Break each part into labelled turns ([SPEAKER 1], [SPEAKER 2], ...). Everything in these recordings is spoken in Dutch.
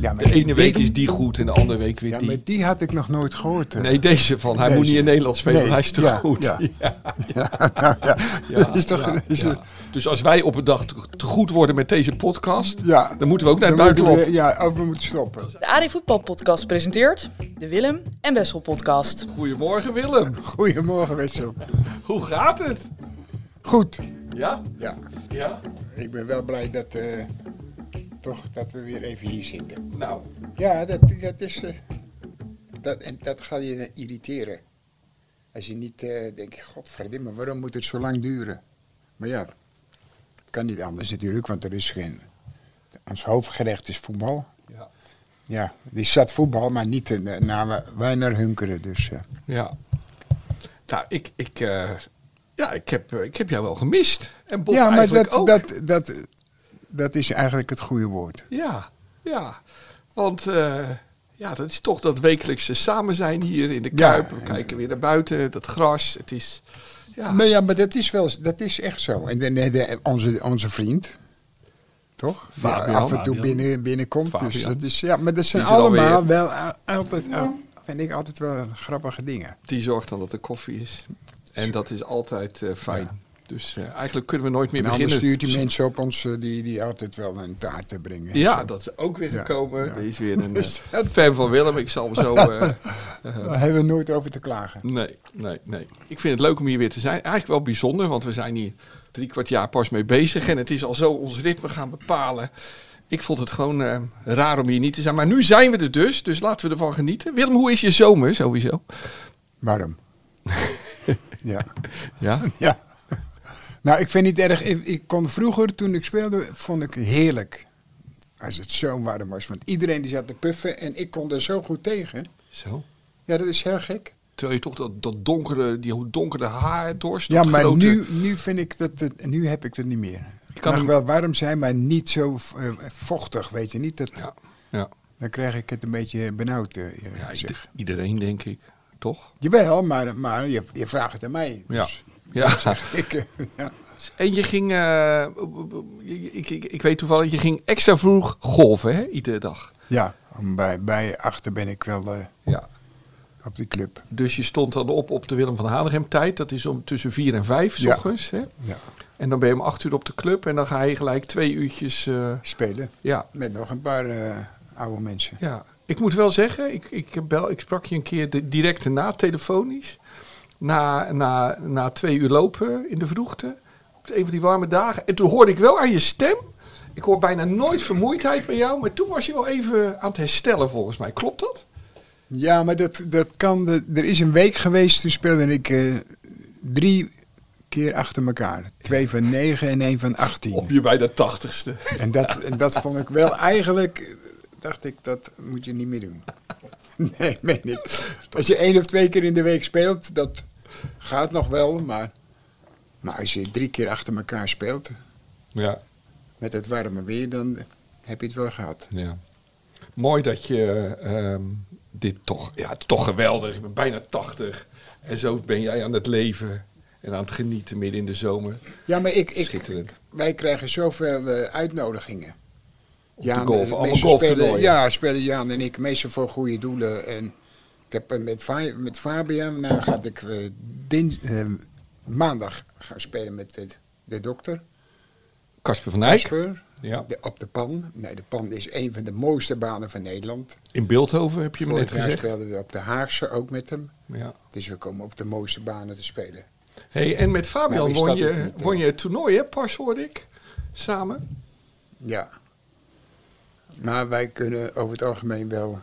[SPEAKER 1] Ja, maar
[SPEAKER 2] De
[SPEAKER 1] die-
[SPEAKER 2] ene week
[SPEAKER 1] die-
[SPEAKER 2] is die goed en de andere week weer
[SPEAKER 1] Ja,
[SPEAKER 2] die.
[SPEAKER 1] maar die had ik nog nooit gehoord. hè.
[SPEAKER 2] Nee, deze van. Hij
[SPEAKER 1] Deze.
[SPEAKER 2] moet niet in Nederland spelen,
[SPEAKER 1] Nee,
[SPEAKER 2] hij is te
[SPEAKER 1] ja,
[SPEAKER 2] goed.
[SPEAKER 1] ja. ja, ja.
[SPEAKER 2] Ja,
[SPEAKER 1] Dat is toch...
[SPEAKER 2] ja,
[SPEAKER 1] is-
[SPEAKER 2] ja. Dus als wij op een dag te te goed worden met deze podcast,
[SPEAKER 1] ja.
[SPEAKER 2] dan moeten we ook naar het
[SPEAKER 1] Dan moeten we-
[SPEAKER 2] buitenland.
[SPEAKER 1] Ja, oh, we moeten stoppen.
[SPEAKER 3] De AD Voetbal Podcast presenteert de Willem en Wessel Podcast.
[SPEAKER 2] Goedemorgen Willem,
[SPEAKER 1] Goedemorgen, Wessel.
[SPEAKER 2] hoe gaat het?
[SPEAKER 1] Goed.
[SPEAKER 2] Ja?
[SPEAKER 1] Ja,
[SPEAKER 2] Ja?
[SPEAKER 1] ik ben wel blij dat, eh, toch, dat we weer even hier zitten.
[SPEAKER 2] Nou,
[SPEAKER 1] Ja, dat, dat is... eh, dat, en dat gaat je irriteren. Als je niet eh, denkt, godverdomme, waarom moet het zo lang duren? Maar ja, het kan niet anders natuurlijk, want er is geen... Ons hoofdgerecht is voetbal.
[SPEAKER 2] ja.
[SPEAKER 1] Ja, die zat voetbal, maar niet eh, naar wa- wij naar hunkeren. Dus eh,
[SPEAKER 2] ja. Nou, ik, ik, eh, ja, ik, heb, eh, ik heb jou wel gemist. En Bob
[SPEAKER 1] ja, maar
[SPEAKER 2] eigenlijk
[SPEAKER 1] dat,
[SPEAKER 2] ook.
[SPEAKER 1] dat, dat, dat is eigenlijk het goede woord.
[SPEAKER 2] Ja, ja. Want eh, ja, dat is toch dat wekelijkse samen zijn hier in de
[SPEAKER 1] Ja.
[SPEAKER 2] Kuip. We kijken weer naar buiten, dat gras. Het is, ja.
[SPEAKER 1] Maar ja, maar dat is, wel, dat is echt zo. En de, de- de- onze, onze vriend, toch? Die
[SPEAKER 2] Fabian.
[SPEAKER 1] af en toe binnen, binnenkomt. Dus
[SPEAKER 2] Fabian.
[SPEAKER 1] dat is, ja, maar dat zijn
[SPEAKER 2] Die is er
[SPEAKER 1] allemaal
[SPEAKER 2] alweer.
[SPEAKER 1] wel a- altijd, a- vind ik altijd wel grappige dingen.
[SPEAKER 2] Die zorgt dan dat er koffie is. En dat is altijd eh, fijn. Dus eh, eigenlijk kunnen we nooit meer
[SPEAKER 1] En anders
[SPEAKER 2] beginnen.
[SPEAKER 1] stuurt die mensen op ons eh, die, die altijd wel een taart te brengen. en
[SPEAKER 2] Ja,
[SPEAKER 1] zo.
[SPEAKER 2] dat is ook weer
[SPEAKER 1] Ja,
[SPEAKER 2] gekomen.
[SPEAKER 1] ja.
[SPEAKER 2] Er is weer een
[SPEAKER 1] Dus
[SPEAKER 2] eh, fan van Willem. Ik zal hem zo... eh,
[SPEAKER 1] Daar hebben we nooit over te klagen.
[SPEAKER 2] nee, nee, nee. Ik vind het leuk om hier weer te zijn. Eigenlijk wel bijzonder, want we zijn hier drie kwart jaar pas mee bezig. En het is al zo ons ritme gaan bepalen. Ik vond het gewoon eh, raar om hier niet te zijn. Maar nu zijn we er dus, dus laten we ervan genieten. Willem, hoe is je zomer sowieso?
[SPEAKER 1] Waarom? ja.
[SPEAKER 2] Ja?
[SPEAKER 1] Ja. Nou, ik vind het niet erg. Ik, ik kon vroeger, toen ik speelde, vond ik heerlijk. Als het zo warm was. Want iedereen die zat te puffen en ik kon er zo goed tegen.
[SPEAKER 2] Zo.
[SPEAKER 1] Ja, dat is heel gek.
[SPEAKER 2] Terwijl je toch dat, dat donkere, die donkere haar dorst.
[SPEAKER 1] Ja,
[SPEAKER 2] dat
[SPEAKER 1] maar
[SPEAKER 2] grote-
[SPEAKER 1] nu, nu vind ik dat, het- nu heb ik dat niet meer. Het
[SPEAKER 2] kan
[SPEAKER 1] mag
[SPEAKER 2] hem-
[SPEAKER 1] wel warm zijn, maar niet zo eh, vochtig, weet je niet. Dat,
[SPEAKER 2] Ja, ja.
[SPEAKER 1] Dan krijg ik het een beetje benauwd, eh, eerlijk
[SPEAKER 2] ja
[SPEAKER 1] gezegd.
[SPEAKER 2] ieder- iedereen denk ik, toch?
[SPEAKER 1] Jawel, maar, maar je, je vraagt het aan mij.
[SPEAKER 2] Ja.
[SPEAKER 1] Dus
[SPEAKER 2] ja.
[SPEAKER 1] ik, eh, ja.
[SPEAKER 2] En je ging, eh, ik, ik, ik weet toevallig, je ging extra vroeg golven, hè? Iedere dag.
[SPEAKER 1] ja, om bij, bij achter ben ik wel eh,
[SPEAKER 2] Ja.
[SPEAKER 1] op die club.
[SPEAKER 2] Dus je stond dan op op de Willem van Hanegem tijd. Dat is om tussen vier en vijf, 's
[SPEAKER 1] Ja.
[SPEAKER 2] ochtends. Hè?
[SPEAKER 1] Ja,
[SPEAKER 2] En dan ben je om acht uur op de club. En dan ga je gelijk twee uurtjes, eh,
[SPEAKER 1] spelen.
[SPEAKER 2] ja,
[SPEAKER 1] Met nog een paar eh, oude mensen.
[SPEAKER 2] Ja, ik moet wel zeggen, ik, ik, bel, ik sprak je een keer di- direct na telefonisch. Na, na, na twee uur lopen in de vroegte. Op een van die warme dagen. En toen hoorde ik wel aan je stem. Ik hoor bijna nooit vermoeidheid bij jou. Maar toen was je wel even aan het herstellen volgens mij. Klopt dat?
[SPEAKER 1] Ja, maar dat, dat kan. de- er is een week geweest, toen speelde ik eh, drie keer achter elkaar. Twee van negen en één van
[SPEAKER 2] Op
[SPEAKER 1] achttien.
[SPEAKER 2] je bijna tachtigste.
[SPEAKER 1] En dat, en dat vond ik wel eigenlijk, eh, dacht ik, dat moet je niet meer doen. Nee, meen ik. Als je één of twee keer in de week speelt, dat gaat nog wel. Maar, maar als je drie keer achter elkaar speelt,
[SPEAKER 2] Ja,
[SPEAKER 1] met het warme weer, dan heb je het wel gehad.
[SPEAKER 2] ja. Mooi dat je ehm, dit toch, ja, toch geweldig. Ik ben bijna tachtig. En zo ben jij aan het leven. En aan het genieten midden in de zomer.
[SPEAKER 1] Ja, maar ik, ik,
[SPEAKER 2] Schitterend.
[SPEAKER 1] wij krijgen zoveel eh, uitnodigingen.
[SPEAKER 2] de golf,
[SPEAKER 1] eh,
[SPEAKER 2] allemaal
[SPEAKER 1] meestal
[SPEAKER 2] golftoernooien.
[SPEAKER 1] spelen, Ja, spelen Jaan en ik meestal voor goede doelen. En ik heb eh, met, Fa- met Fabian, nou ga ik eh, dins- eh, maandag gaan spelen met de, de dokter.
[SPEAKER 2] Casper van Eyck.
[SPEAKER 1] Kasper,
[SPEAKER 2] Ja.
[SPEAKER 1] de- op de pan. Nee, de pan is een van de mooiste banen van Nederland.
[SPEAKER 2] In Beeldhoven heb je me
[SPEAKER 1] Vorig
[SPEAKER 2] net
[SPEAKER 1] jaar
[SPEAKER 2] gezegd.
[SPEAKER 1] speelden we op de Haagse ook met hem.
[SPEAKER 2] Ja.
[SPEAKER 1] Dus we komen op de mooiste banen te spelen.
[SPEAKER 2] Hey, en met
[SPEAKER 1] Nou,
[SPEAKER 2] Fabian
[SPEAKER 1] wie
[SPEAKER 2] won
[SPEAKER 1] staat
[SPEAKER 2] je,
[SPEAKER 1] er niet, hè?
[SPEAKER 2] won je het toernooi, hè? Pas hoorde ik. Samen.
[SPEAKER 1] Ja. Maar wij kunnen over het algemeen wel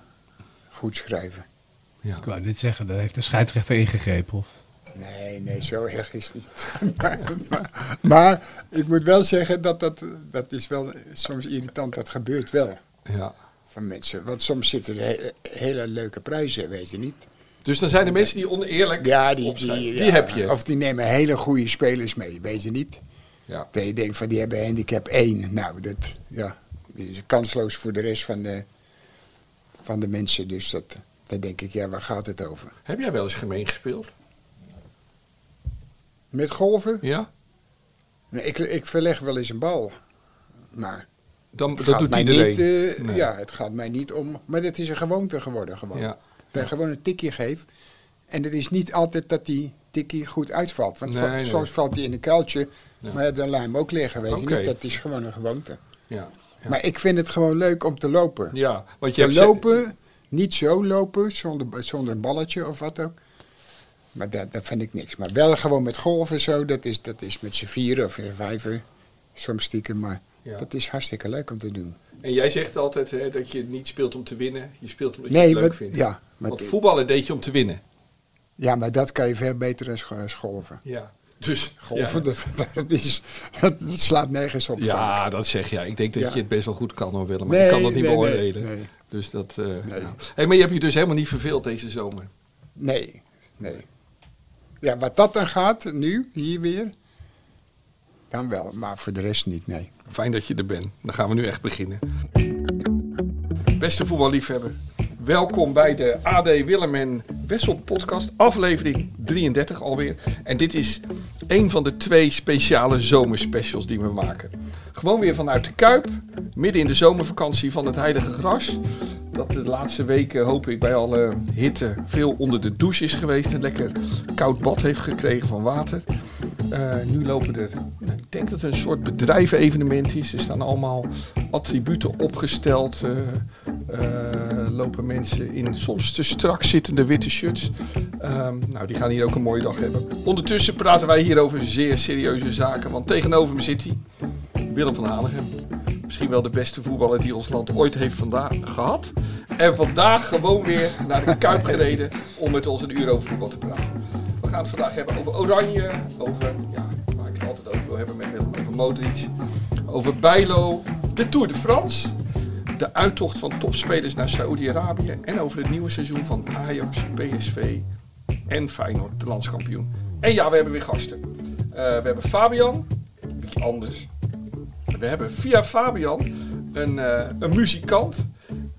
[SPEAKER 1] goed schrijven.
[SPEAKER 2] Ja.
[SPEAKER 4] Ik wou net zeggen, daar heeft de scheidsrechter ingegrepen. Of?
[SPEAKER 1] Nee, nee, zo erg is het niet. maar, maar- maar ik moet wel zeggen dat dat, dat is wel soms irritant. Dat gebeurt wel
[SPEAKER 2] ja.
[SPEAKER 1] van mensen. Want soms zitten er he- hele leuke prijzen, weet je niet.
[SPEAKER 2] Dus dan zijn er mensen die oneerlijk
[SPEAKER 1] Ja, die, die,
[SPEAKER 2] opschrijven.
[SPEAKER 1] ja,
[SPEAKER 2] heb je.
[SPEAKER 1] Of die nemen hele goede spelers mee, weet je niet.
[SPEAKER 2] ja.
[SPEAKER 1] Dat je denkt van die hebben handicap 1. Nou, dat, ja, die is kansloos voor de rest van de, van de mensen. Dus dat, daar denk ik, ja, waar gaat het over?
[SPEAKER 2] Heb jij wel eens gemeen gespeeld?
[SPEAKER 1] Met golven?
[SPEAKER 2] Ja?
[SPEAKER 1] Nee, ik, ik verleg wel eens een bal. Maar
[SPEAKER 2] Dan,
[SPEAKER 1] het
[SPEAKER 2] dat
[SPEAKER 1] gaat
[SPEAKER 2] doet
[SPEAKER 1] mij
[SPEAKER 2] iedereen.
[SPEAKER 1] niet, eh,
[SPEAKER 2] Nee.
[SPEAKER 1] ja, het gaat mij niet om... Maar dat is een gewoonte geworden gewoon.
[SPEAKER 2] ja.
[SPEAKER 1] Dat je gewoon een tikje geeft. En het is niet altijd dat die tikkie goed uitvalt. Want
[SPEAKER 2] Nee,
[SPEAKER 1] va-
[SPEAKER 2] nee.
[SPEAKER 1] soms valt die in een kuiltje.
[SPEAKER 2] Ja.
[SPEAKER 1] Maar ja, dan laat je hem ook liggen, weet
[SPEAKER 2] Oké.
[SPEAKER 1] je niet. Dat is gewoon een gewoonte.
[SPEAKER 2] Ja. Ja.
[SPEAKER 1] Maar ik vind het gewoon leuk om te lopen.
[SPEAKER 2] ja, want je
[SPEAKER 1] Te
[SPEAKER 2] hebt
[SPEAKER 1] lopen, niet zo lopen, zonder, zonder een balletje of wat ook. Maar dat, dat vind ik niks. Maar wel gewoon met golven zo, dat is, dat is met z'n vieren of eh, vijven, soms stiekem. Maar
[SPEAKER 2] Ja.
[SPEAKER 1] dat is hartstikke leuk om te doen.
[SPEAKER 2] En jij zegt altijd hè, dat je niet speelt om te winnen. Je speelt omdat je
[SPEAKER 1] nee,
[SPEAKER 2] het leuk
[SPEAKER 1] wat-
[SPEAKER 2] vindt.
[SPEAKER 1] ja, maar,
[SPEAKER 2] Want voetballen deed je om te winnen.
[SPEAKER 1] ja, maar dat kan je veel beter als, als golven.
[SPEAKER 2] Ja. Dus,
[SPEAKER 1] Golven,
[SPEAKER 2] ja.
[SPEAKER 1] dat, dat, is, dat, dat slaat nergens op. vaak.
[SPEAKER 2] Ja, dat zeg je. Ik denk dat
[SPEAKER 1] Ja.
[SPEAKER 2] je het best wel goed kan hoor Willem. Maar
[SPEAKER 1] Nee,
[SPEAKER 2] ik kan dat niet
[SPEAKER 1] nee, nee,
[SPEAKER 2] beoordelen.
[SPEAKER 1] nee.
[SPEAKER 2] Dus dat... eh,
[SPEAKER 1] Nee.
[SPEAKER 2] ja. hey, maar je hebt je dus helemaal niet verveeld deze zomer.
[SPEAKER 1] Nee, nee. Ja, wat dat dan gaat, nu, hier weer, dan wel. Maar voor de rest niet, nee.
[SPEAKER 2] Fijn dat je er bent. Dan gaan we nu echt beginnen. Beste voetballiefhebber, welkom bij de AD Willem en Wessel podcast, aflevering 33 alweer. En dit is een van de twee speciale zomerspecials die we maken. Gewoon weer vanuit de Kuip, midden in de zomervakantie van het Heilige Gras. Dat de laatste weken, hoop ik, bij alle hitte veel onder de douche is geweest. Een lekker koud bad heeft gekregen van water. Eh, nu lopen er, nou, ik denk dat het een soort bedrijvevenement is. Er staan allemaal attributen opgesteld. eh, eh, lopen mensen in soms te strak zittende witte shirts. Ehm, nou, die gaan hier ook een mooie dag hebben. Ondertussen praten wij hier over zeer serieuze zaken. Want tegenover me zit hij, Willem van Hanegem. Misschien wel de beste voetballer die ons land ooit heeft vandaag gehad. En vandaag gewoon weer naar de Kuip gereden om met ons een uur over voetbal te praten. We gaan het vandaag hebben over Oranje, over ja, waar ik het altijd over wil hebben met Willem, over Modric, over Bijlo, de Tour de France, de uittocht van topspelers naar Saoedi-Arabië en over het nieuwe seizoen van Ajax, PSV en Feyenoord, de landskampioen. En ja, we hebben weer gasten. Eh, we hebben Fabian, een beetje anders. We hebben via Fabian een, eh, een muzikant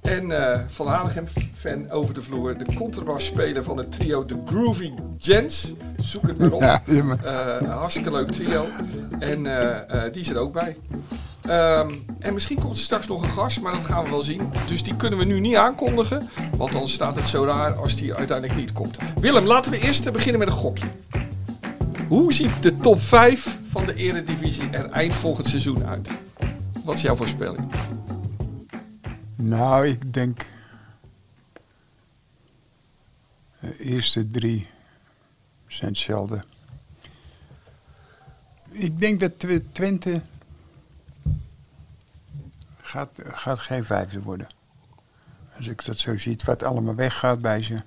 [SPEAKER 2] en eh, Van Hanegem fan over de vloer. De contrabasspeler van het trio The Groovy Gents. Zoek het maar op.
[SPEAKER 1] Ja, ja, maar-
[SPEAKER 2] Eh, een hartstikke leuk trio. En eh, eh, die is er ook bij. Ehm, en misschien komt er straks nog een gast, maar dat gaan we wel zien. Dus die kunnen we nu niet aankondigen, want dan staat het zo raar als die uiteindelijk niet komt. Willem, laten we eerst eh, beginnen met een gokje. Hoe ziet de top 5 van de Eredivisie er eind volgend seizoen uit? Wat is jouw voorspelling?
[SPEAKER 1] Nou, ik denk. De eh, eerste drie zijn hetzelfde. Ik denk dat Tw- Twente. Gaat, gaat geen vijfde worden. Als ik dat zo zie, wat allemaal weggaat bij ze.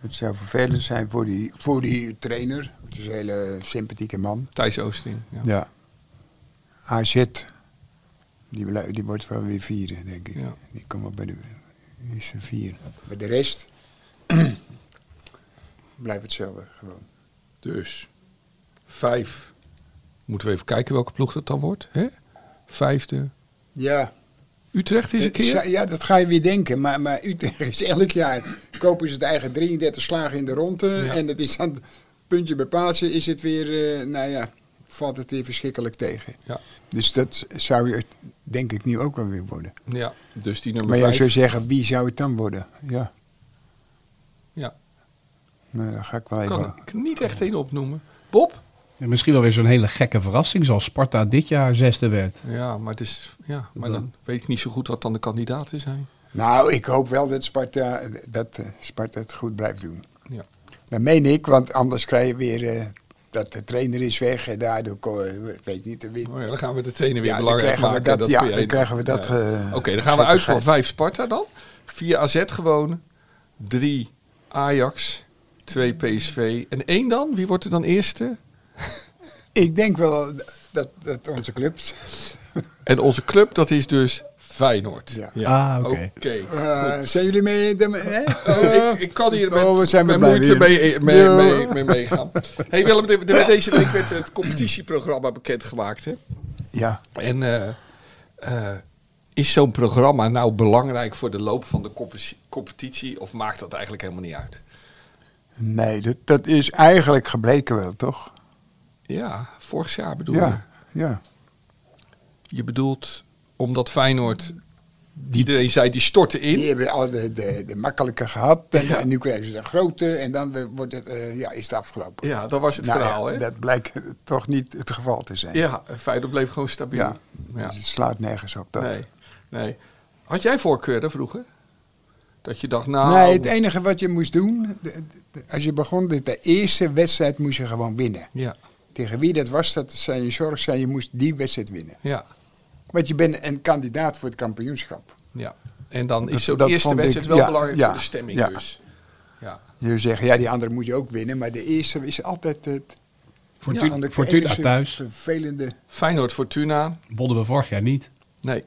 [SPEAKER 1] Het zou vervelend zijn voor die, voor die trainer. Het is een hele sympathieke man.
[SPEAKER 2] Thijs Oosting. Ja.
[SPEAKER 1] Ja. AZ, die, blij- die wordt wel weer vieren, denk ik.
[SPEAKER 2] Ja.
[SPEAKER 1] Die komt wel bij de eerste vier. Maar de rest blijft hetzelfde gewoon.
[SPEAKER 2] Dus 5. Moeten we even kijken welke ploeg dat dan wordt. Hè? Vijfde.
[SPEAKER 1] Ja. eh,
[SPEAKER 2] Utrecht Eh, is een keer.
[SPEAKER 1] Ja, dat ga je weer denken. Maar, maar Utrecht is elk jaar, kopen ze het eigen 33 slagen in de ronde. En het is aan het puntje bij Pasen is het weer, eh, nou ja, valt het weer verschrikkelijk tegen.
[SPEAKER 2] Ja.
[SPEAKER 1] Dus dat zou je, denk ik, nu ook wel weer worden.
[SPEAKER 2] Ja, dus die
[SPEAKER 1] Maar
[SPEAKER 2] nummer
[SPEAKER 1] jij zou
[SPEAKER 2] 5.
[SPEAKER 1] zeggen, wie zou het dan worden? Ja.
[SPEAKER 2] Ja.
[SPEAKER 1] Nou, daar ga ik wel even.
[SPEAKER 2] Kan ik niet echt één opnoemen. Bob?
[SPEAKER 4] En misschien wel weer zo'n hele gekke verrassing, zoals Sparta dit jaar zesde werd.
[SPEAKER 2] Ja, maar, het is, ja, maar dan weet ik niet zo goed wat dan de kandidaten zijn.
[SPEAKER 1] Nou, ik hoop wel dat Sparta, dat, eh, Sparta het goed blijft doen.
[SPEAKER 2] Ja.
[SPEAKER 1] Dat meen ik, want anders krijg je weer eh, dat de trainer is weg en daardoor, ko- ik weet niet, de win.
[SPEAKER 2] Oh ja, dan gaan we de trainer weer
[SPEAKER 1] Ja, dan
[SPEAKER 2] belangrijk
[SPEAKER 1] krijgen we
[SPEAKER 2] maken.
[SPEAKER 1] dat- ja,
[SPEAKER 2] vind jij-
[SPEAKER 1] dan krijgen we dat, eh,
[SPEAKER 2] Oké, dan gaan we uit voor
[SPEAKER 1] gekkigheid.
[SPEAKER 2] vijf Sparta dan. Vier AZ gewoon. Drie Ajax. Twee PSV. En één dan? Wie wordt er dan eerste?
[SPEAKER 1] Ik denk wel dat, dat onze club.
[SPEAKER 2] En onze club, dat is dus Feyenoord.
[SPEAKER 1] Ja.
[SPEAKER 4] Ah, oké.
[SPEAKER 1] Eh, zijn jullie mee? daarmee- hè?
[SPEAKER 2] Oh, ik, ik kan hier met,
[SPEAKER 1] Eh, Oh, we zijn
[SPEAKER 2] met
[SPEAKER 1] weer blij
[SPEAKER 2] moeite
[SPEAKER 1] weer.
[SPEAKER 2] mee, eh, mee,
[SPEAKER 1] Ja.
[SPEAKER 2] mee, mee meegaan. hey Willem, de- de- deze week werd het competitieprogramma bekendgemaakt. Hè?
[SPEAKER 1] Ja.
[SPEAKER 2] En eh, eh, is zo'n programma nou belangrijk voor de loop van de competi- competitie of maakt dat eigenlijk helemaal niet uit?
[SPEAKER 1] Nee, dat, dat is eigenlijk gebleken wel, toch?
[SPEAKER 2] Ja, vorig jaar bedoel je.
[SPEAKER 1] Ja, ja.
[SPEAKER 2] Je bedoelt omdat Feyenoord, die iedereen zei, die stortte
[SPEAKER 1] Die
[SPEAKER 2] in.
[SPEAKER 1] hebben al de, de, de makkelijke gehad. En,
[SPEAKER 2] Ja.
[SPEAKER 1] en nu krijgen ze de grote. En dan eh, wordt het, eh, ja, is het afgelopen.
[SPEAKER 2] Ja, dat was het
[SPEAKER 1] Nou ja,
[SPEAKER 2] verhaal, hè?
[SPEAKER 1] Dat blijkt toch niet het geval te zijn.
[SPEAKER 2] Ja, Feyenoord bleef gewoon stabiel.
[SPEAKER 1] Ja,
[SPEAKER 2] Ja.
[SPEAKER 1] Dus het slaat nergens op. Dat.
[SPEAKER 2] Nee, nee. Had jij voorkeuren vroeger? Dat je dacht, nou...
[SPEAKER 1] Nee, het enige wat je moest doen, de- de- als je begon, de, de eerste wedstrijd moest je gewoon winnen.
[SPEAKER 2] Ja,
[SPEAKER 1] Tegen wie dat was, dat zijn je zorg zijn, je moest die wedstrijd winnen.
[SPEAKER 2] ja,
[SPEAKER 1] Want je bent een kandidaat voor het kampioenschap.
[SPEAKER 2] ja. En dan
[SPEAKER 1] Dat-
[SPEAKER 2] is zo'n
[SPEAKER 1] dat
[SPEAKER 2] eerste
[SPEAKER 1] vond ik-
[SPEAKER 2] wedstrijd wel
[SPEAKER 1] ja,
[SPEAKER 2] belangrijk
[SPEAKER 1] ja,
[SPEAKER 2] voor de stemming
[SPEAKER 1] ja.
[SPEAKER 2] dus. Ja.
[SPEAKER 1] Je zegt, ja, die andere moet je ook winnen, maar de eerste is altijd het
[SPEAKER 4] Fortuna,
[SPEAKER 1] van de
[SPEAKER 4] Fortuna
[SPEAKER 1] enige
[SPEAKER 4] thuis.
[SPEAKER 1] vervelende.
[SPEAKER 2] Feyenoord Fortuna.
[SPEAKER 4] Wonnen we vorig jaar niet.
[SPEAKER 2] Nee,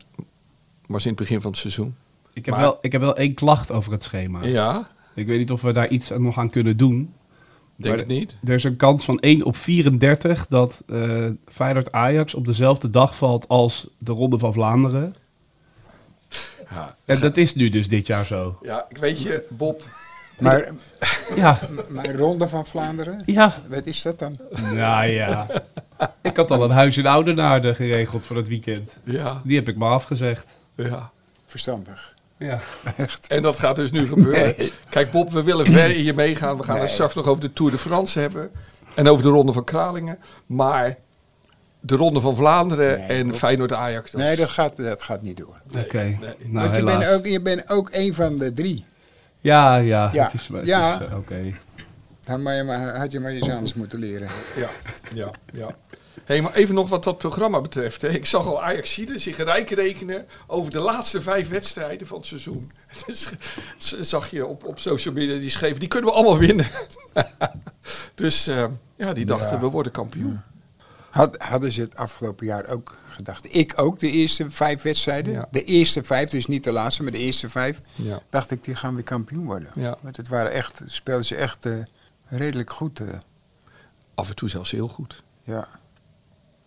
[SPEAKER 2] was in het begin van het seizoen.
[SPEAKER 4] Ik heb,
[SPEAKER 2] Maar-
[SPEAKER 4] wel, ik heb wel één klacht over het schema.
[SPEAKER 2] Ja,
[SPEAKER 4] Ik weet niet of we daar iets aan- nog aan kunnen doen.
[SPEAKER 2] denk
[SPEAKER 4] Maar-
[SPEAKER 2] het niet.
[SPEAKER 4] Er is een kans van 1 op 34 dat eh Feyenoord Ajax op dezelfde dag valt als de Ronde van Vlaanderen.
[SPEAKER 2] Ja.
[SPEAKER 4] En dat is nu dus dit jaar zo.
[SPEAKER 2] ja, ik weet je, Bob.
[SPEAKER 1] Maar,
[SPEAKER 4] Ja,
[SPEAKER 1] maar Ronde van Vlaanderen,
[SPEAKER 4] ja.
[SPEAKER 1] wat is dat dan?
[SPEAKER 4] Nou ja. Ik had al een huis in Oudenaarde geregeld voor het weekend.
[SPEAKER 2] Ja,
[SPEAKER 4] Die heb ik maar afgezegd.
[SPEAKER 2] ja.
[SPEAKER 1] Verstandig.
[SPEAKER 4] Ja.
[SPEAKER 2] En dat gaat dus nu gebeuren. Kijk, Bob, we willen ver in je meegaan. We gaan het straks nog over de Tour de France hebben. En over de Ronde van Kralingen. Maar de Ronde van Vlaanderen en Feyenoord-Ajax.
[SPEAKER 1] Nee, dat gaat, dat gaat niet door.
[SPEAKER 4] Oké. Nou,
[SPEAKER 1] Want je
[SPEAKER 4] helaas.
[SPEAKER 1] bent, ook, je bent ook een van de drie.
[SPEAKER 4] Ja, ja.
[SPEAKER 1] Ja.
[SPEAKER 4] Het is, het
[SPEAKER 1] Ja.
[SPEAKER 4] is, eh, Oké.
[SPEAKER 1] Dan maar je maar- had je maar iets anders moeten leren.
[SPEAKER 2] Ja, ja, ja. hey, maar even nog wat dat programma betreft. Hè. Ik zag al Ajaxide zich rijk rekenen over de laatste vijf wedstrijden van het seizoen. Dus, z- zag je op, op social media die schreef, die kunnen we allemaal winnen. dus eh, ja, die dachten,
[SPEAKER 1] Ja.
[SPEAKER 2] we worden kampioen.
[SPEAKER 1] Had, hadden ze het afgelopen jaar ook gedacht. Ik ook, de eerste vijf wedstrijden.
[SPEAKER 2] Ja.
[SPEAKER 1] De eerste vijf, dus niet de laatste, maar de eerste vijf.
[SPEAKER 2] Ja.
[SPEAKER 1] Dacht ik, die gaan weer kampioen worden.
[SPEAKER 2] Ja.
[SPEAKER 1] Want het waren echt, speelden ze echt eh, redelijk goed. eh,
[SPEAKER 2] Af en toe zelfs heel goed.
[SPEAKER 1] ja.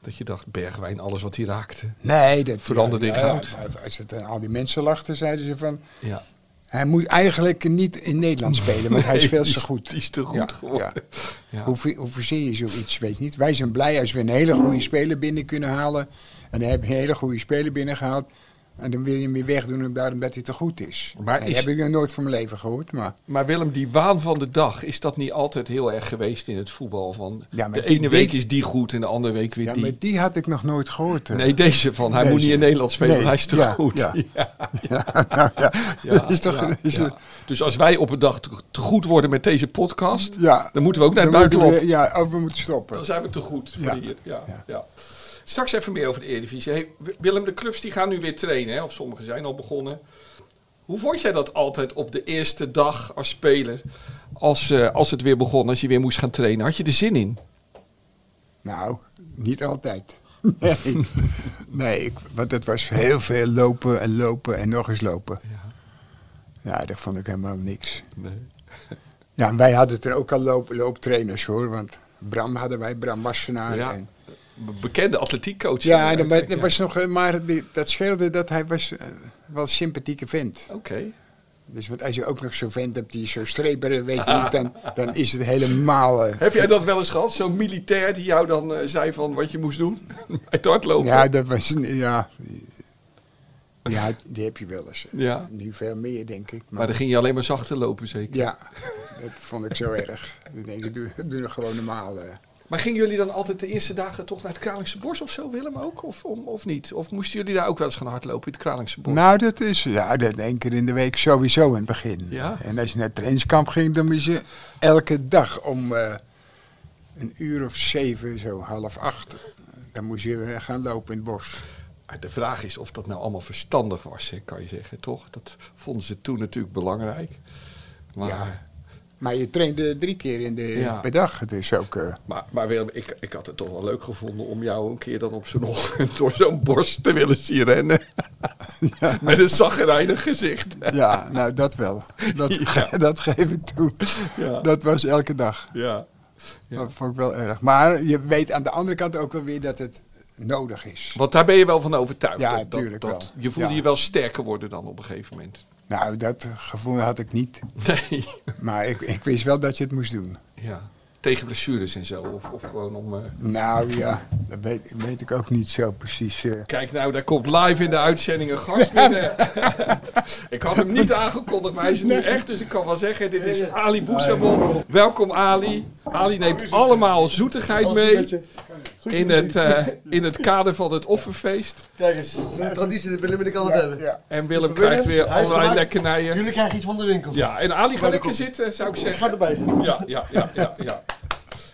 [SPEAKER 2] Dat je dacht, Bergwijn, alles wat hij raakte.
[SPEAKER 1] Nee, dat
[SPEAKER 2] Veranderde in goud.
[SPEAKER 1] als het aan al die mensen lachten, zeiden ze van...
[SPEAKER 2] Ja.
[SPEAKER 1] Hij moet eigenlijk niet in Nederland spelen, want hij is veel te goed.
[SPEAKER 2] Die is te goed
[SPEAKER 1] Ja,
[SPEAKER 2] geworden.
[SPEAKER 1] ja.
[SPEAKER 2] Ja.
[SPEAKER 1] Hoe, ver- hoe verzeer je zoiets, weet je niet. Wij zijn blij als we een hele goede speler binnen kunnen halen. En dan heb je een hele goede speler binnengehaald. En dan wil je hem weer wegdoen om- daarom dat hij te goed is.
[SPEAKER 2] Maar
[SPEAKER 1] dat
[SPEAKER 2] is-
[SPEAKER 1] heb ik nog nooit van mijn leven gehoord. Maar,
[SPEAKER 2] Maar Willem, die waan van de dag, is dat niet altijd heel erg geweest in het voetbal? Van
[SPEAKER 1] Ja, maar
[SPEAKER 2] de
[SPEAKER 1] die
[SPEAKER 2] ene week
[SPEAKER 1] week-
[SPEAKER 2] is die goed en de andere week weer
[SPEAKER 1] ja,
[SPEAKER 2] die.
[SPEAKER 1] maar die had ik nog nooit gehoord. hè.
[SPEAKER 2] Nee, deze van. Hij
[SPEAKER 1] Deze.
[SPEAKER 2] moet niet in Nederland spelen,
[SPEAKER 1] Nee,
[SPEAKER 2] want hij is te
[SPEAKER 1] ja,
[SPEAKER 2] goed.
[SPEAKER 1] ja.
[SPEAKER 2] Ja,
[SPEAKER 1] Ja, eh, nou ja.
[SPEAKER 2] ja,
[SPEAKER 1] dat is toch...
[SPEAKER 2] ja,
[SPEAKER 1] is
[SPEAKER 2] ja.
[SPEAKER 1] een-
[SPEAKER 2] Dus als wij op een dag te te goed worden met deze podcast,
[SPEAKER 1] ja.
[SPEAKER 2] dan moeten we ook naar het
[SPEAKER 1] Dan moeten we-
[SPEAKER 2] buitenland.
[SPEAKER 1] Ja, oh, we moeten
[SPEAKER 2] Dan
[SPEAKER 1] stoppen.
[SPEAKER 2] zijn we te goed voor
[SPEAKER 1] Ja.
[SPEAKER 2] die hier. Ja, ja.
[SPEAKER 1] Ja.
[SPEAKER 2] Straks even meer over de Eredivisie. Hey, Wi- Willem, de clubs die gaan nu weer trainen, hè? of sommigen zijn al begonnen. Hoe vond jij dat altijd op de eerste dag als speler, als, eh, als het weer begon, als je weer moest gaan trainen? Had je er zin in?
[SPEAKER 1] Nou, niet altijd. Nee, nee ik, want het was heel veel lopen en lopen en nog eens lopen. Ja, dat vond ik helemaal niks.
[SPEAKER 2] Nee.
[SPEAKER 1] Ja, en wij hadden er ook al loop, looptrainers hoor, want Bram hadden wij, Bram Wassenaar.
[SPEAKER 2] Ja,
[SPEAKER 1] en,
[SPEAKER 2] Be- bekende atletiekcoach.
[SPEAKER 1] ja
[SPEAKER 2] hè,
[SPEAKER 1] en, maar, dat
[SPEAKER 2] eigenlijk,
[SPEAKER 1] was nog, eh, maar die- dat scheelde dat hij was eh, wel een sympathieke vent.
[SPEAKER 2] ja. Oké.
[SPEAKER 1] Dus want als je ook nog zo'n vent hebt die zo streber, weet je niet, dan, dan is het helemaal... eh,
[SPEAKER 2] Heb jij dat wel eens gehad? Zo'n militair die jou dan eh, zei van wat je moest doen? Bij het hardlopen?
[SPEAKER 1] Ja, dat was... Ja, ja die heb je wel eens.
[SPEAKER 2] Ja.
[SPEAKER 1] Nu veel meer, denk ik.
[SPEAKER 2] Maar dan ging je alleen maar zachter lopen zeker?
[SPEAKER 1] Ja, dat vond ik zo erg. Ik denk, doe, doe nog gewoon normaal. eh.
[SPEAKER 2] Maar gingen jullie dan altijd de eerste dagen toch naar het Kralingse Bos of zo, Willem ook? Of, om, of niet? Of moesten jullie daar ook wel eens gaan hardlopen in het Kralingse Bos?
[SPEAKER 1] Nou, dat is ja, dat één keer in de week sowieso in het begin.
[SPEAKER 2] Ja.
[SPEAKER 1] En als je naar het trainingskamp ging, dan moest je elke dag om eh, een uur of zeven, zo half acht, dan moest je eh, gaan lopen in het bos.
[SPEAKER 2] Maar de vraag is of dat nou allemaal verstandig was, hè, kan je zeggen, toch? Dat vonden ze toen natuurlijk belangrijk. Maar,
[SPEAKER 1] Ja. Maar je trainde drie keer in de,
[SPEAKER 2] Ja.
[SPEAKER 1] per dag, dus ook... eh,
[SPEAKER 2] maar, maar Willem, ik, ik had het toch wel leuk gevonden om jou een keer dan op zo'n ochtend door zo'n bos te willen zien rennen. Met een zagrijnig gezicht.
[SPEAKER 1] ja, nou dat wel. Dat,
[SPEAKER 2] Ja.
[SPEAKER 1] dat geef ik toe.
[SPEAKER 2] Ja.
[SPEAKER 1] Dat was elke dag.
[SPEAKER 2] Ja. Ja.
[SPEAKER 1] Dat vond ik wel erg. Maar je weet aan de andere kant ook wel weer dat het nodig is.
[SPEAKER 2] Want daar ben je wel van overtuigd.
[SPEAKER 1] Ja,
[SPEAKER 2] dat- dat-
[SPEAKER 1] tuurlijk
[SPEAKER 2] dat-
[SPEAKER 1] wel.
[SPEAKER 2] Je voelde
[SPEAKER 1] Ja.
[SPEAKER 2] je wel sterker worden dan op een gegeven moment.
[SPEAKER 1] Nou, dat gevoel had ik niet.
[SPEAKER 2] Nee.
[SPEAKER 1] Maar ik, ik wist wel dat je het moest doen.
[SPEAKER 2] Ja. Tegen blessures en zo. Of, of gewoon om. eh,
[SPEAKER 1] Nou ja, dat weet, weet ik ook niet zo precies. eh.
[SPEAKER 2] Kijk nou, daar komt live in de uitzending een gast binnen. ik had hem niet aangekondigd, maar hij is er nu echt. Dus ik kan wel zeggen, dit is Ali Bousabon. Welkom Ali. Ali neemt allemaal zoetigheid mee in het, eh, in het kader van het offerfeest.
[SPEAKER 5] Kijk eens, het is een traditie dat Willem en ik altijd hebben.
[SPEAKER 1] ja.
[SPEAKER 2] En Willem krijgt weer
[SPEAKER 5] Hij is
[SPEAKER 2] allerlei
[SPEAKER 5] gemaakt.
[SPEAKER 2] lekkernijen.
[SPEAKER 5] Jullie krijgen iets van de winkel.
[SPEAKER 2] Ja, en Ali ga
[SPEAKER 5] Welkom.
[SPEAKER 2] lekker zitten, zou ik
[SPEAKER 5] Ik
[SPEAKER 2] zeggen.
[SPEAKER 5] ga erbij zitten.
[SPEAKER 2] Ja, ja, ja, ja. ja.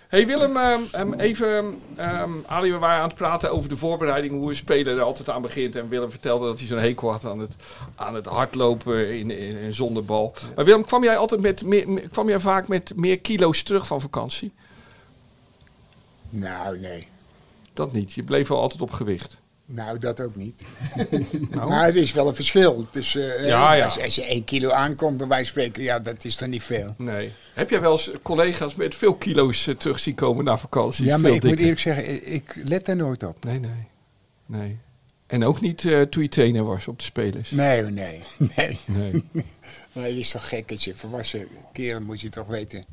[SPEAKER 2] Hey Willem, ehm, ehm, even, ehm, Ali, we waren aan het praten over de voorbereiding, hoe een speler er altijd aan begint. En Willem vertelde dat hij zo'n hekel had aan het, aan het hardlopen in, in, in zonder bal. Maar Willem, kwam jij altijd met, meer, me- kwam jij vaak met meer kilo's terug van vakantie?
[SPEAKER 1] Nou, nee.
[SPEAKER 2] Dat niet, je bleef wel altijd op gewicht.
[SPEAKER 1] Nou, dat ook niet. Maar het is wel een verschil. tussen eh,
[SPEAKER 2] Nou. Ja, ja.
[SPEAKER 1] Als, als je één kilo aankomt, bij wijze van spreken, ja, dat is dan niet veel.
[SPEAKER 2] Nee. Heb jij wel eens collega's met veel kilo's eh, terug zien komen na vakantie?
[SPEAKER 1] Ja, maar
[SPEAKER 2] Veel
[SPEAKER 1] ik moet
[SPEAKER 2] dikker.
[SPEAKER 1] eerlijk zeggen, ik- ik let daar nooit op.
[SPEAKER 2] Nee, nee, nee. En ook niet eh, toen je trainer was op de spelers.
[SPEAKER 1] Nee, oh, nee, nee.
[SPEAKER 2] Nee.
[SPEAKER 1] Nee, dat is toch gek. Als je volwassen kerel moet je toch weten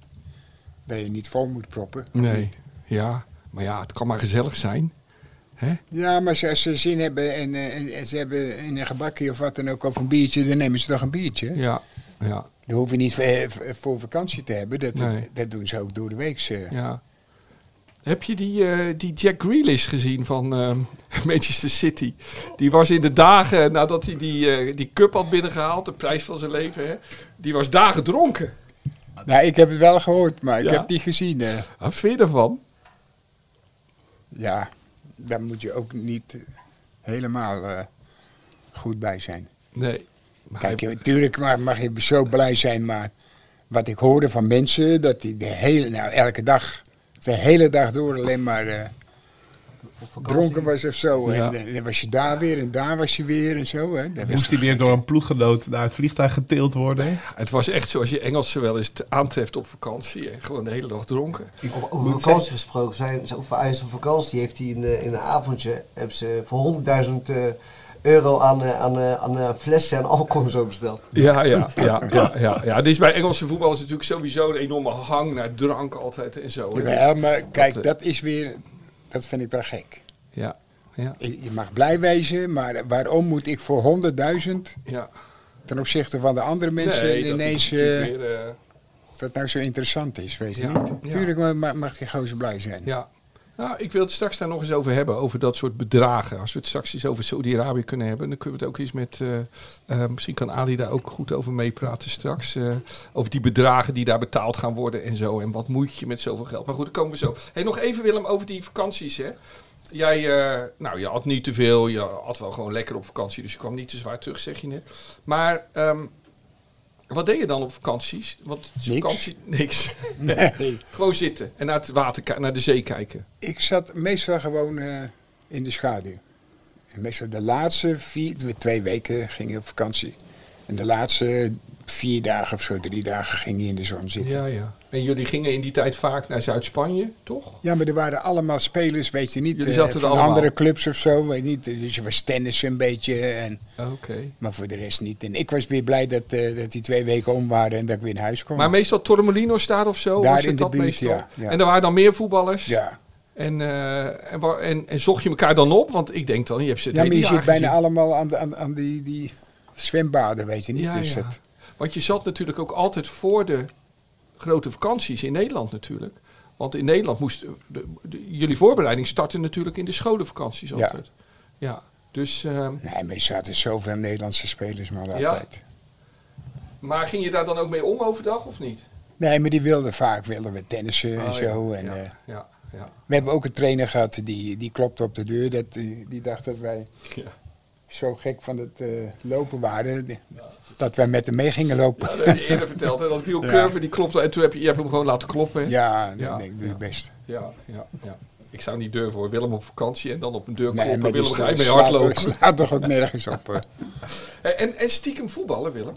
[SPEAKER 1] dat je niet vol moet proppen.
[SPEAKER 2] Nee, ja. Maar ja, het kan maar gezellig zijn. Hè?
[SPEAKER 1] Ja, maar als ze zin hebben en, eh, en- en ze hebben in een gebakje of wat dan ook of een biertje, dan nemen ze toch een biertje.
[SPEAKER 2] Ja, ja,
[SPEAKER 1] Dan hoef je niet eh, v- voor vakantie te hebben. Dat,
[SPEAKER 2] Nee.
[SPEAKER 1] dat doen ze ook door de week. eh.
[SPEAKER 2] ja. Heb je die, eh, die Jack Grealish gezien van ehm, Manchester City? Die was in de dagen nadat hij die, eh, die cup had binnengehaald, de prijs van zijn leven, hè? die was dagen dronken.
[SPEAKER 1] Nou, ik heb het wel gehoord, maar ik
[SPEAKER 2] Ja?
[SPEAKER 1] heb het niet gezien. eh.
[SPEAKER 2] Wat vind je ervan?
[SPEAKER 1] ja, daar moet je ook niet eh, helemaal eh, goed bij zijn.
[SPEAKER 2] Nee. Maar
[SPEAKER 1] Kijk,
[SPEAKER 2] hij-
[SPEAKER 1] natuurlijk mag, mag je zo blij zijn, maar wat ik hoorde van mensen, dat die de hele, nou elke dag, de hele dag door alleen maar eh, dronken was of zo.
[SPEAKER 2] Ja.
[SPEAKER 1] En eh, dan was je daar weer en daar was je weer en zo. Hè. Dat was-
[SPEAKER 4] Moest hij weer door een ploeggenoot naar het vliegtuig getild worden?
[SPEAKER 2] het was echt zoals je Engelsen wel eens t- aantreft op vakantie. En gewoon de hele dag dronken.
[SPEAKER 5] Over, over vakantie gesproken, zijn, zijn- over IJs op vakantie heeft hij in, eh, in een avondje hebben ze voor 100.000 eh, euro aan, eh, aan, eh, aan eh, flessen en alcohol en zo besteld.
[SPEAKER 2] Ja, ja, ja, ja, ja, ja. Het is bij Engelse voetballers natuurlijk sowieso een enorme hang naar drank altijd en zo. hè.
[SPEAKER 1] Jawel, maar
[SPEAKER 2] Dat, eh,
[SPEAKER 1] kijk, dat is weer, dat vind ik wel gek.
[SPEAKER 2] Ja, ja,
[SPEAKER 1] Ik- Je mag blij wezen, maar waarom moet ik voor 100.000
[SPEAKER 2] ja.
[SPEAKER 1] ten opzichte van de andere mensen
[SPEAKER 2] Nee, dat
[SPEAKER 1] ineens,
[SPEAKER 2] is
[SPEAKER 1] dat,
[SPEAKER 2] natuurlijk weer, eh,
[SPEAKER 1] of dat nou zo interessant is, weet je
[SPEAKER 2] Ja,
[SPEAKER 1] niet?
[SPEAKER 2] ja.
[SPEAKER 1] Tuurlijk ma- ma- mag die gozer blij zijn.
[SPEAKER 2] ja. Nou, ik wil het straks daar nog eens over hebben, over dat soort bedragen. Als we het straks eens over Saudi-Arabië kunnen hebben, dan kunnen we het ook eens met... eh, eh, misschien kan Ali daar ook goed over meepraten straks. eh, over die bedragen die daar betaald gaan worden en zo. En wat moet je met zoveel geld? Maar goed, daar komen we zo. Hey, nog even Willem over die vakanties, hè. Jij, eh, nou, je had niet te veel. Je had wel gewoon lekker op vakantie, dus je kwam niet te zwaar terug, zeg je net. Maar ehm, wat deed je dan op vakanties? Want
[SPEAKER 1] Niks.
[SPEAKER 2] vakantie... Niks.
[SPEAKER 1] Nee.
[SPEAKER 2] Gewoon zitten en naar, het water, ki- naar de zee kijken.
[SPEAKER 1] Ik zat meestal gewoon eh, in de schaduw. En meestal de laatste vier, twee weken ging ik op vakantie. En de laatste vier dagen of zo, drie dagen ging je in de zon zitten. Ja.
[SPEAKER 2] Ja, ja. En jullie gingen in die tijd vaak naar Zuid-Spanje, toch?
[SPEAKER 1] maar er waren allemaal spelers, weet je niet,
[SPEAKER 2] Jullie
[SPEAKER 1] eh,
[SPEAKER 2] zaten er
[SPEAKER 1] van
[SPEAKER 2] allemaal.
[SPEAKER 1] andere clubs of zo, weet je niet. Dus er was tennis een beetje, en,
[SPEAKER 2] Oké.
[SPEAKER 1] maar voor de rest niet. En ik was weer blij dat, eh, dat die twee weken om waren en dat ik weer naar huis kon.
[SPEAKER 2] Maar meestal Torremolinos daar of zo?
[SPEAKER 1] Daar
[SPEAKER 2] was het
[SPEAKER 1] in de
[SPEAKER 2] dat
[SPEAKER 1] buurt,
[SPEAKER 2] meestal?
[SPEAKER 1] ja, ja.
[SPEAKER 2] En er waren dan meer voetballers?
[SPEAKER 1] ja.
[SPEAKER 2] En, eh, en, wa- en, en zocht je elkaar dan op? Want ik denk dan, je hebt ze het
[SPEAKER 1] ja, maar
[SPEAKER 2] hele
[SPEAKER 1] je
[SPEAKER 2] jaar
[SPEAKER 1] zit bijna
[SPEAKER 2] gezien.
[SPEAKER 1] allemaal aan, de- aan, aan die, die zwembaden, weet je niet.
[SPEAKER 2] Ja,
[SPEAKER 1] dus
[SPEAKER 2] ja.
[SPEAKER 1] dat-
[SPEAKER 2] Want je zat natuurlijk ook altijd voor de grote vakanties in Nederland natuurlijk. Want in Nederland moest... de- de- jullie voorbereiding startte natuurlijk in de scholenvakanties
[SPEAKER 1] Ja.
[SPEAKER 2] altijd. Ja. Dus... ehm,
[SPEAKER 1] Nee, maar er zaten zoveel Nederlandse spelers maar
[SPEAKER 2] Ja.
[SPEAKER 1] altijd.
[SPEAKER 2] Maar ging je daar dan ook mee om overdag of niet?
[SPEAKER 1] Nee, maar die wilden vaak wilden we tennissen en
[SPEAKER 2] Oh, ja.
[SPEAKER 1] zo. En,
[SPEAKER 2] ja,
[SPEAKER 1] eh,
[SPEAKER 2] ja, ja,
[SPEAKER 1] we hebben ook een trainer gehad die, die klopte op de deur. Dat, eh, die dacht dat wij
[SPEAKER 2] Ja.
[SPEAKER 1] zo gek van het eh, lopen waren. die- Dat wij met hem mee gingen lopen.
[SPEAKER 2] Dat heb je eerder verteld. Hè? Dat Wiel
[SPEAKER 1] Ja.
[SPEAKER 2] Curve, die klopte. En toen heb je, je hebt hem gewoon laten kloppen. hè?
[SPEAKER 1] Ja, dat
[SPEAKER 2] Ja,
[SPEAKER 1] denk ik doe
[SPEAKER 2] ja.
[SPEAKER 1] je best.
[SPEAKER 2] ja, ja. ja. Ik zou niet durven hoor. Willem op vakantie en dan op een deur
[SPEAKER 1] Nee,
[SPEAKER 2] kloppen. Willem
[SPEAKER 1] die
[SPEAKER 2] ga je mee
[SPEAKER 1] slaat-
[SPEAKER 2] hardlopen.
[SPEAKER 1] slaat toch ook nergens op. eh.
[SPEAKER 2] Eh, En, en stiekem voetballen, Willem.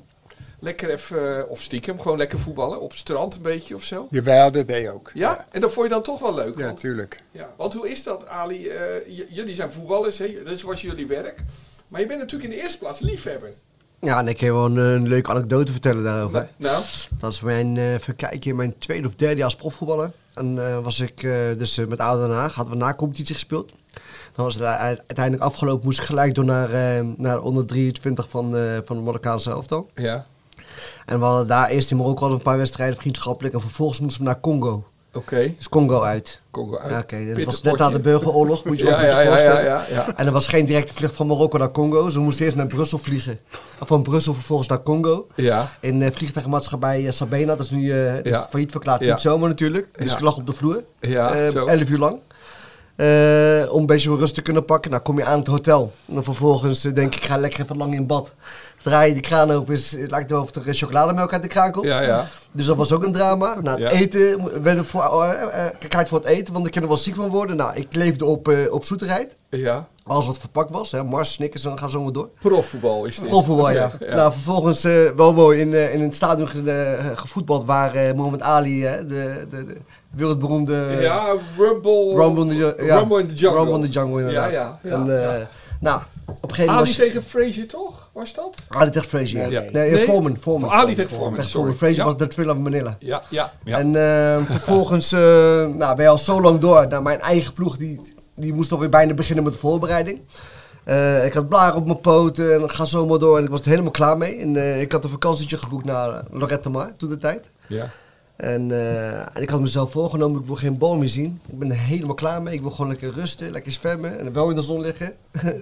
[SPEAKER 2] Lekker even, eh, of stiekem, gewoon lekker voetballen. Op het strand een beetje of zo.
[SPEAKER 1] Jawel, dat deed je ook.
[SPEAKER 2] Ja? En dat vond je dan toch wel leuk?
[SPEAKER 1] Ja,
[SPEAKER 2] want-
[SPEAKER 1] tuurlijk.
[SPEAKER 2] Ja, want hoe is dat, Ali? Dus Eh, j- jullie zijn voetballers, hè? dat was jullie werk. Maar je bent natuurlijk in de eerste plaats liefhebber.
[SPEAKER 5] Ja, en ik heb wel een, een leuke anekdote vertellen daarover.
[SPEAKER 2] Nou,
[SPEAKER 5] Dat is mijn eh verkijken in mijn tweede of derde jaar als profvoetballer. En eh, was ik eh, dus eh, met Oude Den Haag, hadden we na competitie gespeeld. Dan was het u- uiteindelijk afgelopen, moest ik gelijk door naar, eh, naar onder 23 van, eh van de Marokkaanse elftal.
[SPEAKER 2] ja.
[SPEAKER 5] En we hadden daar eerst in Marokko al een paar wedstrijden vriendschappelijk. En vervolgens moesten we naar Congo.
[SPEAKER 2] Oké.
[SPEAKER 5] Dus Congo uit.
[SPEAKER 2] Congo uit.
[SPEAKER 5] Ja, Oké, dat
[SPEAKER 2] Pittig
[SPEAKER 5] was net na de
[SPEAKER 2] potje.
[SPEAKER 5] burgeroorlog, moet je je
[SPEAKER 2] Ja,
[SPEAKER 5] wel
[SPEAKER 2] ja, ja,
[SPEAKER 5] voorstellen.
[SPEAKER 2] ja, ja, ja.
[SPEAKER 5] En er was geen directe vlucht van Marokko naar Congo. Ze moesten eerst naar Brussel vliegen. Of van Brussel vervolgens naar Congo.
[SPEAKER 2] Ja.
[SPEAKER 5] In de vliegtuigmaatschappij eh, Sabena, dat is nu eh, het is
[SPEAKER 2] Ja.
[SPEAKER 5] failliet verklaard.
[SPEAKER 2] Ja.
[SPEAKER 5] Niet zomaar natuurlijk. Dus
[SPEAKER 2] Ja.
[SPEAKER 5] ik lag op de vloer.
[SPEAKER 2] Ja,
[SPEAKER 5] Eh,
[SPEAKER 2] zo.
[SPEAKER 5] 11 uur lang. Eh, om een beetje rust te kunnen pakken. Nou, kom je aan het hotel. En dan vervolgens eh, denk ik, ik ga lekker even lang in bad. Draai je die kraan open, is, het lijkt wel of er eh, chocolademelk uit de kraan komt.
[SPEAKER 2] Ja, ja.
[SPEAKER 5] Dus dat was ook een drama. Na het
[SPEAKER 2] Ja.
[SPEAKER 5] eten mo- werd ik voor, eh, eh, kijkt voor het eten, want ik kan er wel ziek van worden. Nou, ik leefde op, eh, op zoeterheid.
[SPEAKER 2] Ja.
[SPEAKER 5] Alles wat verpakt was. Hè. Mars, Snickers, dan gaan ze allemaal door.
[SPEAKER 2] Profvoetbal is dit.
[SPEAKER 5] Overal, ja.
[SPEAKER 2] ja.
[SPEAKER 5] Nou, vervolgens eh, wel mooi in, eh, in het stadion ge- eh, gevoetbald waar eh Mohamed Ali, hè, de, de, de wereldberoemde eh,
[SPEAKER 2] ja, Rumble.
[SPEAKER 5] Rumble, in the, ja,
[SPEAKER 2] Rumble in the Jungle.
[SPEAKER 5] Rumble in the Jungle, inderdaad.
[SPEAKER 2] Ja, ja, ja,
[SPEAKER 5] en, eh, Nou, op een gegeven
[SPEAKER 2] Ali
[SPEAKER 5] moment was
[SPEAKER 2] tegen Frazier, toch? Was dat?
[SPEAKER 5] Ali tegen Frazier.
[SPEAKER 1] Ja.
[SPEAKER 5] Nee, nee,
[SPEAKER 2] Nee.
[SPEAKER 5] Foreman. Foreman.
[SPEAKER 2] Ali tegen Foreman, sorry.
[SPEAKER 5] Frazier
[SPEAKER 2] Ja.
[SPEAKER 5] was de Thrill of Manila.
[SPEAKER 2] Ja, ja, ja.
[SPEAKER 5] En eh, vervolgens eh, nou, ben je al zo lang door. Nou, mijn eigen ploeg die, die moest alweer bijna beginnen met de voorbereiding. Eh, ik had blaren op mijn poten en ga zo maar door. En ik was er helemaal klaar mee. En eh, ik had een vakantietje geboekt naar eh, Lorette Mar toen de tijd.
[SPEAKER 2] ja.
[SPEAKER 5] En, eh, en ik had mezelf voorgenomen, ik wil geen boom meer zien. Ik ben er helemaal klaar mee. Ik wil gewoon lekker rusten, lekker zwemmen en wel in de zon liggen.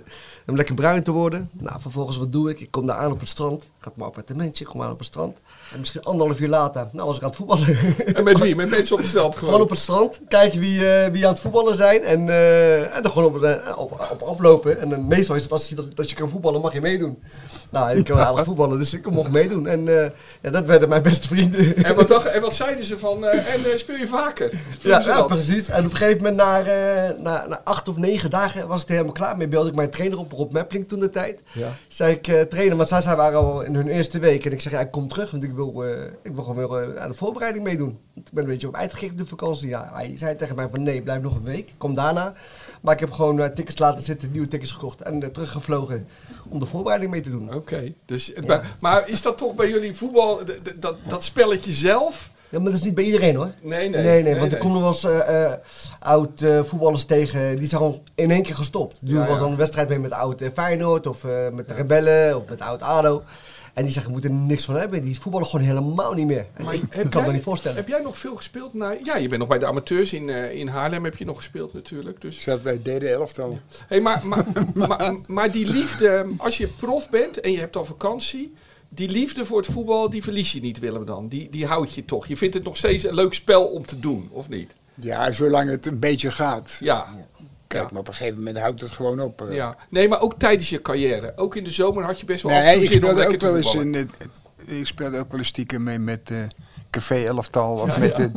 [SPEAKER 5] Om lekker bruin te worden. Nou, vervolgens wat doe ik? Ik kom daar aan op het strand. Ik had mijn appartementje, ik kom aan op het strand. En misschien anderhalf uur later, nou was ik aan het voetballen.
[SPEAKER 2] En met wie? Met mensen op het veld gewoon.
[SPEAKER 5] Gewoon op het strand, kijken wie, eh, wie aan het voetballen zijn en, eh, en dan gewoon op, eh, op, op aflopen. En dan meestal is het als je, dat, dat je kan voetballen, mag je meedoen. Nou, ik kan aardig voetballen, dus ik mocht meedoen. En eh, ja, dat werden mijn beste vrienden.
[SPEAKER 2] En wat, dacht, en wat zeiden ze van, eh, en eh, speel je vaker?
[SPEAKER 5] Ja,
[SPEAKER 2] Vroegen ze
[SPEAKER 5] ja,
[SPEAKER 2] dat?
[SPEAKER 5] precies. En op een gegeven moment, na, eh, na, na acht of negen dagen, was ik er helemaal klaar mee. Belde ik mijn trainer op, Rob Mepling toen de tijd.
[SPEAKER 2] Ja.
[SPEAKER 5] Zei ik, eh, trainer, want zij zij waren al in hun eerste week. En ik zeg, ja, ik kom terug, want ik wil, eh, ik wil gewoon weer eh, aan de voorbereiding meedoen. Want Ik ben een beetje op uitgekeken op de vakantie. Ja, hij zei tegen mij van, nee, blijf nog een week. Kom daarna. Maar ik heb gewoon eh, tickets laten zitten, nieuwe tickets gekocht en eh, teruggevlogen om de voorbereiding mee te doen.
[SPEAKER 2] Oké, dus, maar, maar is dat toch bij jullie voetbal, d- d- dat, dat spelletje zelf?
[SPEAKER 5] Ja, maar dat is niet bij iedereen hoor.
[SPEAKER 2] Nee, nee.
[SPEAKER 5] Nee, nee, want ik kom nog wel eens eh, eh, oud eh, voetballers tegen. Die zijn gewoon in één keer gestopt. Die
[SPEAKER 2] Ja,
[SPEAKER 5] doen wel eens
[SPEAKER 2] ja.
[SPEAKER 5] dan een wedstrijd mee met oud eh, Feyenoord of eh, met de Rebellen of met oud ADO. En die zeggen, we moeten er niks van hebben. Die voetballen gewoon helemaal niet meer. En
[SPEAKER 2] Maar
[SPEAKER 5] ik
[SPEAKER 2] heb
[SPEAKER 5] kan
[SPEAKER 2] jij-
[SPEAKER 5] me niet voorstellen.
[SPEAKER 2] Heb jij nog veel gespeeld? Naar, ja, je bent nog bij de amateurs in, eh, in Haarlem heb je nog gespeeld natuurlijk. Dus.
[SPEAKER 1] Ik zat bij het derde elftal.
[SPEAKER 2] Hey, maar, maar, maar, maar die liefde, als je prof bent en je hebt al vakantie, die liefde voor het voetbal, die verlies je niet, Willem dan. Die, die houd je toch. Je vindt het nog steeds een leuk spel om te doen, of niet?
[SPEAKER 1] Ja, zolang het een beetje gaat.
[SPEAKER 2] Ja.
[SPEAKER 1] Kijk,
[SPEAKER 2] Ja.
[SPEAKER 1] maar op een gegeven moment houdt het gewoon op. eh.
[SPEAKER 2] ja. Nee, maar ook tijdens je carrière. Ook in de zomer had je best wel af en
[SPEAKER 1] Nee,
[SPEAKER 2] toe
[SPEAKER 1] ik
[SPEAKER 2] zin om
[SPEAKER 1] speelde,
[SPEAKER 2] lekker
[SPEAKER 1] ook
[SPEAKER 2] te
[SPEAKER 1] wel eens
[SPEAKER 2] voetballen.
[SPEAKER 1] in het- ik speelde ook wel eens stiekem mee met eh, Café Elftal of met de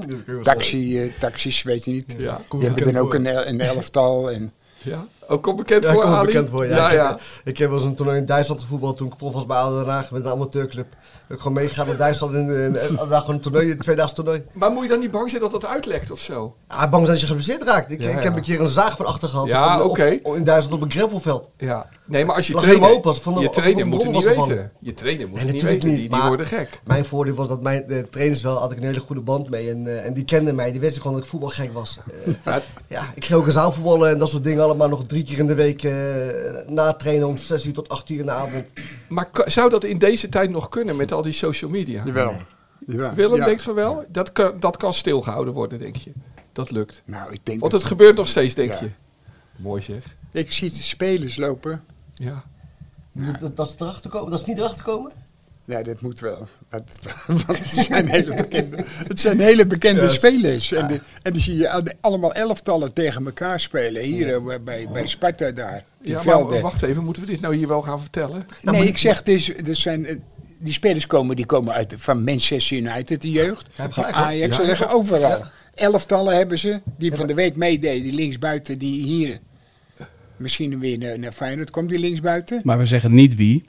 [SPEAKER 1] taxi, eh, taxis, weet je niet.
[SPEAKER 2] Ja.
[SPEAKER 5] Kom
[SPEAKER 1] Je hebt
[SPEAKER 5] bekend
[SPEAKER 1] dan ook
[SPEAKER 5] voor.
[SPEAKER 1] een, el- een elftal. En,
[SPEAKER 2] Ja. Ook al bekend
[SPEAKER 5] Ja, ik
[SPEAKER 2] voor,
[SPEAKER 5] kom er
[SPEAKER 2] Ali?
[SPEAKER 5] bekend voor. Ja.
[SPEAKER 2] ja,
[SPEAKER 5] ik,
[SPEAKER 2] ja.
[SPEAKER 5] Heb, ik heb wel eens een toernooi in Duitsland gevoetbald toen ik prof was bij Oude Den Haag met een amateurclub. Ik gewoon meegegaan naar Duitsland en, en, en daar gewoon een toernooi, een tweedaags toernooi.
[SPEAKER 2] Maar moet je dan niet bang zijn dat dat uitlekt of zo?
[SPEAKER 5] Ah, bang zijn dat je geblesseerd raakt. Ik,
[SPEAKER 2] Ja,
[SPEAKER 5] ik
[SPEAKER 2] ja.
[SPEAKER 5] heb een keer een zaag van achter gehad.
[SPEAKER 2] Ja,
[SPEAKER 5] op- op-
[SPEAKER 2] oké.
[SPEAKER 5] op- in Duitsland op een gravelveld.
[SPEAKER 2] Ja. Nee, maar als je
[SPEAKER 5] Lag
[SPEAKER 2] trainer...
[SPEAKER 5] helemaal open als van de-
[SPEAKER 2] je
[SPEAKER 5] als
[SPEAKER 2] trainer
[SPEAKER 5] van de
[SPEAKER 2] moet het
[SPEAKER 5] bron
[SPEAKER 2] niet
[SPEAKER 5] was ervan.
[SPEAKER 2] weten. Je trainer moet
[SPEAKER 5] Nee,
[SPEAKER 2] het niet
[SPEAKER 5] natuurlijk
[SPEAKER 2] weten.
[SPEAKER 5] niet.
[SPEAKER 2] die, die
[SPEAKER 5] maar
[SPEAKER 2] worden gek.
[SPEAKER 5] Mijn voordeel was dat mijn de trainers wel, had ik een hele goede band mee. En, eh, en die kenden mij, die wisten gewoon dat ik voetbalgek was. Eh,
[SPEAKER 2] Maar-
[SPEAKER 5] ja, ik ging ook een zaalvoetballen en dat soort dingen allemaal nog drie keer in de week eh, na trainen om 6 uur tot 8 uur in de avond.
[SPEAKER 2] Maar ka- zou dat in deze tijd nog kunnen met al die social media?
[SPEAKER 1] jawel. jawel.
[SPEAKER 2] Willem
[SPEAKER 1] ja.
[SPEAKER 2] denkt van wel, dat kan, dat kan stilgehouden worden, denk je. Dat lukt.
[SPEAKER 1] Nou, ik denk
[SPEAKER 2] Want
[SPEAKER 1] dat-
[SPEAKER 2] het gebeurt nog steeds, denk
[SPEAKER 1] Ja.
[SPEAKER 2] je. Mooi zeg.
[SPEAKER 1] Ik zie de spelers lopen.
[SPEAKER 2] Ja.
[SPEAKER 5] Dat, dat, is erachter komen, dat is niet erachter komen?
[SPEAKER 1] Ja, dat moet wel. Dat, want het zijn hele bekende, het zijn hele bekende spelers. En, die- en die zie je al- allemaal elftallen tegen elkaar spelen. Hier eh, bij, bij Sparta daar. Die
[SPEAKER 2] ja, maar
[SPEAKER 1] velden.
[SPEAKER 2] wacht even, moeten we dit nou hier wel gaan vertellen?
[SPEAKER 1] nee, ik zeg, dus, er zijn, eh, die spelers komen, die komen uit, van Manchester United, de jeugd.
[SPEAKER 5] Ja, heb
[SPEAKER 1] van
[SPEAKER 5] gelijk, hoor.
[SPEAKER 1] Ajax, ze
[SPEAKER 2] Ja.
[SPEAKER 1] liggen overal. Elftallen hebben ze, die van de week meededen. Die linksbuiten, die hier misschien weer naar, naar Feyenoord komt, die linksbuiten.
[SPEAKER 4] Maar we zeggen niet wie.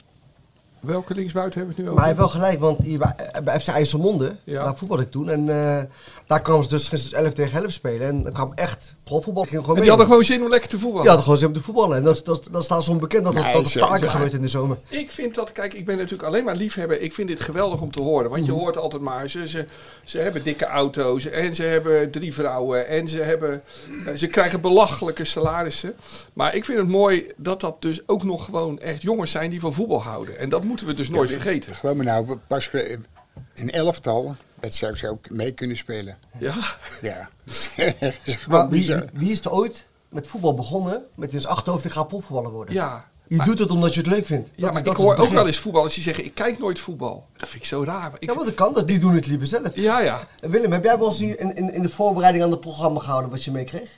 [SPEAKER 2] Welke linksbuiten hebben we het nu over?
[SPEAKER 5] Maar hij heeft wel gelijk, want hier bij, bij FC IJsselmonde,
[SPEAKER 2] Ja.
[SPEAKER 5] daar voetbalde ik toen. En eh, daar kwamen ze dus gisteren 11 tegen 11 spelen. En dan kwam echt profvoetbal. Ging gewoon
[SPEAKER 2] en
[SPEAKER 5] mee.
[SPEAKER 2] die hadden gewoon zin om lekker te voetballen.
[SPEAKER 5] Die hadden gewoon zin om te voetballen. En dat, dat, dat staat zo onbekend dat
[SPEAKER 1] Nee,
[SPEAKER 5] dat het
[SPEAKER 1] zo-
[SPEAKER 5] vaker
[SPEAKER 1] zo-
[SPEAKER 5] gebeurt in de zomer.
[SPEAKER 2] Ik vind dat, kijk, ik ben natuurlijk alleen maar liefhebber. Ik vind dit geweldig om te horen. Want
[SPEAKER 5] Mhm.
[SPEAKER 2] je hoort altijd maar, ze, ze, ze hebben dikke auto's en ze hebben drie vrouwen en ze, hebben, eh, ze krijgen belachelijke salarissen. Maar ik vind het mooi dat dat dus ook nog gewoon echt jongens zijn die van voetbal houden. En dat moeten we dus nooit vergeten.
[SPEAKER 1] Geloof me nou, pas ge- een elftal, dat zou ze ook mee kunnen spelen.
[SPEAKER 2] Ja,
[SPEAKER 1] Ja, dat is
[SPEAKER 5] Maar
[SPEAKER 1] gewoon
[SPEAKER 5] wie,
[SPEAKER 1] bizar.
[SPEAKER 5] wie is er ooit met voetbal begonnen met in zijn achterhoofd ik ga profvoetballer worden?
[SPEAKER 2] ja.
[SPEAKER 5] Je doet het omdat je het leuk vindt.
[SPEAKER 2] Ja,
[SPEAKER 5] Dat-
[SPEAKER 2] maar ik
[SPEAKER 5] dat is het
[SPEAKER 2] hoor ook
[SPEAKER 5] begin.
[SPEAKER 2] wel eens voetballers die zeggen, ik kijk nooit voetbal. Dat vind ik zo raar. Ik,
[SPEAKER 5] Ja, want dat kan. Dat, die doen het liever zelf.
[SPEAKER 2] ja, ja.
[SPEAKER 5] En Willem, heb jij wel eens hier in, in, in de voorbereiding aan het programma gehouden wat je meekreeg?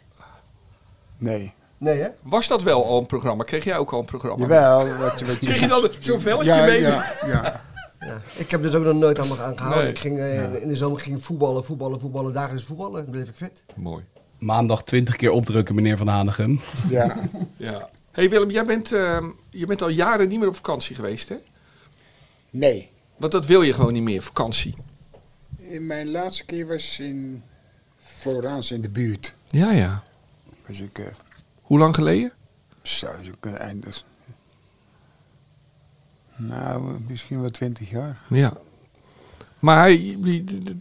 [SPEAKER 1] Nee.
[SPEAKER 5] Nee, hè?
[SPEAKER 2] Was dat wel al een programma? Kreeg jij ook al een programma?
[SPEAKER 1] Jawel, wat, je- wat
[SPEAKER 2] Kreeg je dan zo'n velletje
[SPEAKER 1] ja,
[SPEAKER 2] mee?
[SPEAKER 1] Ja, ja.
[SPEAKER 5] Ja. Ik heb dus ook nog nooit aan me aan gehouden.
[SPEAKER 2] Nee.
[SPEAKER 5] Ik ging, eh, in de zomer ging ik voetballen, voetballen, voetballen. Dagelijks voetballen. Dan bleef ik fit.
[SPEAKER 2] Mooi.
[SPEAKER 4] Maandag 20 keer opdrukken, meneer Van Hanegem.
[SPEAKER 1] ja.
[SPEAKER 2] Ja. Hey Willem, jij bent, ehm, je bent al jaren niet meer op vakantie geweest, hè?
[SPEAKER 1] Nee.
[SPEAKER 2] Want dat wil je gewoon niet meer, vakantie.
[SPEAKER 1] Mijn laatste keer was in Florence in de buurt.
[SPEAKER 2] Ja, ja.
[SPEAKER 1] Was ik, eh,
[SPEAKER 2] Hoe lang geleden?
[SPEAKER 1] zou ik kunnen eindigen. Nou, misschien wel twintig jaar.
[SPEAKER 2] Ja. Maar jullie-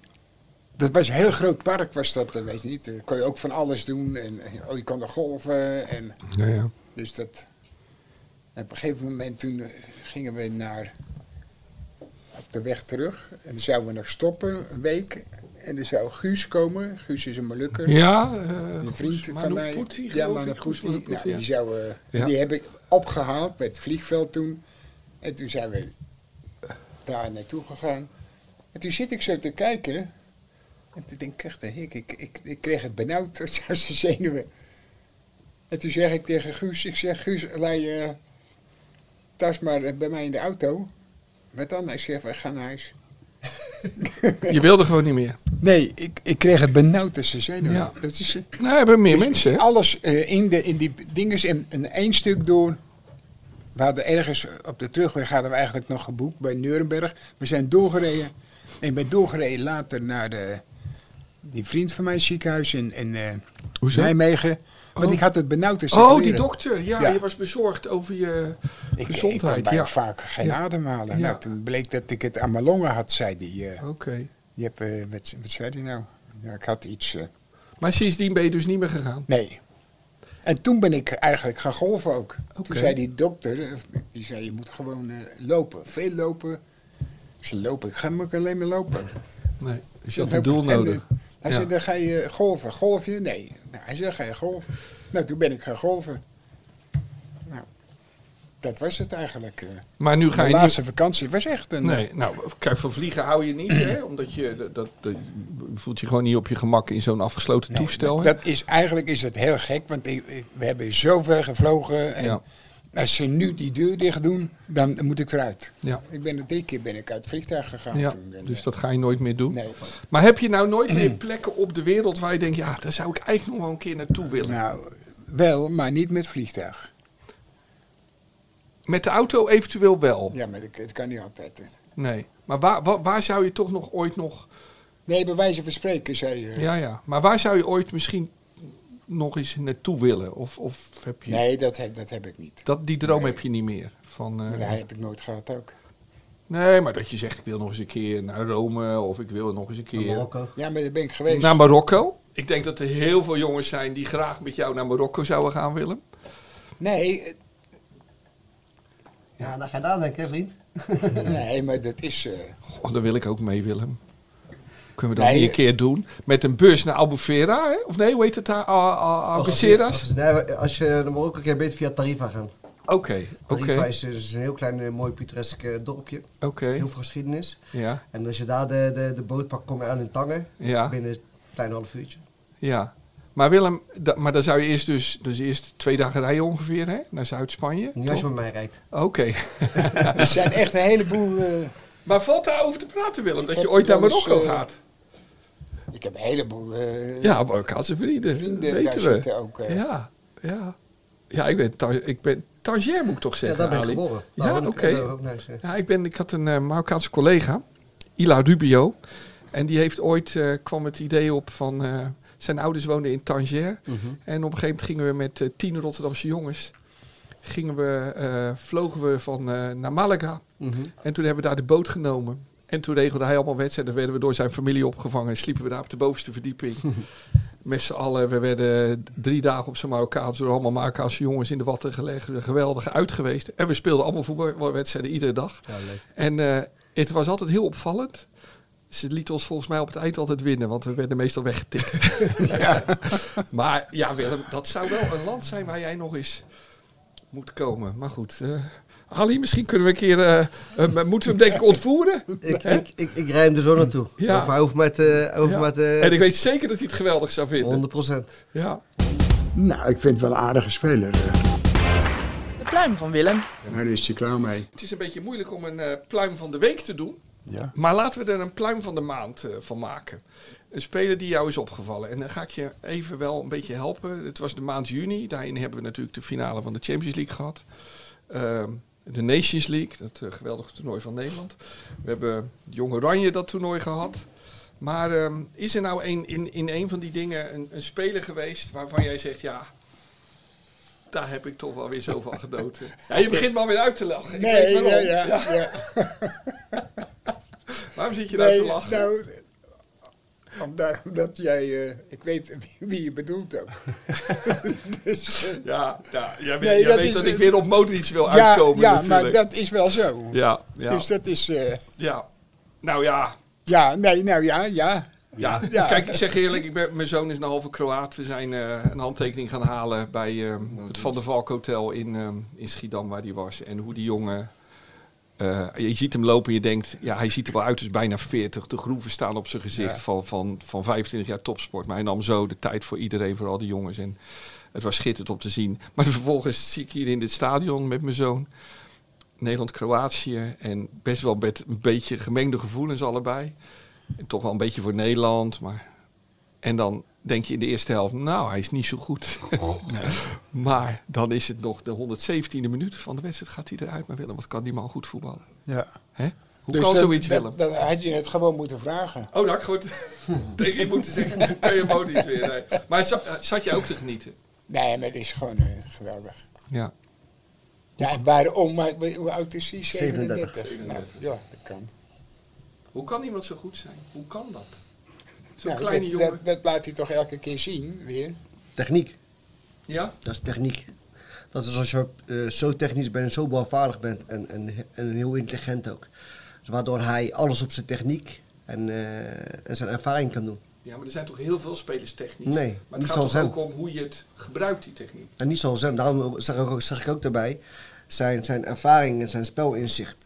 [SPEAKER 1] Dat was een heel groot park, was dat, eh, weet je niet. Daar kon je ook van alles doen. En eh, oh, je kon er golven. En,
[SPEAKER 2] ja, ja.
[SPEAKER 1] dus dat... En op een gegeven moment toen eh, gingen we naar... Op de weg terug. En dan zouden we nog stoppen, een week. En dan zou Guus komen. Guus is een Molukker.
[SPEAKER 2] ja eh,
[SPEAKER 1] Een
[SPEAKER 2] Goes
[SPEAKER 1] vriend van mij.
[SPEAKER 2] Manoputi,
[SPEAKER 1] ja,
[SPEAKER 2] geloof ik. Goes
[SPEAKER 1] Manaputi.
[SPEAKER 2] Manoputi,
[SPEAKER 1] Nou,
[SPEAKER 2] ja.
[SPEAKER 1] die, zou, eh,
[SPEAKER 2] Ja.
[SPEAKER 1] die heb ik opgehaald met het vliegveld toen. En toen zijn we daar naartoe gegaan. En toen zit ik zo te kijken. En toen denk ik echt, eh, ik, ik, ik, ik kreeg het benauwd als de zenuwen. En toen zeg ik tegen Guus, ik zeg, Guus, laat je eh, tas maar eh, bij mij in de auto. Wat dan? Hij zegt, we gaan naar huis.
[SPEAKER 2] Je wilde gewoon niet meer.
[SPEAKER 1] Nee, ik, ik kreeg het benauwd als de zenuwen.
[SPEAKER 2] Ja.
[SPEAKER 1] Dat is... eh,
[SPEAKER 2] Nou, hebben meer
[SPEAKER 1] Dus
[SPEAKER 2] mensen, hè?
[SPEAKER 1] Alles eh, in, de, in die dinges in, in één stuk door. We hadden ergens op de terugweg hadden we eigenlijk nog geboekt bij Nuremberg. We zijn doorgereden. En ik ben doorgereden later naar de, die vriend van mijn ziekenhuis in, in eh,
[SPEAKER 2] Hoezo?
[SPEAKER 1] Nijmegen. Want
[SPEAKER 2] Oh.
[SPEAKER 1] ik had het benauwd. als
[SPEAKER 2] Oh,
[SPEAKER 1] kleren.
[SPEAKER 2] die dokter. Ja,
[SPEAKER 1] Ja.
[SPEAKER 2] je was bezorgd over je
[SPEAKER 1] Ik, ik kon
[SPEAKER 2] gezondheid.
[SPEAKER 1] bijna
[SPEAKER 2] ja.
[SPEAKER 1] vaak geen
[SPEAKER 2] Ja.
[SPEAKER 1] ademhalen.
[SPEAKER 2] Ja.
[SPEAKER 1] Nou, toen bleek dat ik het aan mijn longen had, zei die. eh
[SPEAKER 2] Oké.
[SPEAKER 1] je hebt, eh, wat, wat zei die nou? Ja, ik had iets... eh,
[SPEAKER 2] Maar sindsdien ben je dus niet meer gegaan.
[SPEAKER 1] Nee. En toen ben ik eigenlijk gaan golven ook.
[SPEAKER 2] Oké.
[SPEAKER 1] Toen zei die dokter, eh, die zei je moet gewoon eh, lopen, veel lopen. Ik zei lopen, ik ga maar ook alleen maar lopen.
[SPEAKER 2] Nee. Dus je had een
[SPEAKER 1] Lopen.
[SPEAKER 2] doel
[SPEAKER 1] En,
[SPEAKER 2] nodig.
[SPEAKER 1] eh, hij
[SPEAKER 2] Ja.
[SPEAKER 1] zei dan ga je golven. Golf je? Nee. Nou, hij zei ga je golven. Nou toen ben ik gaan golven. Nou, dat was het eigenlijk. eh.
[SPEAKER 2] Maar nu ga
[SPEAKER 1] Mijn
[SPEAKER 2] je niet...
[SPEAKER 1] laatste vakantie was echt een...
[SPEAKER 2] Nee, nou, kijk, van vliegen hou je niet, hè? Omdat je, dat, dat, dat- je voelt je gewoon niet op je gemak in zo'n afgesloten
[SPEAKER 1] Nee,
[SPEAKER 2] toestel. hè?
[SPEAKER 1] Dat is, eigenlijk is het heel gek, want ik- ik- we hebben zoveel gevlogen. En
[SPEAKER 2] Ja.
[SPEAKER 1] als ze nu die deur dicht doen, dan moet ik eruit.
[SPEAKER 2] ja,
[SPEAKER 1] Ik ben er drie keer ben ik uit het vliegtuig gegaan.
[SPEAKER 2] ja,
[SPEAKER 1] toen. En,
[SPEAKER 2] dus
[SPEAKER 1] eh,
[SPEAKER 2] dat ga je nooit meer doen.
[SPEAKER 1] Nee.
[SPEAKER 2] Maar heb je nou nooit meer plekken op de wereld waar je denkt, ja, daar zou ik eigenlijk nog wel een keer naartoe willen?
[SPEAKER 1] Nou, wel, maar niet met vliegtuig.
[SPEAKER 2] Met de auto eventueel wel.
[SPEAKER 1] Ja, maar dat, dat kan niet altijd. hè.
[SPEAKER 2] Nee. Maar waar, waar, waar zou je toch nog ooit nog...
[SPEAKER 1] Nee, bij wijze van spreken, zei je.
[SPEAKER 2] Ja, ja. Maar waar zou je ooit misschien nog eens naartoe willen? Of, of heb je...
[SPEAKER 1] Nee, dat heb, dat heb ik niet.
[SPEAKER 2] Dat, die droom
[SPEAKER 1] Nee.
[SPEAKER 2] heb je niet meer. Van, eh,
[SPEAKER 1] Maar dat heb ik nooit gehad ook.
[SPEAKER 2] Nee, maar dat je zegt, ik wil nog eens een keer naar Rome. Of ik wil nog eens een keer...
[SPEAKER 5] Marokko.
[SPEAKER 1] Ja, maar daar ben ik geweest.
[SPEAKER 2] Naar Marokko. Ik denk dat er heel veel jongens zijn die graag met jou naar Marokko zouden gaan, Willem.
[SPEAKER 1] nee, eh,
[SPEAKER 5] Ja, daar ga je aan denken, hè, vriend.
[SPEAKER 1] eh, nee, maar dat is... eh,
[SPEAKER 2] Goh, daar wil ik ook mee, Willem. Kunnen we dat
[SPEAKER 1] Nee.
[SPEAKER 2] niet een keer doen? Met een bus naar Albufeira, hè? Of nee, hoe heet het daar? Ah, ah, ah, Algeciras?
[SPEAKER 5] Nee, als je naar Marokko kan je beter via Tarifa gaan.
[SPEAKER 2] Oké,
[SPEAKER 5] Tarifa
[SPEAKER 2] oké,
[SPEAKER 5] is dus een heel klein, eh, mooi, pittoresk eh, dorpje.
[SPEAKER 2] oké.
[SPEAKER 5] Heel veel geschiedenis.
[SPEAKER 2] Ja,
[SPEAKER 5] En als je daar de, de, de boot pakt, kom je aan in Tangen.
[SPEAKER 2] Ja.
[SPEAKER 5] Binnen een klein half uurtje.
[SPEAKER 2] ja. Maar Willem, da- maar dan zou je eerst dus, dus eerst twee dagen rijden ongeveer, hè? Naar Zuid-Spanje.
[SPEAKER 5] Niet als je
[SPEAKER 2] toch?
[SPEAKER 5] met mij rijdt.
[SPEAKER 2] Oké.
[SPEAKER 1] er zijn echt een heleboel... eh,
[SPEAKER 2] Maar valt daarover te praten, Willem, dat je
[SPEAKER 1] heb
[SPEAKER 2] ooit naar
[SPEAKER 1] wel eens,
[SPEAKER 2] Marokko
[SPEAKER 1] eh,
[SPEAKER 2] gaat?
[SPEAKER 1] ik heb een heleboel... eh,
[SPEAKER 2] Ja, Marokkaanse vrienden,
[SPEAKER 1] vrienden
[SPEAKER 2] weten
[SPEAKER 5] Eh.
[SPEAKER 1] daar
[SPEAKER 2] we.
[SPEAKER 1] zitten ook. eh.
[SPEAKER 2] Ja, ja. Ja, ik ben, thuis- ik ben Tangier moet ik toch
[SPEAKER 5] Ja,
[SPEAKER 2] zeggen,
[SPEAKER 5] daar ben ik
[SPEAKER 2] Ali.
[SPEAKER 5] geboren.
[SPEAKER 2] Ja,
[SPEAKER 5] Daar ben ik-
[SPEAKER 2] oké.
[SPEAKER 5] daar ben ik ook naar gezegd.
[SPEAKER 2] Ja, ik, ben, ik had een eh, Marokkaanse collega, Ila Rubio. En die heeft ooit, eh, kwam het idee op van... eh, zijn ouders woonden in Tangier.
[SPEAKER 5] Mhm.
[SPEAKER 2] En op een gegeven moment gingen we met eh, tien Rotterdamse jongens... Gingen we, eh, vlogen we van, eh, naar Malaga.
[SPEAKER 5] Mhm.
[SPEAKER 2] En toen hebben we daar de boot genomen. En toen regelde hij allemaal wedstrijden. Werden we door zijn familie opgevangen. Sliepen we daar op de bovenste verdieping. Met z'n allen. We werden drie dagen op zijn Marokkaans door allemaal Marokkaanse jongens in de watten gelegd. Geweldig uit geweest. En we speelden allemaal voetbalwedstrijden iedere dag.
[SPEAKER 5] Ja, leuk.
[SPEAKER 2] En eh, het was altijd heel opvallend. Ze lieten ons volgens mij op het eind altijd winnen, want we werden meestal weggetikt. ja. Maar ja, Willem, dat zou wel een land zijn waar jij nog eens moet komen. Maar goed, eh, Ali, misschien kunnen we een keer. eh, eh, moeten we hem denk ik ontvoeren?
[SPEAKER 5] Ik, ik, ik, ik rij hem er zo naartoe.
[SPEAKER 2] Ja.
[SPEAKER 5] Of hij hoeft mij te... hij hoeft
[SPEAKER 2] Ja.
[SPEAKER 5] mij
[SPEAKER 2] En ik
[SPEAKER 5] te
[SPEAKER 2] weet zeker dat hij het geweldig zou vinden.
[SPEAKER 5] 100 eh, procent.
[SPEAKER 2] Ja.
[SPEAKER 1] Nou, ik vind het wel een aardige speler. eh.
[SPEAKER 3] De pluim van Willem.
[SPEAKER 1] Daar is hij klaar mee.
[SPEAKER 2] Het is een beetje moeilijk om een eh, pluim van de week te doen.
[SPEAKER 1] Ja.
[SPEAKER 2] Maar laten we er een pluim van de maand eh, van maken. Een speler die jou is opgevallen. En dan ga ik je even wel een beetje helpen. Het was de maand juni. Daarin hebben we natuurlijk de finale van de Champions League gehad. Ehm, de Nations League, dat eh, geweldige toernooi van Nederland. We hebben Jong Oranje dat toernooi gehad. Maar ehm, is er nou een, in, in een van die dingen een, een speler geweest waarvan jij zegt... ja, daar heb ik toch wel weer zo van genoten. Ja, je begint maar weer uit te lachen. Ik weet waarom.
[SPEAKER 1] ja, ja, ja.
[SPEAKER 2] Waarom zit je daar
[SPEAKER 1] Nee,
[SPEAKER 2] te lachen?
[SPEAKER 1] nou, omdat, omdat jij... eh, ik weet wie je bedoelt ook. dus, eh,
[SPEAKER 2] Ja, ja jij weet,
[SPEAKER 1] Nee,
[SPEAKER 2] jij
[SPEAKER 1] dat
[SPEAKER 2] weet
[SPEAKER 1] is-
[SPEAKER 2] dat ik weer op motorfiets wil
[SPEAKER 1] ja,
[SPEAKER 2] uitkomen
[SPEAKER 1] ja maar
[SPEAKER 2] natuurlijk.
[SPEAKER 1] dat is wel zo.
[SPEAKER 2] ja, ja,
[SPEAKER 1] Dus dat is... eh,
[SPEAKER 2] ja. Nou ja,
[SPEAKER 1] ja, nee, nou ja, ja.
[SPEAKER 2] ja.
[SPEAKER 1] Ja.
[SPEAKER 2] Kijk, ik zeg eerlijk, ik ben, mijn zoon is een halve Kroaat. We zijn eh, een handtekening gaan halen bij
[SPEAKER 1] Nou,
[SPEAKER 2] eh, het Van der Valk Hotel in, ehm, in Schiedam, waar die was. En hoe die jongen... eh, je ziet hem lopen en je denkt, ja, hij ziet er wel uit als bijna 40. De groeven staan op zijn gezicht
[SPEAKER 1] Ja.
[SPEAKER 2] van, van, van 25 jaar topsport. Maar hij nam zo de tijd voor iedereen, voor al die jongens. En het was schitterend om te zien. Maar vervolgens zie ik hier in dit stadion met mijn zoon. Nederland-Kroatië en best wel met een beetje gemengde gevoelens allebei. En toch wel een beetje voor Nederland, maar... En dan denk je in de eerste helft, nou, hij is niet zo goed.
[SPEAKER 1] Oh.
[SPEAKER 2] maar dan is het nog de 117e minuut van de wedstrijd, gaat hij eruit. Maar Willem, wat kan die man goed voetballen?
[SPEAKER 1] ja.
[SPEAKER 2] Hè? Hoe
[SPEAKER 1] Dus
[SPEAKER 2] kan
[SPEAKER 1] dat-
[SPEAKER 2] zoiets,
[SPEAKER 1] dat-
[SPEAKER 2] Willem?
[SPEAKER 1] dat had je het gewoon moeten vragen.
[SPEAKER 2] Oh, dat goed. Tegen je moeten zeggen, kan je gewoon niet weer. nee. Maar za- eh, zat je ook te genieten?
[SPEAKER 1] Nee, maar het is gewoon eh, geweldig.
[SPEAKER 2] Ja.
[SPEAKER 1] Ja, en waarom? Maar hoe oud is hij? 37.
[SPEAKER 2] 37.
[SPEAKER 1] Nou, ja, dat kan.
[SPEAKER 2] Hoe kan iemand zo goed zijn? Hoe kan dat? Zo'n
[SPEAKER 1] Nou,
[SPEAKER 2] kleine
[SPEAKER 1] dat,
[SPEAKER 2] jongen.
[SPEAKER 1] Dat, dat laat hij toch elke keer zien, weer.
[SPEAKER 5] Techniek.
[SPEAKER 2] Ja?
[SPEAKER 5] Dat is techniek. Dat is als je eh, zo technisch bent en zo balvaardig bent en, en, en heel intelligent ook. Dus waardoor hij alles op zijn techniek en, eh, en zijn ervaring kan doen.
[SPEAKER 2] Ja, maar er zijn toch heel veel spelers technisch?
[SPEAKER 5] Nee,
[SPEAKER 2] maar het
[SPEAKER 5] niet
[SPEAKER 2] gaat toch
[SPEAKER 5] zoals
[SPEAKER 2] ook om hoe je het gebruikt, die techniek?
[SPEAKER 5] En niet zoals hem, daarom zag ik ook, zag ik ook daarbij zijn, zijn ervaring en zijn spelinzicht.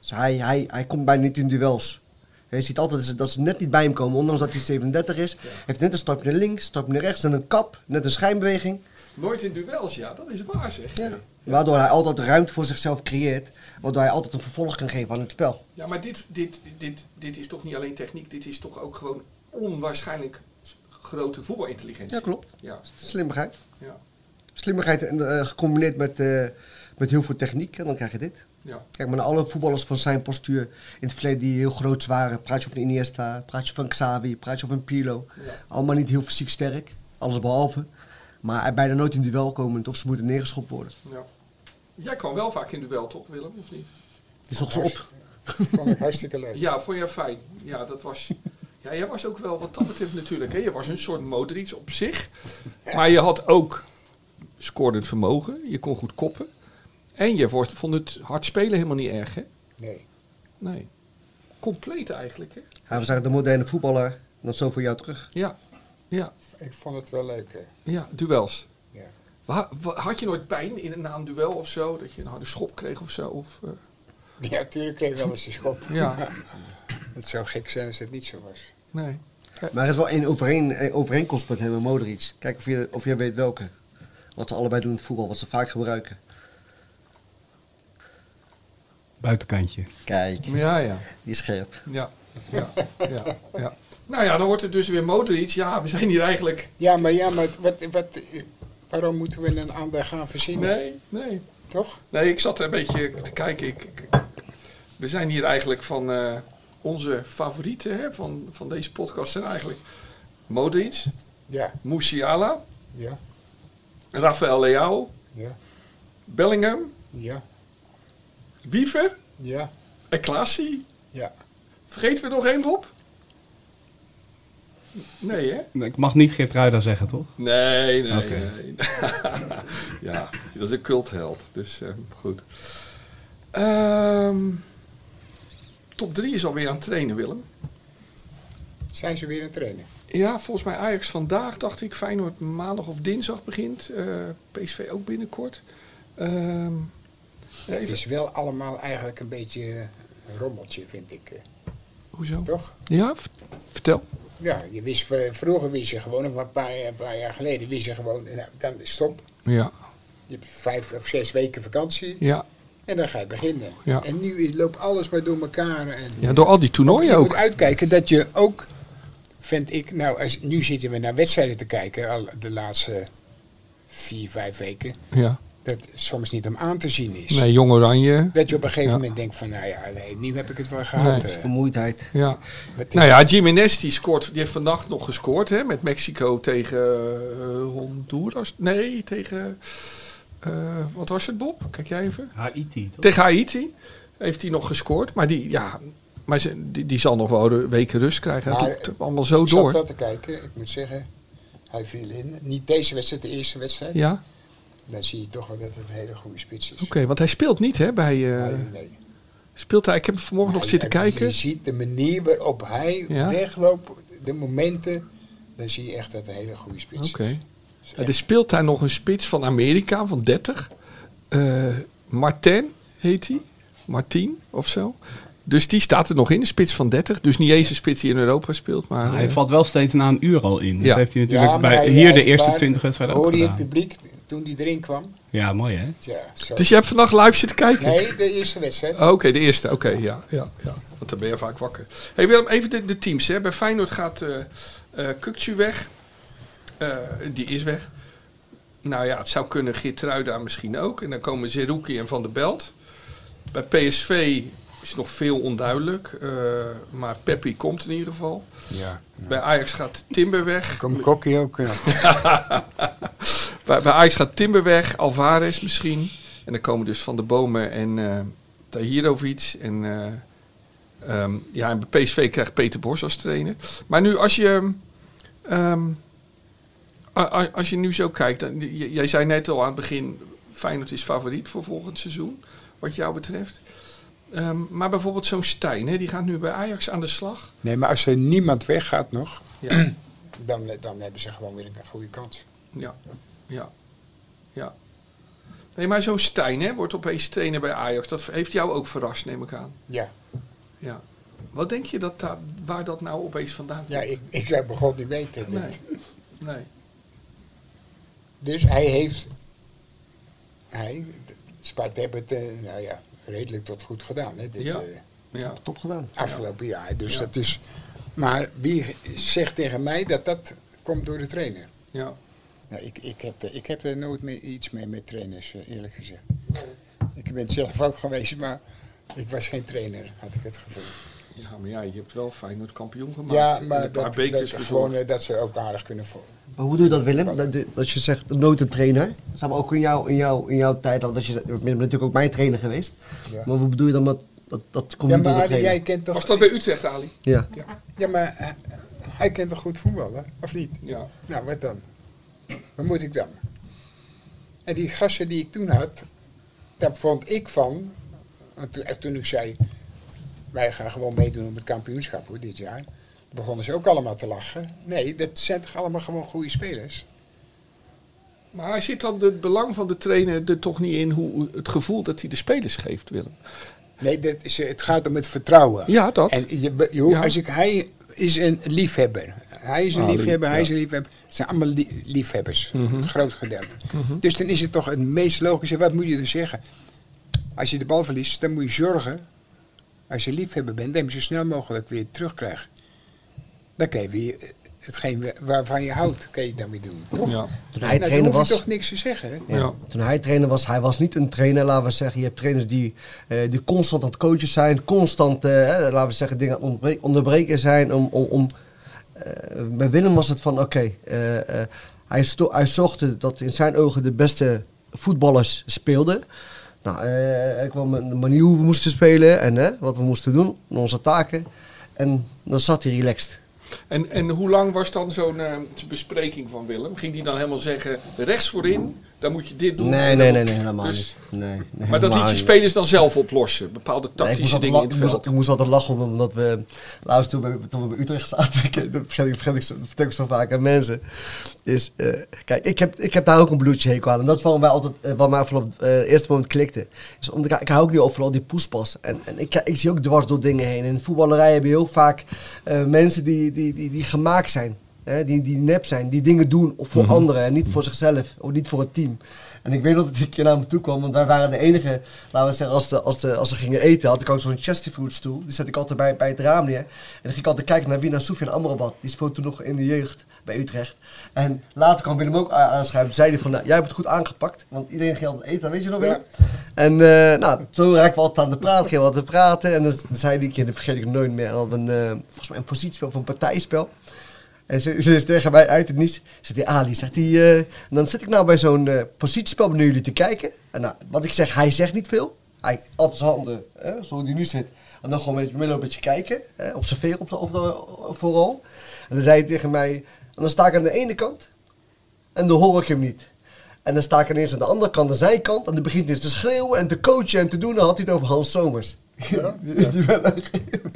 [SPEAKER 5] Dus hij, hij, hij komt bijna niet in duels. Je ziet altijd dat ze net niet bij hem komen, ondanks dat hij 37 is. Heeft net een stapje naar links, een stapje naar rechts en een kap, net een schijnbeweging.
[SPEAKER 2] Nooit in duels, ja, dat is waar zeg.
[SPEAKER 5] Ja. Waardoor hij altijd ruimte voor zichzelf creëert, waardoor hij altijd een vervolg kan geven aan het spel.
[SPEAKER 2] Ja, maar dit, dit, dit, dit is toch niet alleen techniek, dit is toch ook gewoon onwaarschijnlijk grote voetbalintelligentie.
[SPEAKER 5] Ja, klopt.
[SPEAKER 2] Ja,
[SPEAKER 5] Slimmigheid.
[SPEAKER 2] ja,
[SPEAKER 5] Slimmigheid en, eh, gecombineerd met, eh, met heel veel techniek en dan krijg je dit.
[SPEAKER 2] ja.
[SPEAKER 5] Kijk maar naar alle voetballers van zijn postuur in het verleden die heel groot waren. Praat je van Iniesta, praat je van Xavi, praat je van Pirlo.
[SPEAKER 2] Ja.
[SPEAKER 5] Allemaal niet heel fysiek sterk, alles behalve. Maar hij bijna nooit in duel komend of ze moeten neergeschopt worden.
[SPEAKER 2] ja. Jij kwam wel vaak in duel, toch Willem, of niet?
[SPEAKER 5] Die zocht ze op.
[SPEAKER 1] Vond ik hartstikke leuk.
[SPEAKER 2] Ja, vond jij fijn. Ja, dat was... Ja, jij was ook wel wat dat betreft natuurlijk. Hè? Je was een soort Modric op zich. Maar je had ook scorend vermogen. Je kon goed koppen. En je vond vond het hard spelen helemaal niet erg, hè?
[SPEAKER 1] Nee.
[SPEAKER 2] Nee. Compleet eigenlijk, hè?
[SPEAKER 5] Hij was eigenlijk de moderne voetballer. Dat zo voor jou terug.
[SPEAKER 2] Ja. Ja.
[SPEAKER 1] Ik vond het wel leuk. hè.
[SPEAKER 2] Ja, duels.
[SPEAKER 1] Ja.
[SPEAKER 2] Wa- wa- Had je nooit pijn in een na een duel of zo? Dat je een harde schop kreeg of zo? Of, eh,
[SPEAKER 1] Ja, natuurlijk kreeg ik wel eens een schop.
[SPEAKER 2] ja,
[SPEAKER 1] Het zou gek zijn als het niet zo was.
[SPEAKER 2] nee.
[SPEAKER 5] Maar er is wel één overeen, één overeenkomst met hem en Modric. Kijk of je, of je weet welke. Wat ze allebei doen in het voetbal, wat ze vaak gebruiken.
[SPEAKER 4] Buitenkantje.
[SPEAKER 5] Kijk,
[SPEAKER 2] Ja, ja.
[SPEAKER 5] die is scherp.
[SPEAKER 2] Ja, ja, ja, ja. Nou ja, dan wordt het dus weer Modric. Ja, we zijn hier eigenlijk...
[SPEAKER 1] Ja, maar, ja, maar wat, wat, waarom moeten we een ander gaan verzinnen?
[SPEAKER 2] Nee, nee.
[SPEAKER 1] Toch?
[SPEAKER 2] Nee, ik zat een beetje te kijken. Ik, ik- we zijn hier eigenlijk van eh, onze favorieten hè, van, van deze podcast zijn eigenlijk Modric,
[SPEAKER 1] Ja,
[SPEAKER 2] Musiala,
[SPEAKER 1] ja,
[SPEAKER 2] Rafael Leao,
[SPEAKER 1] ja,
[SPEAKER 2] Bellingham,
[SPEAKER 1] ja,
[SPEAKER 2] Wiever
[SPEAKER 1] ja,
[SPEAKER 2] en Klaasie.
[SPEAKER 1] ja.
[SPEAKER 2] Vergeten we er nog één, Bob? Nee, hè?
[SPEAKER 4] Nee, Ik mag niet Geert Ruida zeggen, toch?
[SPEAKER 2] Nee, nee,
[SPEAKER 4] Oké.
[SPEAKER 2] nee. ja, dat is een cultheld. Dus eh, goed. Ehm, top 3 is alweer aan het trainen, Willem.
[SPEAKER 1] Zijn ze weer aan het trainen?
[SPEAKER 2] Ja, volgens mij Ajax vandaag, dacht ik. Feyenoord maandag of dinsdag begint. Eh, PSV ook binnenkort. Ehm,
[SPEAKER 1] Het
[SPEAKER 2] even-
[SPEAKER 1] is wel allemaal eigenlijk een beetje eh, een rommeltje, vind ik. eh,
[SPEAKER 2] Hoezo?
[SPEAKER 1] Toch?
[SPEAKER 2] Ja, v- vertel.
[SPEAKER 1] Ja, je wist, v- vroeger wist je gewoon, of een paar, een paar jaar geleden wist je gewoon, nou, dan stop.
[SPEAKER 2] Ja,
[SPEAKER 1] Je hebt vijf of zes weken vakantie
[SPEAKER 2] ja.
[SPEAKER 1] en dan ga je beginnen.
[SPEAKER 2] Ja.
[SPEAKER 1] En nu is- loopt alles maar door elkaar. En
[SPEAKER 2] ja door al die
[SPEAKER 1] je
[SPEAKER 2] toernooien
[SPEAKER 1] moet
[SPEAKER 2] ook.
[SPEAKER 1] uitkijken dat je ook, vind ik, nou, als, nu zitten we naar wedstrijden te kijken, al de laatste vier, vijf weken,
[SPEAKER 2] Ja.
[SPEAKER 1] dat soms niet om aan te zien is.
[SPEAKER 2] Nee, Jong Oranje.
[SPEAKER 1] Dat je op een gegeven
[SPEAKER 2] Ja.
[SPEAKER 1] moment denkt van, nou ja, nee, nu heb ik het wel gehad.
[SPEAKER 2] Nee.
[SPEAKER 1] eh.
[SPEAKER 5] Vermoeidheid.
[SPEAKER 2] Ja.
[SPEAKER 1] Het is-
[SPEAKER 2] Nou ja, Jiménez die, scoort, die heeft vannacht nog gescoord hè, met Mexico tegen eh, Honduras. Nee, tegen. eh, wat was het, Bob? Kijk jij even.
[SPEAKER 4] Haiti, toch?
[SPEAKER 2] Tegen Haiti heeft hij nog gescoord. Maar die, ja, maar ze, die, die zal nog wel ru- weken rust krijgen.
[SPEAKER 1] Maar,
[SPEAKER 2] het loopt allemaal zo
[SPEAKER 1] ik zat
[SPEAKER 2] door.
[SPEAKER 1] wel te kijken, ik moet zeggen, hij viel in. Niet deze wedstrijd, de eerste wedstrijd.
[SPEAKER 2] Ja, oké,
[SPEAKER 1] Dan zie je toch wel dat het een hele goede spits is.
[SPEAKER 2] want hij speelt niet, hè? Bij, eh,
[SPEAKER 1] Nee, nee.
[SPEAKER 2] speelt hij, ik heb hem vanmorgen nog
[SPEAKER 1] Maar
[SPEAKER 2] zitten
[SPEAKER 1] je-
[SPEAKER 2] kijken.
[SPEAKER 1] Je ziet de manier waarop hij
[SPEAKER 2] Ja.
[SPEAKER 1] wegloopt, de momenten. Dan zie je echt dat het een hele goede spits
[SPEAKER 2] Oké.
[SPEAKER 1] is.
[SPEAKER 2] Ja, Er speelt daar nog een spits van Amerika van 30. Eh Martin heet hij. Martin of zo. Dus die staat er nog in, een spits van 30. Dus niet eens een spits die in Europa speelt. Maar,
[SPEAKER 4] Hij
[SPEAKER 2] eh,
[SPEAKER 4] valt wel steeds na een uur al in.
[SPEAKER 2] Ja.
[SPEAKER 4] Dat heeft hij natuurlijk
[SPEAKER 1] Ja, maar
[SPEAKER 4] bij
[SPEAKER 1] hij-
[SPEAKER 4] hier de
[SPEAKER 1] hij-
[SPEAKER 4] eerste
[SPEAKER 1] maar
[SPEAKER 4] 20 wedstrijden ook
[SPEAKER 1] Hoor je het
[SPEAKER 4] gedaan.
[SPEAKER 1] publiek toen hij erin kwam?
[SPEAKER 4] Ja, mooi hè?
[SPEAKER 1] Ja, zo.
[SPEAKER 2] Dus je hebt vannacht live zitten kijken?
[SPEAKER 1] Nee, de eerste wedstrijd.
[SPEAKER 2] Oh, Oké, de eerste. Oké, ja, ja, ja. Want dan ben je vaak wakker. Hey Willem, even de, de teams. Hè. Bij Feyenoord gaat eh eh, Kukçu weg. Eh, die is weg. Nou ja, het zou kunnen Geertruida misschien ook. En dan komen Zerouki en Van der Belt. Bij PSV is nog veel onduidelijk. eh, maar Peppi komt in ieder geval.
[SPEAKER 1] Ja.
[SPEAKER 2] Bij Ajax gaat Timber weg.
[SPEAKER 1] Komt Kokkie ook. eh,
[SPEAKER 2] Bij, bij Ajax gaat Timber weg, Alvarez misschien. En dan komen dus Van de Bomen en eh Tahirovic. En, eh, ehm, ja, en bij PSV krijgt Peter Bos als trainer. Maar nu, als je, ehm, a- a- als je nu zo kijkt... Dan, j- jij zei net al aan het begin... Feyenoord is favoriet voor volgend seizoen, wat jou betreft. Ehm, maar bijvoorbeeld zo'n Stijn, hè, die gaat nu bij Ajax aan de slag.
[SPEAKER 1] Nee, maar als er niemand weggaat nog,
[SPEAKER 2] Ja,
[SPEAKER 1] dan, eh, dan hebben ze gewoon weer een goede kans.
[SPEAKER 2] ja, ja. ja. Nee, maar zo'n Stijn hè, wordt opeens trainer bij Ajax. Dat heeft jou ook verrast, neem ik aan.
[SPEAKER 1] Ja,
[SPEAKER 2] Ja. Wat denk je dat daar, waar dat nou opeens vandaan komt?
[SPEAKER 1] ja ik, ik zou begon niet weten. dit.
[SPEAKER 2] Nee. nee.
[SPEAKER 1] Dus hij heeft, hij, Sparta heeft het, eh, nou ja, redelijk tot goed gedaan, hè, dit
[SPEAKER 2] Ja.
[SPEAKER 1] eh,
[SPEAKER 2] Ja.
[SPEAKER 5] Top gedaan.
[SPEAKER 1] afgelopen jaar. Dus dat is, maar wie zegt tegen mij dat dat komt door de trainer?
[SPEAKER 2] Ja.
[SPEAKER 1] Nou, ik, ik, heb, er- ik heb er nooit meer iets mee met trainers, eh, eerlijk gezegd. Ik ben zelf ook geweest, maar ik was geen trainer, had ik het gevoel.
[SPEAKER 2] ja, maar ja, je hebt wel Feyenoord kampioen gemaakt.
[SPEAKER 1] ja,
[SPEAKER 2] En
[SPEAKER 1] maar
[SPEAKER 2] een paar
[SPEAKER 1] dat, dat,
[SPEAKER 2] bekers
[SPEAKER 1] gewoon,
[SPEAKER 2] bezorgd.
[SPEAKER 1] eh, dat ze ook aardig kunnen voor.
[SPEAKER 5] Maar hoe doe je dat, Willem? Dat, dat je zegt nooit een trainer. Dat zou ook in, jou, in, jou, in jouw tijd al. Dat je, ik ben natuurlijk ook mijn trainer geweest.
[SPEAKER 1] Ja.
[SPEAKER 5] Maar hoe bedoel je dan dat dat, dat komt
[SPEAKER 1] Ja,
[SPEAKER 5] niet door
[SPEAKER 1] maar Arie,
[SPEAKER 5] de trainer?
[SPEAKER 1] jij kent toch,
[SPEAKER 2] Was dat bij Utrecht, Ali?
[SPEAKER 5] Ja.
[SPEAKER 1] ja, maar eh, hij kent toch goed voetballen, of niet?
[SPEAKER 2] Ja.
[SPEAKER 1] Nou, wat dan? Wat moet ik dan? En die gasten die ik toen had, daar vond ik van. Want toen, en toen ik zei, wij gaan gewoon meedoen op het kampioenschap hoor, dit jaar. Begonnen ze ook allemaal te lachen. Nee, dat zijn toch allemaal gewoon goede spelers?
[SPEAKER 2] Maar zit dan het belang van de trainer er toch niet in hoe het gevoel dat hij de spelers geeft, Willem?
[SPEAKER 1] Nee, dat is, het gaat om het vertrouwen.
[SPEAKER 2] Ja, dat.
[SPEAKER 1] En je, be- je hoeft-
[SPEAKER 2] Ja.
[SPEAKER 1] als ik, hij is een liefhebber. Hij is een
[SPEAKER 2] Ah, lief-
[SPEAKER 1] liefhebber, hij
[SPEAKER 2] ja. Mhm.
[SPEAKER 1] is een liefhebber. Het zijn allemaal lie- liefhebbers, het groot gedeelte. Dus dan is het toch het meest logische. Wat moet je dan zeggen? Als je de bal verliest, dan moet je zorgen... als je liefhebber bent, dat je hem zo snel mogelijk weer terugkrijgt. Dan kan je weer eh, hetgeen wa- waarvan je houdt, kan je daarmee doen. Toch?
[SPEAKER 2] Ja.
[SPEAKER 5] Toen hij
[SPEAKER 1] Nou, dan
[SPEAKER 5] trainer
[SPEAKER 1] hoef je
[SPEAKER 5] was,
[SPEAKER 1] toch niks te zeggen. hè?
[SPEAKER 2] Ja.
[SPEAKER 5] toen hij trainer was, hij was niet een trainer, laten we zeggen. Je hebt trainers die, eh, die constant aan het coachen zijn, constant, eh, hè, laten we zeggen, dingen aan het onderbre- onderbreken zijn. Om, om, om, eh, bij Willem was het van, oké, eh, eh, hij, sto- hij zocht dat in zijn ogen de beste voetballers speelden. Nou, eh, er kwam een manier hoe we moesten spelen en hè, wat we moesten doen, onze taken. En dan zat hij relaxed.
[SPEAKER 2] En, en hoe lang was dan zo'n eh, bespreking van Willem? Ging die dan helemaal zeggen, rechts voorin, dan moet je dit doen?
[SPEAKER 5] Nee,
[SPEAKER 2] en
[SPEAKER 5] nee,
[SPEAKER 2] dan-
[SPEAKER 5] nee, nee, helemaal
[SPEAKER 2] dus-
[SPEAKER 5] niet. Nee, nee,
[SPEAKER 2] Maar dat
[SPEAKER 5] helemaal
[SPEAKER 2] liet je
[SPEAKER 5] niet.
[SPEAKER 2] spelers dan zelf oplossen, bepaalde
[SPEAKER 5] Nee, ik, moest
[SPEAKER 2] tactische
[SPEAKER 5] altijd
[SPEAKER 2] dingen
[SPEAKER 5] la-
[SPEAKER 2] in het
[SPEAKER 5] ik moest-
[SPEAKER 2] veld.
[SPEAKER 5] ik moest altijd lachen om hem, omdat we... Laatst toen we, toen we bij Utrecht zaten, ik, dat vergeet ik, vergeet ik, zo- dat vertel ik zo vaak aan mensen. Is, eh, kijk, ik heb, ik heb daar ook een bloedje hekel aan. En dat is waarom wij altijd, eh, wat mij vanaf eh, het eerste moment klikte. Is omdat ik, ik hou ook niet over vooral die poespas. En, en ik, ik zie ook dwars door dingen heen. In voetballerij heb je heel vaak eh, mensen die, die, die, die gemaakt zijn. Hè, die, die nep zijn, die dingen doen of
[SPEAKER 2] Mhm.
[SPEAKER 5] voor anderen en niet voor zichzelf of niet voor het team. En ik weet nog dat ik een keer naar me toe kwam, want wij waren de enige, laten we zeggen, als, de, als, de, als ze gingen eten, had ik ook zo'n Chesterfield stoel. Die zet ik altijd bij, bij het raam neer. En dan ging ik altijd kijken naar wie naar Sofian Amrabat. Die speelde toen nog in de jeugd bij Utrecht. En later kwam Willem ook a- aanschuiven. Toen zei hij van, nou, jij hebt het goed aangepakt, want iedereen ging altijd eten, weet je nog Willem? En eh, nou, zo raakten we altijd aan de praat, gingen we altijd praten. En dan zei die keer, dat vergeet ik nooit meer, had een, eh, volgens mij een positiespel of een partijspel. En ze, ze is tegen mij uit het niets. Zegt die Ali, zegt die, eh, en dan zit ik nou bij zo'n eh, positiespel naar jullie te kijken. En nou, wat ik zeg, hij zegt niet veel. Hij altijd zijn handen, hè, zoals hij nu zit. En dan gewoon met je middel een beetje kijken. Hè, observeren op de, of de- vooral. En dan zei hij tegen mij, en dan sta ik aan de ene kant. En dan hoor ik hem niet. En dan sta ik ineens aan de andere kant, aan zijn kant. En dan begint hij eens te schreeuwen en te coachen en te doen. Dan had hij het over Hans Somers. Die, die ben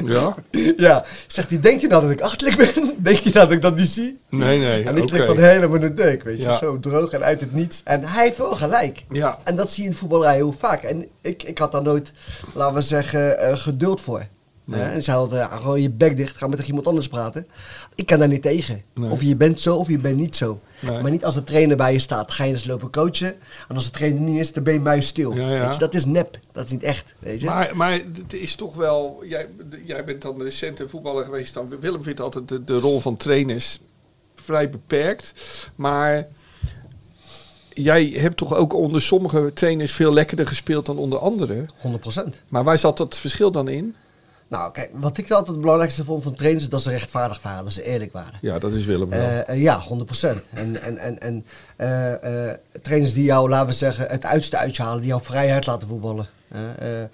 [SPEAKER 2] Ja?
[SPEAKER 5] ja, zegt hij, denkt hij nou dat ik achterlijk ben? Denkt hij nou dat ik dat niet zie?
[SPEAKER 2] Nee, nee,
[SPEAKER 5] En ik
[SPEAKER 2] oké.
[SPEAKER 5] lig dan helemaal in de deuk, weet je.
[SPEAKER 2] Ja.
[SPEAKER 5] Zo droog en uit het niets. En hij heeft wel gelijk.
[SPEAKER 2] Ja.
[SPEAKER 5] En dat zie je in de voetballerij heel vaak. En ik, ik had daar nooit, laten we zeggen, eh, geduld voor. Hè? en ze hadden ja, gewoon je bek dicht, ga met iemand anders praten. Ik kan daar niet tegen.
[SPEAKER 2] Nee.
[SPEAKER 5] Of je bent zo of je bent niet zo.
[SPEAKER 2] Nee.
[SPEAKER 5] Maar niet als de trainer bij je staat, ga je eens lopen coachen. En als de trainer niet is, dan ben je muisstil.
[SPEAKER 2] Ja, ja.
[SPEAKER 5] Weet je, dat is nep. Dat is niet echt, weet je.
[SPEAKER 2] Maar, maar het is toch wel. Jij, d- jij bent dan recent een voetballer geweest. Dan, Willem vindt altijd de, de rol van trainers vrij beperkt. Maar jij hebt toch ook onder sommige trainers veel lekkerder gespeeld dan onder anderen.
[SPEAKER 5] 100 procent.
[SPEAKER 2] Maar waar zat dat verschil dan in?
[SPEAKER 5] Nou, kijk, wat ik altijd het belangrijkste vond van trainers... is dat ze rechtvaardig waren, dat ze eerlijk waren.
[SPEAKER 2] Ja, dat is Willem wel.
[SPEAKER 5] Eh, eh, ja, 100%. En, en, en, en eh, eh, trainers die jou, laten we zeggen, het uitste uithalen, die jou vrijheid laten voetballen. Eh, eh,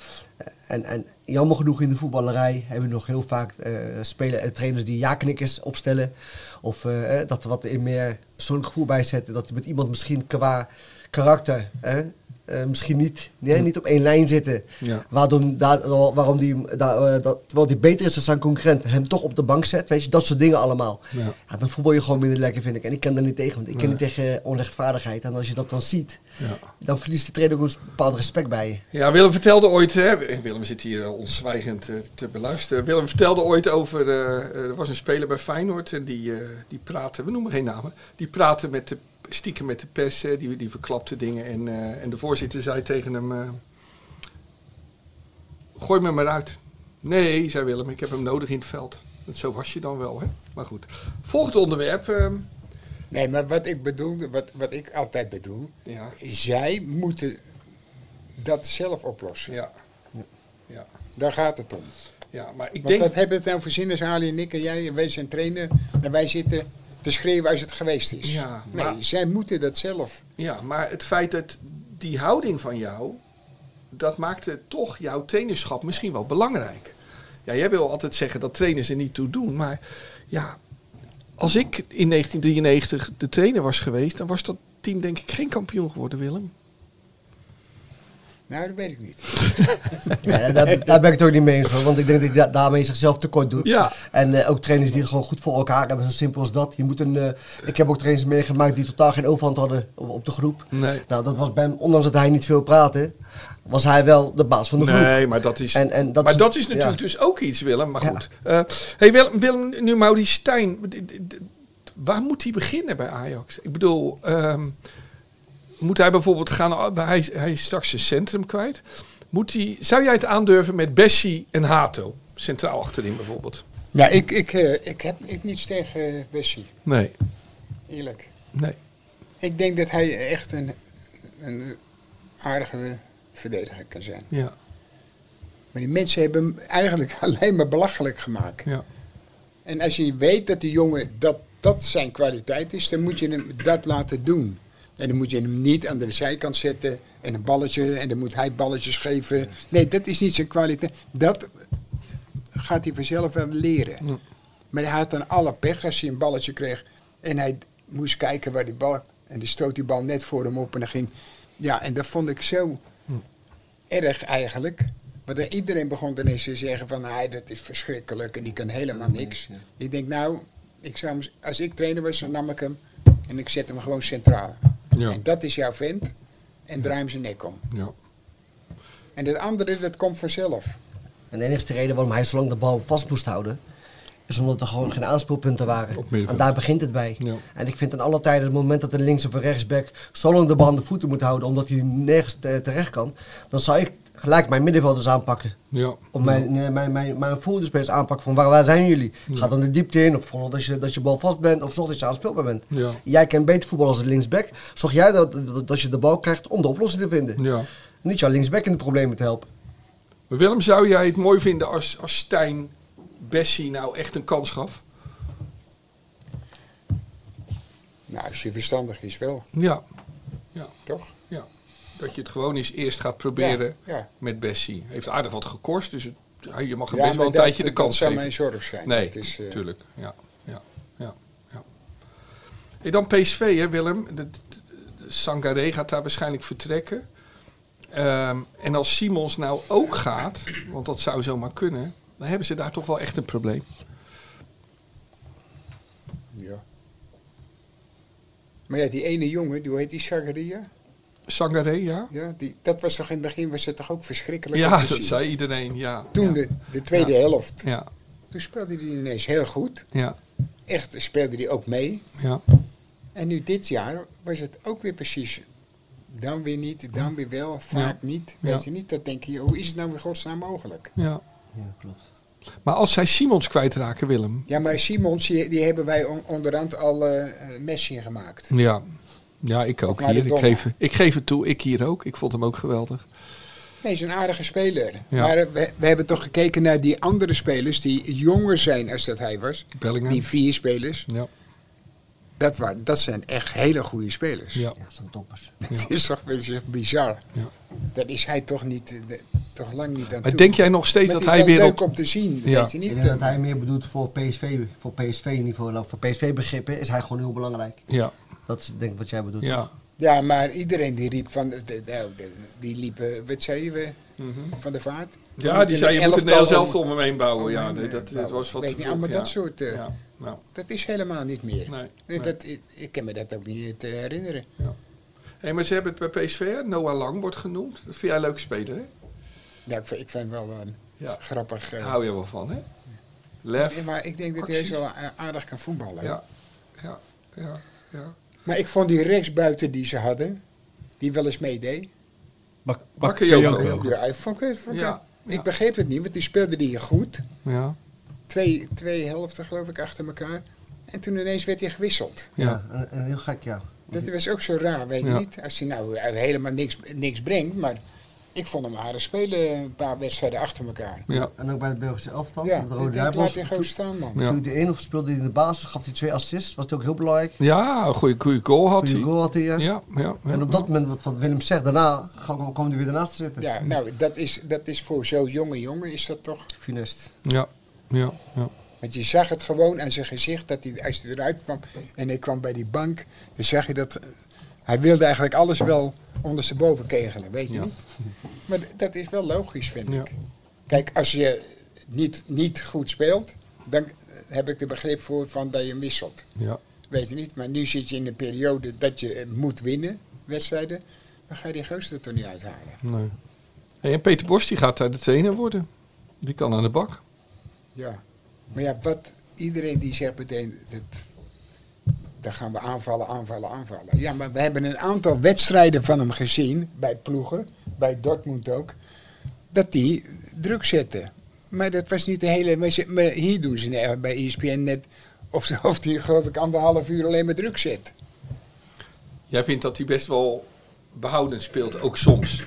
[SPEAKER 5] en, en jammer genoeg in de voetballerij hebben we nog heel vaak eh, spelen, eh, trainers die ja-knikkers opstellen. Of eh, eh, dat er wat in meer persoonlijk gevoel bij zetten. Dat je met iemand misschien qua karakter eh, eh, misschien niet, nee, niet op één lijn zitten.
[SPEAKER 2] Ja.
[SPEAKER 5] Waardoor, daar, waarom die, daar, eh, dat, terwijl die beter is dan zijn concurrent, hem toch op de bank zet. Weet je, dat soort dingen allemaal.
[SPEAKER 2] Ja.
[SPEAKER 5] Ja, dan voetbal je gewoon minder lekker, vind ik. En ik kan daar niet tegen, want ik ken niet tegen onrechtvaardigheid. En als je dat dan ziet,
[SPEAKER 2] Ja.
[SPEAKER 5] dan verliest de trainer ook een bepaald respect bij je.
[SPEAKER 2] Ja, Willem vertelde ooit, hè, Willem zit hier eh, ons zwijgend eh, te beluisteren. Willem vertelde ooit over, eh, er was een speler bij Feyenoord en die, eh, die praatte, we noemen geen namen, die praatte met de, stiekem met de pers, hè, die, die verklapte dingen. En, eh, en de voorzitter zei tegen hem, eh, gooi me maar uit. Nee, zei Willem, ik heb hem nodig in het veld. Want zo was je dan wel, hè? Maar goed. Volgend onderwerp. eh,
[SPEAKER 1] Nee, maar wat ik bedoel, wat, wat ik altijd bedoel,
[SPEAKER 2] ja,
[SPEAKER 1] zij moeten dat zelf oplossen.
[SPEAKER 2] ja, ja,
[SPEAKER 1] Daar gaat het om.
[SPEAKER 2] ja. Maar ik
[SPEAKER 1] Want
[SPEAKER 2] denk...
[SPEAKER 1] wat hebben het nou voor zin als Ali en ik en jij, wij zijn trainer en wij zitten te schreeuwen als het geweest is.
[SPEAKER 2] Ja,
[SPEAKER 1] nee,
[SPEAKER 2] maar-
[SPEAKER 1] zij moeten dat zelf.
[SPEAKER 2] Ja, maar het feit dat die houding van jou, dat maakte toch jouw trainerschap misschien wel belangrijk. Ja, jij wil altijd zeggen dat trainers er niet toe doen, maar ja, als ik in 1993 de trainer was geweest, dan was dat team denk ik geen kampioen geworden, Willem.
[SPEAKER 1] Nou, dat weet ik niet.
[SPEAKER 5] Ja, daar, daar ben ik het ook niet mee eens hoor. Want ik denk dat hij da- daarmee zichzelf tekort doet.
[SPEAKER 2] Ja.
[SPEAKER 5] En eh, ook trainers die het gewoon goed voor elkaar hebben, zo simpel als dat. Je moet een, eh, ik heb ook trainers meegemaakt die totaal geen overhand hadden op, op de groep.
[SPEAKER 2] Nee.
[SPEAKER 5] Nou, dat was bij hem, ondanks dat hij niet veel praatte, was hij wel de baas van de groep.
[SPEAKER 2] Nee, maar dat is,
[SPEAKER 5] En- en dat
[SPEAKER 2] maar
[SPEAKER 5] is-
[SPEAKER 2] dat is natuurlijk
[SPEAKER 5] ja.
[SPEAKER 2] dus ook iets, Willem. Maar
[SPEAKER 5] Ja.
[SPEAKER 2] goed. Eh, hey, Willem, Willem, nu Maudie Stijn. d- d- d- Waar moet hij beginnen bij Ajax? Ik bedoel, ehm, moet hij bijvoorbeeld gaan... Hij, is- hij is straks zijn centrum kwijt. Moet hij, zou jij het aandurven met Bessie en Hato? Centraal achterin bijvoorbeeld.
[SPEAKER 1] Ja, ik, ik, eh, ik heb ik niets tegen eh, Bessie,
[SPEAKER 2] Nee,
[SPEAKER 1] eerlijk.
[SPEAKER 2] nee.
[SPEAKER 1] Ik denk dat hij echt een, een aardige verdediger kan zijn.
[SPEAKER 2] Ja,
[SPEAKER 1] Maar die mensen hebben hem eigenlijk alleen maar belachelijk gemaakt.
[SPEAKER 2] ja.
[SPEAKER 1] En als je weet dat die jongen dat, dat zijn kwaliteit is, dan moet je hem dat laten doen. En dan moet je hem niet aan de zijkant zetten en een balletje en dan moet hij balletjes geven. Nee, dat is niet zijn kwaliteit. Dat gaat hij vanzelf wel leren.
[SPEAKER 2] Ja.
[SPEAKER 1] Maar hij had dan alle pech als hij een balletje kreeg en hij moest kijken waar die bal. En die stoot die bal net voor hem op en dan ging. Ja, en dat vond ik zo erg eigenlijk. Want er- iedereen begon dan eens te zeggen van, hij dat is verschrikkelijk en die kan helemaal niks. Ik denk nou, ik zou hem, als ik trainer was, dan nam ik hem en ik zet hem gewoon centraal.
[SPEAKER 2] Ja.
[SPEAKER 1] En dat is jouw vent en draai hem zijn nek om.
[SPEAKER 2] ja.
[SPEAKER 1] En dat andere, dat komt vanzelf.
[SPEAKER 5] En de enige reden waarom hij zo lang de bal vast moest houden, is omdat er gewoon geen aanspoelpunten waren.
[SPEAKER 2] Op middenveld.
[SPEAKER 5] en daar begint het bij.
[SPEAKER 2] Ja.
[SPEAKER 5] En ik vind aan alle tijden, het moment dat een links- of een rechtsback zo lang de bal aan de voeten moet houden, omdat hij nergens te- terecht kan, dan zou ik gelijk mijn middenvelders aanpakken.
[SPEAKER 2] ja.
[SPEAKER 5] Of mijn, eh, mijn, mijn, mijn voordeelspelers aanpakken van waar, waar zijn jullie? Ga dan de diepte in of zorg dat je, dat je bal vast bent of zorg dat je aanspeelbaar bent.
[SPEAKER 2] Ja.
[SPEAKER 5] Jij kent beter voetbal als de linksback. Zorg jij dat, dat, dat je de bal krijgt om de oplossing te vinden.
[SPEAKER 2] ja.
[SPEAKER 5] Niet jouw linksback in de problemen te helpen.
[SPEAKER 2] Maar Willem, zou jij het mooi vinden als, als Stijn Bessie nou echt een kans gaf?
[SPEAKER 1] Nou, als je verstandig is wel,
[SPEAKER 2] Ja,
[SPEAKER 1] toch?
[SPEAKER 2] ja. Dat je het gewoon eens eerst gaat proberen
[SPEAKER 1] Ja, ja.
[SPEAKER 2] met Bessie. Heeft aardig wat gekost, dus het- ja, je mag hem
[SPEAKER 1] Ja, maar
[SPEAKER 2] best wel een
[SPEAKER 1] dat-
[SPEAKER 2] tijdje de
[SPEAKER 1] dat
[SPEAKER 2] kans
[SPEAKER 1] zou
[SPEAKER 2] geven.
[SPEAKER 1] mijn zorg zijn.
[SPEAKER 2] Nee,
[SPEAKER 1] Dat is, eh,
[SPEAKER 2] tuurlijk. Ja, ja, ja, ja. Hey, dan PSV, hè, Willem. De, de- de Sangaré gaat daar waarschijnlijk vertrekken. Ehm, en als Simons nou ook gaat, want dat zou zomaar kunnen, dan hebben ze daar toch wel echt een probleem.
[SPEAKER 1] Ja. Maar ja, die ene jongen, die hoe heet die Chagaria?
[SPEAKER 2] Sangaré, ja?
[SPEAKER 1] Ja, die, dat was toch in het begin was het toch ook verschrikkelijk om
[SPEAKER 2] Ja,
[SPEAKER 1] te
[SPEAKER 2] dat
[SPEAKER 1] zien?
[SPEAKER 2] zei iedereen, ja.
[SPEAKER 1] Toen
[SPEAKER 2] ja.
[SPEAKER 1] de, de tweede
[SPEAKER 2] Ja.
[SPEAKER 1] helft,
[SPEAKER 2] Ja,
[SPEAKER 1] toen speelde hij ineens heel goed.
[SPEAKER 2] ja,
[SPEAKER 1] Echt speelde hij ook mee.
[SPEAKER 2] ja.
[SPEAKER 1] En nu dit jaar was het ook weer precies. Dan weer niet, dan weer wel, vaak niet. Weet
[SPEAKER 2] Ja.
[SPEAKER 1] je niet, dat denk je, hoe is het nou in godsnaam mogelijk?
[SPEAKER 2] ja.
[SPEAKER 5] Ja, klopt.
[SPEAKER 2] Maar als zij Simons kwijtraken, Willem.
[SPEAKER 1] Ja, maar Simons, die, die hebben wij on- onderhand al eh, eh, Messi gemaakt.
[SPEAKER 2] Ja, ja ik ook
[SPEAKER 1] Maradona.
[SPEAKER 2] hier. Ik geef, ik geef het toe, ik hier ook. Ik vond hem ook geweldig.
[SPEAKER 1] Nee, is een aardige speler.
[SPEAKER 2] Ja.
[SPEAKER 1] Maar eh, we, we hebben toch gekeken naar die andere spelers die jonger zijn als dat hij was.
[SPEAKER 2] Bellingham.
[SPEAKER 1] Die vier spelers.
[SPEAKER 2] Ja,
[SPEAKER 1] Dat, waren, dat zijn echt hele goede spelers.
[SPEAKER 2] ja.
[SPEAKER 5] Ja, dat zijn toppers.
[SPEAKER 1] Dat is toch wel eens bizar.
[SPEAKER 2] Ja.
[SPEAKER 1] Daar is hij toch, niet, eh, de- toch lang niet aan
[SPEAKER 2] Maar
[SPEAKER 1] toe.
[SPEAKER 2] denk jij nog steeds
[SPEAKER 1] Maar
[SPEAKER 2] dat
[SPEAKER 1] het is
[SPEAKER 2] hij
[SPEAKER 1] wel
[SPEAKER 2] weer op...
[SPEAKER 1] leuk om te zien,
[SPEAKER 2] Ja.
[SPEAKER 1] weet je niet? eh,
[SPEAKER 5] Ik denk dat hij meer bedoelt voor PSV, voor PSV niveau, voor PSV begrippen, is hij gewoon heel belangrijk.
[SPEAKER 2] Ja,
[SPEAKER 5] Dat is denk ik wat jij bedoelt.
[SPEAKER 2] ja,
[SPEAKER 1] Ja, maar iedereen die riep van, de- de- nou, de- die liep, eh, wat zei je, eh, van de vaart?
[SPEAKER 2] Mhm. ja die zei je moet het
[SPEAKER 1] elftal
[SPEAKER 2] Nederlands zelf
[SPEAKER 1] om-
[SPEAKER 2] om hem heen bouwen. Ja,
[SPEAKER 1] om-
[SPEAKER 2] nee, dat, dat was wat
[SPEAKER 1] Weet
[SPEAKER 2] te
[SPEAKER 1] je,
[SPEAKER 2] vroeg,
[SPEAKER 1] allemaal
[SPEAKER 2] ja.
[SPEAKER 1] dat soort, eh,
[SPEAKER 2] Ja, nou,
[SPEAKER 1] Dat is helemaal niet meer.
[SPEAKER 2] nee.
[SPEAKER 1] Nee,
[SPEAKER 2] nee.
[SPEAKER 1] dat, ik, ik kan me dat ook niet eh, herinneren.
[SPEAKER 2] Hey, maar ze hebben het bij PSV, hè? Noah Lang wordt genoemd. Dat vind jij een leuk speler, hè?
[SPEAKER 1] Ja, Nou, ik, vind- ik vind wel eh, een
[SPEAKER 2] Ja.
[SPEAKER 1] grappig. eh,
[SPEAKER 2] Hou je wel van, hè?
[SPEAKER 1] nee,
[SPEAKER 2] Lef.
[SPEAKER 1] maar ik denk dat hij
[SPEAKER 2] Acties.
[SPEAKER 1] zo aardig kan voetballen.
[SPEAKER 2] Ja, ja, ja, ja.
[SPEAKER 1] Maar ik vond die rechtsbuiten die ze hadden, die wel eens meedeed.
[SPEAKER 4] Bak,
[SPEAKER 2] Bakayoko.
[SPEAKER 4] Bakayoko.
[SPEAKER 1] Ja, ik vond het. vond ik-
[SPEAKER 2] Ja, ja.
[SPEAKER 1] Ik begreep het niet, want die speelde die goed.
[SPEAKER 2] Ja,
[SPEAKER 1] Twee, twee helften, geloof ik, achter elkaar. En toen ineens werd hij gewisseld.
[SPEAKER 2] ja,
[SPEAKER 5] en- en heel gek, ja.
[SPEAKER 1] Dat was ook zo raar, weet je
[SPEAKER 2] Ja.
[SPEAKER 1] niet. Als hij nou eh, helemaal niks, niks brengt, maar ik vond hem aardig spelen een paar wedstrijden achter elkaar.
[SPEAKER 2] ja,
[SPEAKER 5] En ook bij het Belgische elftal,
[SPEAKER 1] Ja,
[SPEAKER 5] met
[SPEAKER 1] ik
[SPEAKER 5] de
[SPEAKER 1] denk,
[SPEAKER 5] Rode
[SPEAKER 1] laat hij gewoon
[SPEAKER 5] Duivels.
[SPEAKER 1] staan, man.
[SPEAKER 2] Ja.
[SPEAKER 5] Viel hij in of speelde hij in de basis, gaf hij twee assists, was hij ook heel belangrijk.
[SPEAKER 2] ja. een goede goede goal had
[SPEAKER 5] Goede
[SPEAKER 2] hij.
[SPEAKER 5] goal had hij, ja.
[SPEAKER 2] Ja, ja. ja.
[SPEAKER 5] En op dat moment, wat, wat Willem zegt, daarna kwam kwam hij weer daarnaast te zitten.
[SPEAKER 1] Ja, nou, dat is, dat is voor zo'n jonge jongen is dat toch...
[SPEAKER 5] Funest.
[SPEAKER 2] Ja, ja, ja.
[SPEAKER 1] Want je zag het gewoon aan zijn gezicht, dat hij, als hij eruit kwam en hij kwam bij die bank, dan zag je dat... eh, Hij wilde eigenlijk alles wel ondersteboven kegelen, weet je
[SPEAKER 2] Ja.
[SPEAKER 1] niet? Maar d- dat is wel logisch, vind
[SPEAKER 2] Ja.
[SPEAKER 1] ik. Kijk, als je niet, niet goed speelt, dan eh, heb ik er begrip voor van dat je wisselt.
[SPEAKER 2] ja.
[SPEAKER 1] Weet je niet, maar nu zit je in een periode dat je eh, moet winnen, wedstrijden. Dan ga je die gozer er toch niet uithalen.
[SPEAKER 2] Nee. Hey, en Peter Bos die gaat daar de trainer worden. Die kan aan de bak.
[SPEAKER 1] Ja, maar ja, wat iedereen die zegt meteen, dat, dan gaan we aanvallen, aanvallen, aanvallen. Ja, maar we hebben een aantal wedstrijden van hem gezien, bij ploegen, bij Dortmund ook, dat die druk zetten. Maar dat was niet de hele... maar ze- maar hier doen ze net bij E ESPN net... Of, ze- of die, geloof ik, anderhalf uur alleen maar druk zit.
[SPEAKER 2] Jij vindt dat hij best wel behoudend speelt, ook soms.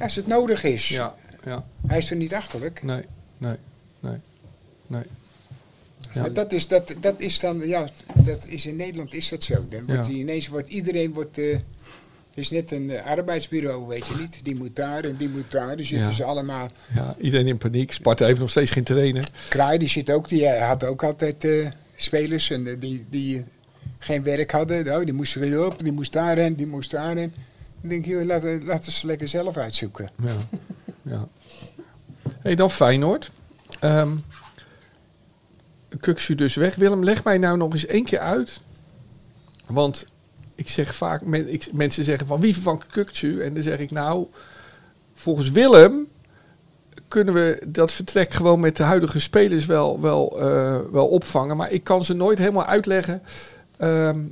[SPEAKER 1] Als het nodig is.
[SPEAKER 2] Ja, ja.
[SPEAKER 1] Hij is er niet achterlijk.
[SPEAKER 2] Nee, nee, nee, nee. Ja.
[SPEAKER 1] Maar Dat, is, dat, dat is dan, ja, dat is in Nederland is dat zo. Dan wordt
[SPEAKER 2] Ja.
[SPEAKER 1] die ineens wordt iedereen wordt. eh, het is net een eh, arbeidsbureau, weet je niet. Die moet daar en die moet daar. Dan zitten
[SPEAKER 2] Ja.
[SPEAKER 1] ze allemaal.
[SPEAKER 2] Ja, iedereen in paniek. Sparta heeft nog steeds geen trainer.
[SPEAKER 1] Kraai, die zit ook, die eh, had ook altijd eh, spelers en, eh, die, die eh, geen werk hadden. Oh, die moesten weer op, die moest daarheen, die moest daarheen. Dan denk je, joh, laten, laten ze lekker zelf uitzoeken.
[SPEAKER 2] Ja. ja. hey, dan Feyenoord. Ehm Kuksu dus weg. Willem, leg mij nou nog eens één keer uit. Want ik zeg vaak, men- ik- mensen zeggen van wie vervangt Kuksu? En dan zeg ik nou, volgens Willem kunnen we dat vertrek gewoon met de huidige spelers wel, wel, eh, wel opvangen. Maar ik kan ze nooit helemaal uitleggen. Ehm,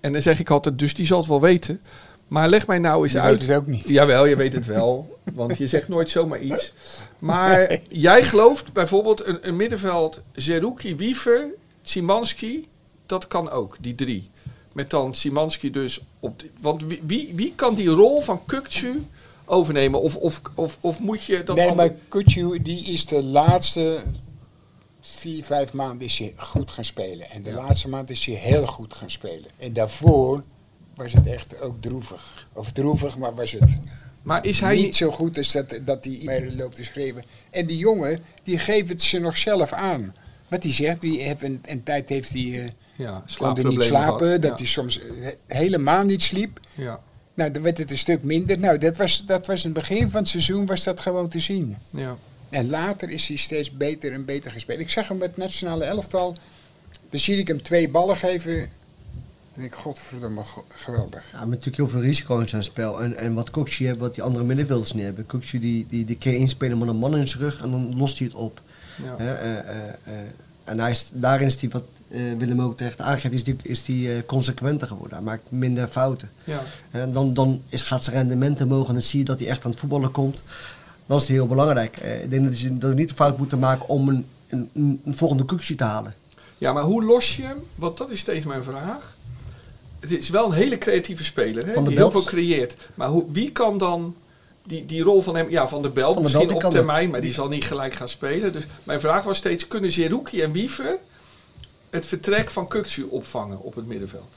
[SPEAKER 2] en dan zeg ik altijd, dus die zal het wel weten. Maar leg mij nou eens
[SPEAKER 1] Die
[SPEAKER 2] uit.
[SPEAKER 1] weet het ook niet.
[SPEAKER 2] Jawel, je weet het wel. Want je zegt nooit zomaar iets. Maar jij gelooft bijvoorbeeld een, een middenveld Zerouki, Wiever, Simanski. Dat kan ook, die drie. Met dan Simanski dus op... de- want wie, wie, wie kan die rol van Kukcu overnemen? Of, of, of, of moet je dat...
[SPEAKER 1] nee,
[SPEAKER 2] ander-
[SPEAKER 1] maar Kutju, die is de laatste vier, vijf maanden is hij goed gaan spelen. En de laatste maand is hij heel goed gaan spelen. En daarvoor was het echt ook droevig. Of droevig, maar was het
[SPEAKER 2] maar is hij
[SPEAKER 1] niet
[SPEAKER 2] niet...
[SPEAKER 1] zo goed als dat, dat hij maar loopt te schreeuwen. En die jongen, die geeft het ze nog zelf aan. Wat hij zegt, die heeft een, een tijd heeft hij... eh,
[SPEAKER 2] Ja,
[SPEAKER 1] kon hij
[SPEAKER 2] slaapproblemen
[SPEAKER 1] niet slapen,
[SPEAKER 2] gehad.
[SPEAKER 1] dat
[SPEAKER 2] ja,
[SPEAKER 1] hij soms eh, helemaal niet sliep.
[SPEAKER 2] Ja,
[SPEAKER 1] Nou, dan werd het een stuk minder. Nou, dat was, dat was in het begin van het seizoen was dat gewoon te zien.
[SPEAKER 2] ja.
[SPEAKER 1] En later is hij steeds beter en beter gespeeld. Ik zag hem met het nationale elftal. Dan zie ik hem twee ballen geven. En ik denk, godverdomme, go- geweldig.
[SPEAKER 5] Ja, met natuurlijk heel veel risico's aan het spel. En, en wat Koksje heeft, wat die andere middenvelders niet hebben. Koksje die, die, die keer inspelen met een man in zijn rug en dan lost hij het op.
[SPEAKER 2] Ja.
[SPEAKER 5] Hè, eh, eh, eh. en hij is, daarin is hij, wat eh, Willem ook terecht aangeeft, is hij is die, eh, consequenter geworden. Hij maakt minder fouten.
[SPEAKER 2] Ja.
[SPEAKER 5] En dan, dan is, gaat zijn rendement omhoog en dan zie je dat hij echt aan het voetballen komt. Dan is het heel belangrijk. Eh, ik denk dat je dat we niet de fout moeten maken om een, een, een- een volgende Koksje te halen.
[SPEAKER 2] Ja, maar hoe los je hem? Want dat is steeds mijn vraag. Het is wel een hele creatieve speler, hè?
[SPEAKER 5] Van der
[SPEAKER 2] die heel veel
[SPEAKER 5] Belt.
[SPEAKER 2] creëert. Maar hoe, wie kan dan die, die rol van hem... Ja, Van der Belt
[SPEAKER 5] Van der
[SPEAKER 2] misschien
[SPEAKER 5] Belt, die
[SPEAKER 2] op
[SPEAKER 5] kan
[SPEAKER 2] termijn, maar die zal niet gelijk gaan spelen. Dus mijn vraag was steeds, kunnen Zerouki en Wiever het vertrek van Kukcu opvangen op het middenveld?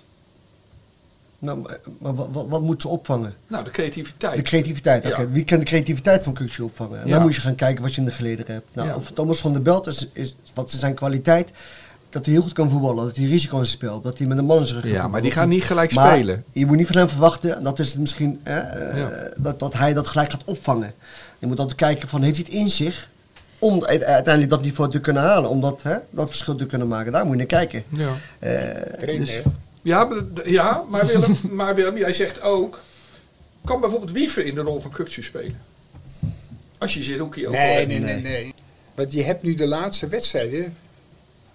[SPEAKER 5] Nou, maar maar wat, wat, wat moet ze opvangen?
[SPEAKER 2] Nou, de creativiteit.
[SPEAKER 5] De creativiteit, oké.
[SPEAKER 2] Ja.
[SPEAKER 5] Wie kan de creativiteit van Kukje opvangen? En
[SPEAKER 2] Ja.
[SPEAKER 5] dan moet je gaan kijken wat je in de geleden hebt. Nou,
[SPEAKER 2] Ja.
[SPEAKER 5] of Thomas van der Belt is, is wat is zijn kwaliteit. Dat hij heel goed kan voetballen, dat hij risico in het spel, dat hij met een man in zijn rug kan
[SPEAKER 2] Ja, maar
[SPEAKER 5] voetballen,
[SPEAKER 2] die
[SPEAKER 5] dat
[SPEAKER 2] gaan
[SPEAKER 5] hij-
[SPEAKER 2] niet gelijk
[SPEAKER 5] Maar
[SPEAKER 2] spelen.
[SPEAKER 5] Je moet niet van hem verwachten, en dat is het misschien, eh, eh,
[SPEAKER 2] Ja.
[SPEAKER 5] dat, dat hij dat gelijk gaat opvangen. Je moet altijd kijken van, heeft hij het in zich om u- uiteindelijk dat niveau te kunnen halen, om dat, hè, dat verschil te kunnen maken. Daar moet je naar kijken. Eh,
[SPEAKER 2] ja. dus
[SPEAKER 1] Trainer.
[SPEAKER 2] Ja, maar, d- ja maar, Willem, maar Willem, jij zegt ook... Kan bijvoorbeeld Wiever in de rol van Kukcu spelen? Als je Zerouki ook al
[SPEAKER 1] nee,
[SPEAKER 2] hebt.
[SPEAKER 1] nee, nee, nee. Want je hebt nu de laatste wedstrijden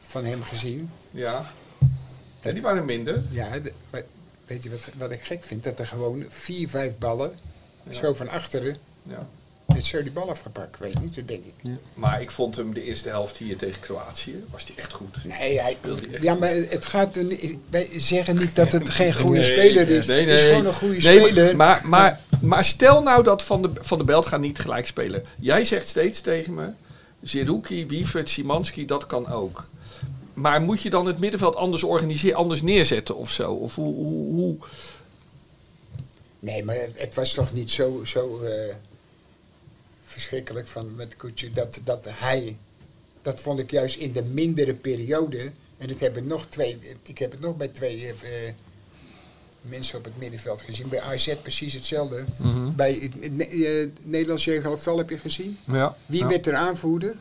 [SPEAKER 1] van hem gezien.
[SPEAKER 2] Ja. ja, die waren minder.
[SPEAKER 1] Ja, de- maar weet je wat, wat ik gek vind? Dat er gewoon vier, vijf ballen, zo van achteren,
[SPEAKER 2] Ja.
[SPEAKER 1] net zo die bal afgepakt. Weet je niet, dat denk ik.
[SPEAKER 2] Maar ik vond hem de eerste helft hier tegen Kroatië, was die echt goed.
[SPEAKER 1] Nee, hij,
[SPEAKER 2] Wil die echt
[SPEAKER 1] ja, maar het gaat er niet, wij zeggen niet dat het geen goede
[SPEAKER 2] Nee,
[SPEAKER 1] speler is.
[SPEAKER 2] nee,
[SPEAKER 1] Het is
[SPEAKER 2] nee.
[SPEAKER 1] gewoon een goede
[SPEAKER 2] Nee, maar-
[SPEAKER 1] speler.
[SPEAKER 2] Maar, maar, maar stel nou dat Van de, van de Belt gaat niet gelijk spelen. Jij zegt steeds tegen me, Zerouki, Wievert, Simanski, dat kan ook. Maar moet je dan het middenveld anders organiseren, anders neerzetten of zo? Of hoe, hoe, hoe-
[SPEAKER 1] Nee, maar het- het was toch niet zo, zo eh, verschrikkelijk van met Koetje dat, dat hij. Dat vond ik juist in de mindere periode. En het hebben nog twee, ik heb het nog bij twee eh, eh, mensen op het middenveld gezien. Bij AZ precies hetzelfde.
[SPEAKER 2] Mhm.
[SPEAKER 1] Bij het, het Ne- eh, het Nederlands jeugdhelftal heb je gezien.
[SPEAKER 2] Ja,
[SPEAKER 1] Wie
[SPEAKER 2] ja.
[SPEAKER 1] werd er aanvoerder?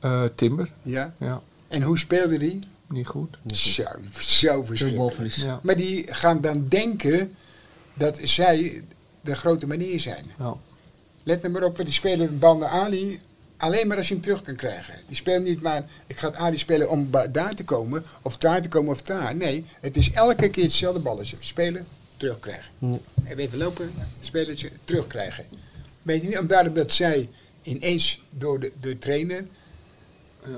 [SPEAKER 2] Eh, Timber,
[SPEAKER 1] Ja.
[SPEAKER 2] ja,
[SPEAKER 1] En hoe speelde die?
[SPEAKER 2] niet goed.
[SPEAKER 1] Zo, zo
[SPEAKER 5] Veel
[SPEAKER 1] verschrikkelijk.
[SPEAKER 5] balverlies.
[SPEAKER 2] Ja.
[SPEAKER 1] Maar die gaan dan denken dat zij de grote manier zijn.
[SPEAKER 2] Ja.
[SPEAKER 1] Let nou maar op, want die spelen Banda Ali alleen maar als je hem terug kan krijgen. Die spelen niet maar, ik ga Ali spelen om ba- daar te komen, of daar te komen, of daar. Nee, het is elke keer hetzelfde balletje. Spelen, terugkrijgen. Even lopen, spelletje, terugkrijgen. Weet je niet, omdat, omdat zij ineens door de, de trainer eh,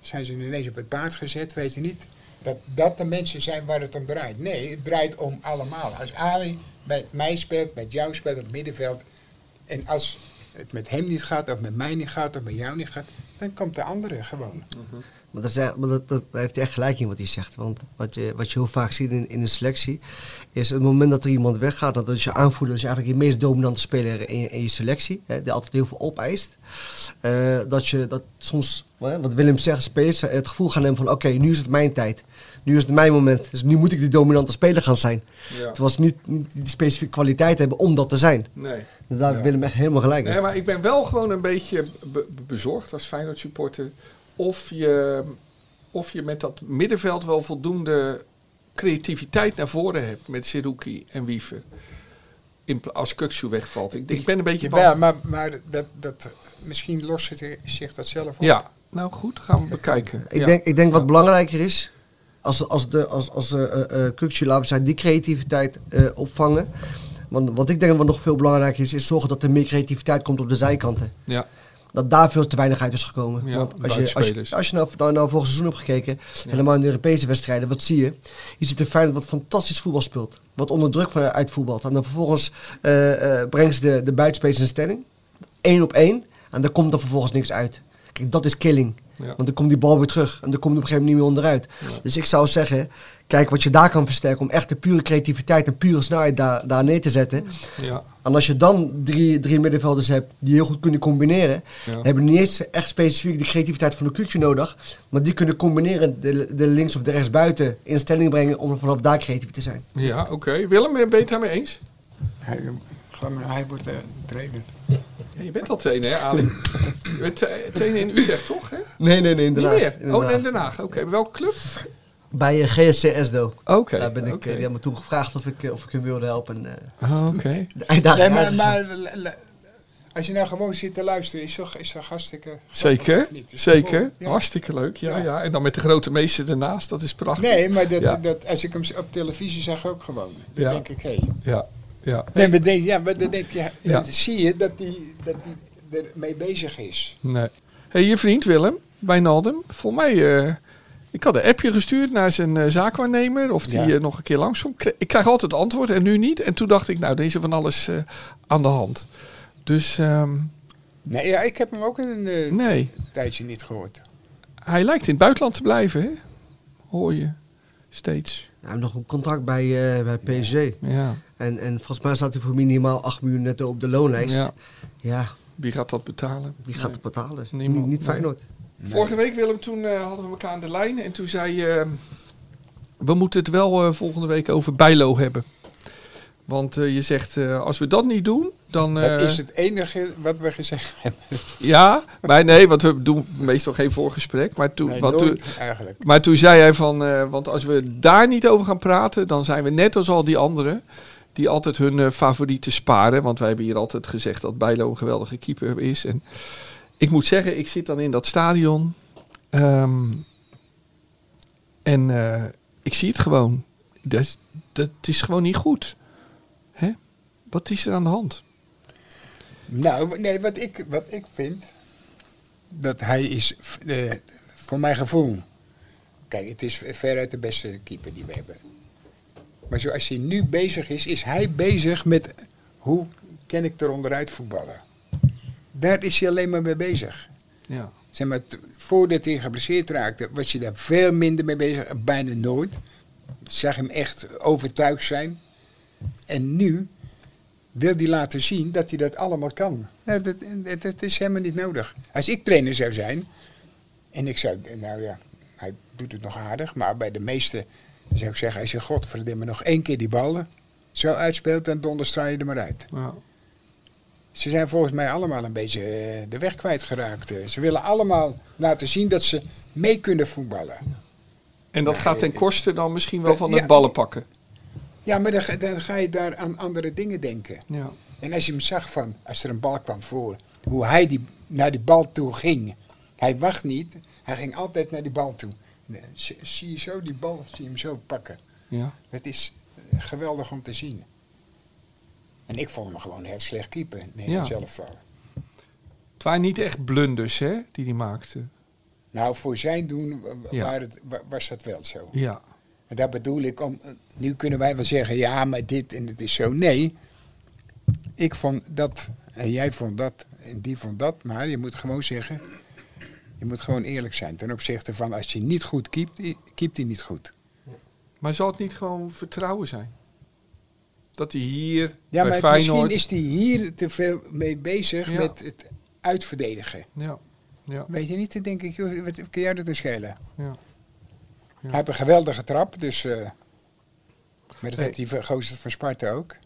[SPEAKER 1] zijn ze ineens op het paard gezet, weet je niet. Dat dat de mensen zijn waar het om draait. Nee, het draait om allemaal. Als Ali bij mij speelt, met jou speelt op het middenveld. En als het met hem niet gaat, of met mij niet gaat, of met jou niet gaat, dan komt de andere gewoon.
[SPEAKER 5] Maar, dat, is echt- maar dat, dat, daar heeft hij echt gelijk in wat hij zegt. Want wat je, wat je heel vaak ziet in, in een selectie, is het moment dat er iemand weggaat, dat is je aanvoerder, is eigenlijk je meest dominante speler in je, in je selectie, hè, die altijd heel veel opeist. Eh, dat je dat soms, hè, wat Willem zegt, spelers eh, het gevoel gaan hebben van oké, nu is het mijn tijd. Nu is het mijn moment. Dus nu moet ik die dominante speler gaan zijn.
[SPEAKER 2] Ja.
[SPEAKER 5] Terwijl ze niet, niet die specifieke kwaliteit hebben om dat te zijn.
[SPEAKER 2] Nee.
[SPEAKER 5] Dus daar heeft Willem echt helemaal gelijk. in.
[SPEAKER 2] Nee, maar ik ben wel gewoon een beetje be- be- bezorgd als Feyenoord supporter. Of je, of je met dat middenveld wel voldoende creativiteit naar voren hebt. Met Seruki en Wiever. In pla- als Kuksu wegvalt. Ik, ik ben een beetje bang.
[SPEAKER 1] Jawel, maar, maar dat, dat, misschien lost het zich dat zelf op.
[SPEAKER 2] Ja, nou goed, gaan we bekijken.
[SPEAKER 5] Ik,
[SPEAKER 2] Ja.
[SPEAKER 5] denk, ik denk wat belangrijker is, als, als, de, als, als eh, eh, eh, Kukçu, laten we zeggen, die creativiteit eh, opvangen. Want wat ik denk wat nog veel belangrijker is, is zorgen dat er meer creativiteit komt op de zijkanten.
[SPEAKER 2] Ja,
[SPEAKER 5] Dat daar veel te weinig uit is gekomen.
[SPEAKER 2] Ja,
[SPEAKER 5] Want als je, als je,
[SPEAKER 2] buitenspelers.
[SPEAKER 5] als je nou, nou, nou vorig seizoen hebt gekeken, helemaal in de Europese wedstrijden, wat zie je? Je ziet een Feyenoord wat fantastisch voetbal speelt. Wat onder druk van, uit voetbalt. En dan vervolgens eh eh, brengt ze de, de buitenspelers in stelling. Eén op één. En daar komt er vervolgens niks uit. Kijk, dat is killing.
[SPEAKER 2] ja.
[SPEAKER 5] Want dan komt die bal weer terug. En dan komt op een gegeven moment niet meer onderuit. Dus ik zou zeggen, kijk wat je daar kan versterken. Om echt de pure creativiteit en pure snelheid daar, daar neer te zetten.
[SPEAKER 2] ja.
[SPEAKER 5] En als je dan drie, drie middenvelders hebt die heel goed kunnen combineren.
[SPEAKER 2] Ja.
[SPEAKER 5] Dan hebben we niet eens echt specifiek de creativiteit van de kuutje nodig. Maar die kunnen combineren de, de links of de rechts buiten in stelling brengen. Om vanaf daar creatief te zijn.
[SPEAKER 2] Ja, oké. Willem, ben je het daarmee eens?
[SPEAKER 1] Hij, geloof me, hij wordt eh trainer.
[SPEAKER 2] Ja, je bent al trainer, hè, Ali? je bent eh, trainer in Utrecht, toch? Hè?
[SPEAKER 5] Nee, nee, nee.
[SPEAKER 2] Niet
[SPEAKER 5] Inderdaad.
[SPEAKER 2] meer. Oh, nee, in Den Haag. Oké, welke club?
[SPEAKER 5] Bij eh, GSC Esdo.
[SPEAKER 2] Oké.
[SPEAKER 5] daar ben ik, eh,
[SPEAKER 2] oké.
[SPEAKER 5] die hebben me toen gevraagd of ik, eh, of ik hem wilde helpen. En, eh,
[SPEAKER 2] Ah, oké.
[SPEAKER 5] de uitdaging
[SPEAKER 1] Nee, maar,
[SPEAKER 5] aangegaan.
[SPEAKER 1] maar la- la- als je nou gewoon zit te luisteren, is toch, is toch hartstikke. grappig,
[SPEAKER 2] Zeker,
[SPEAKER 1] of niet? Is toch
[SPEAKER 2] zeker.
[SPEAKER 1] mooi? Ja.
[SPEAKER 2] Hartstikke leuk. Ja, ja,
[SPEAKER 1] Ja.
[SPEAKER 2] En dan met de grote meester ernaast, dat is prachtig.
[SPEAKER 1] Nee, maar dat,
[SPEAKER 2] Ja.
[SPEAKER 1] dat, als ik hem op televisie zag ook gewoon. Dan
[SPEAKER 2] Ja.
[SPEAKER 1] denk ik, hé.
[SPEAKER 2] Ja, ja.
[SPEAKER 1] Nee, maar, denk- ja, maar dan denk je,
[SPEAKER 2] Ja.
[SPEAKER 1] dan zie je dat hij dat die ermee bezig is.
[SPEAKER 2] Nee. hey, je vriend Willem, Wijnaldum. Volgens mij, eh, ik had een appje gestuurd naar zijn eh, zaakwaarnemer. Of die
[SPEAKER 1] Ja.
[SPEAKER 2] eh, nog een keer langskomt. Kri- Ik krijg altijd antwoord en nu niet. En toen dacht ik, nou, deze van alles eh, aan de hand. Dus ehm,
[SPEAKER 1] Nee, ja, ik heb hem ook een eh,
[SPEAKER 2] nee,
[SPEAKER 1] tijdje niet gehoord.
[SPEAKER 2] hij lijkt in het buitenland te blijven, hè? Hoor je steeds.
[SPEAKER 5] Hij heeft nog een contract bij, eh, bij PSG.
[SPEAKER 2] Ja.
[SPEAKER 5] En, en volgens mij staat hij voor minimaal 8 miljoen netto op de loonlijst.
[SPEAKER 2] ja.
[SPEAKER 5] Ja,
[SPEAKER 2] Wie gaat dat betalen?
[SPEAKER 5] die gaat
[SPEAKER 2] Nee.
[SPEAKER 5] het betalen.
[SPEAKER 2] Niemand,
[SPEAKER 5] niet, niet
[SPEAKER 2] nee.
[SPEAKER 5] Feyenoord.
[SPEAKER 2] Vorige week, Willem, toen eh, hadden we elkaar aan de lijn. En toen zei je... eh, we moeten het wel eh, volgende week over Bijlo hebben. Want eh, je zegt, eh, als we dat niet doen, dan... eh,
[SPEAKER 1] dat is het enige wat we gezegd hebben.
[SPEAKER 2] Ja, maar nee, want we doen meestal geen voorgesprek. Maar toen,
[SPEAKER 1] Nee,
[SPEAKER 2] want toen,
[SPEAKER 1] nooit eigenlijk.
[SPEAKER 2] maar toen zei hij van... eh, want als we daar niet over gaan praten, dan zijn we net als al die anderen... die altijd hun eh, favorieten sparen. Want wij hebben hier altijd gezegd dat Bijlo een geweldige keeper is. En ik moet zeggen, ik zit dan in dat stadion... ehm, en eh, ik zie het gewoon. Dat, is- dat is gewoon niet goed. Hè? Wat is er aan de hand?
[SPEAKER 1] Nou, nee, wat ik, wat ik vind, dat hij is, v- eh, voor mijn gevoel, kijk, het is veruit de beste keeper die we hebben. Maar zoals hij nu bezig is, is hij bezig met hoe kan ik er onderuit voetballen. Daar is hij alleen maar mee bezig.
[SPEAKER 2] Ja.
[SPEAKER 1] Zeg maar, t- voordat hij geblesseerd raakte, was hij daar veel minder mee bezig, bijna nooit. Ik zag hem echt overtuigd zijn. En nu wil hij laten zien dat hij dat allemaal kan. Nou, dat, dat, dat is helemaal niet nodig. Als ik trainer zou zijn, en ik zou, nou ja, hij doet het nog aardig, maar bij de meeste zou ik zeggen, als je godverdomme nog één keer die bal zo uitspeelt, dan donderstraal je er maar uit.
[SPEAKER 2] Ja.
[SPEAKER 1] Ze zijn volgens mij allemaal een beetje eh, de weg kwijtgeraakt. Eh, Ze willen allemaal laten zien dat ze mee kunnen voetballen.
[SPEAKER 2] En dat gaat ten koste dan misschien wel
[SPEAKER 1] dat-
[SPEAKER 2] van het
[SPEAKER 1] ja.
[SPEAKER 2] ballen pakken.
[SPEAKER 1] Ja, maar dan, ga- dan ga je daar aan andere dingen denken.
[SPEAKER 2] Ja.
[SPEAKER 1] En als je hem zag van, als er een bal kwam voor, hoe hij die, naar die bal toe ging. Hij wacht niet, hij ging altijd naar die bal toe. Nee, z- Zie je zo die bal, zie je hem zo pakken.
[SPEAKER 2] Ja.
[SPEAKER 1] Dat is eh, geweldig om te zien. En ik vond hem gewoon heel slecht keeper. Nee,
[SPEAKER 2] Ja.
[SPEAKER 1] zelf wel.
[SPEAKER 2] Het waren niet echt blunders hè, die hij maakte.
[SPEAKER 1] Nou, voor zijn doen wa- wa-
[SPEAKER 2] Ja.
[SPEAKER 1] waren het, wa- was dat wel zo.
[SPEAKER 2] Ja,
[SPEAKER 1] En dat bedoel ik, om, nu kunnen wij wel zeggen, ja, maar dit en het is zo. Nee, ik vond dat, en jij vond dat, en die vond dat. Maar je moet gewoon zeggen, je moet gewoon eerlijk zijn. Ten opzichte van, als je niet goed keept, i- keept hij niet goed.
[SPEAKER 2] maar zal het niet gewoon vertrouwen zijn? Dat hij hier
[SPEAKER 1] Ja,
[SPEAKER 2] bij
[SPEAKER 1] maar
[SPEAKER 2] Feyenoord...
[SPEAKER 1] misschien is hij hier te veel mee bezig
[SPEAKER 2] Ja.
[SPEAKER 1] met het uitverdedigen.
[SPEAKER 2] Ja, ja,
[SPEAKER 1] Weet je niet, dan denk ik, joh, wat kun jij dat nou schelen?
[SPEAKER 2] ja.
[SPEAKER 1] Hij heeft een geweldige trap, dus... eh, maar dat
[SPEAKER 2] Nee.
[SPEAKER 1] heeft die ver- gozer van Sparta ook,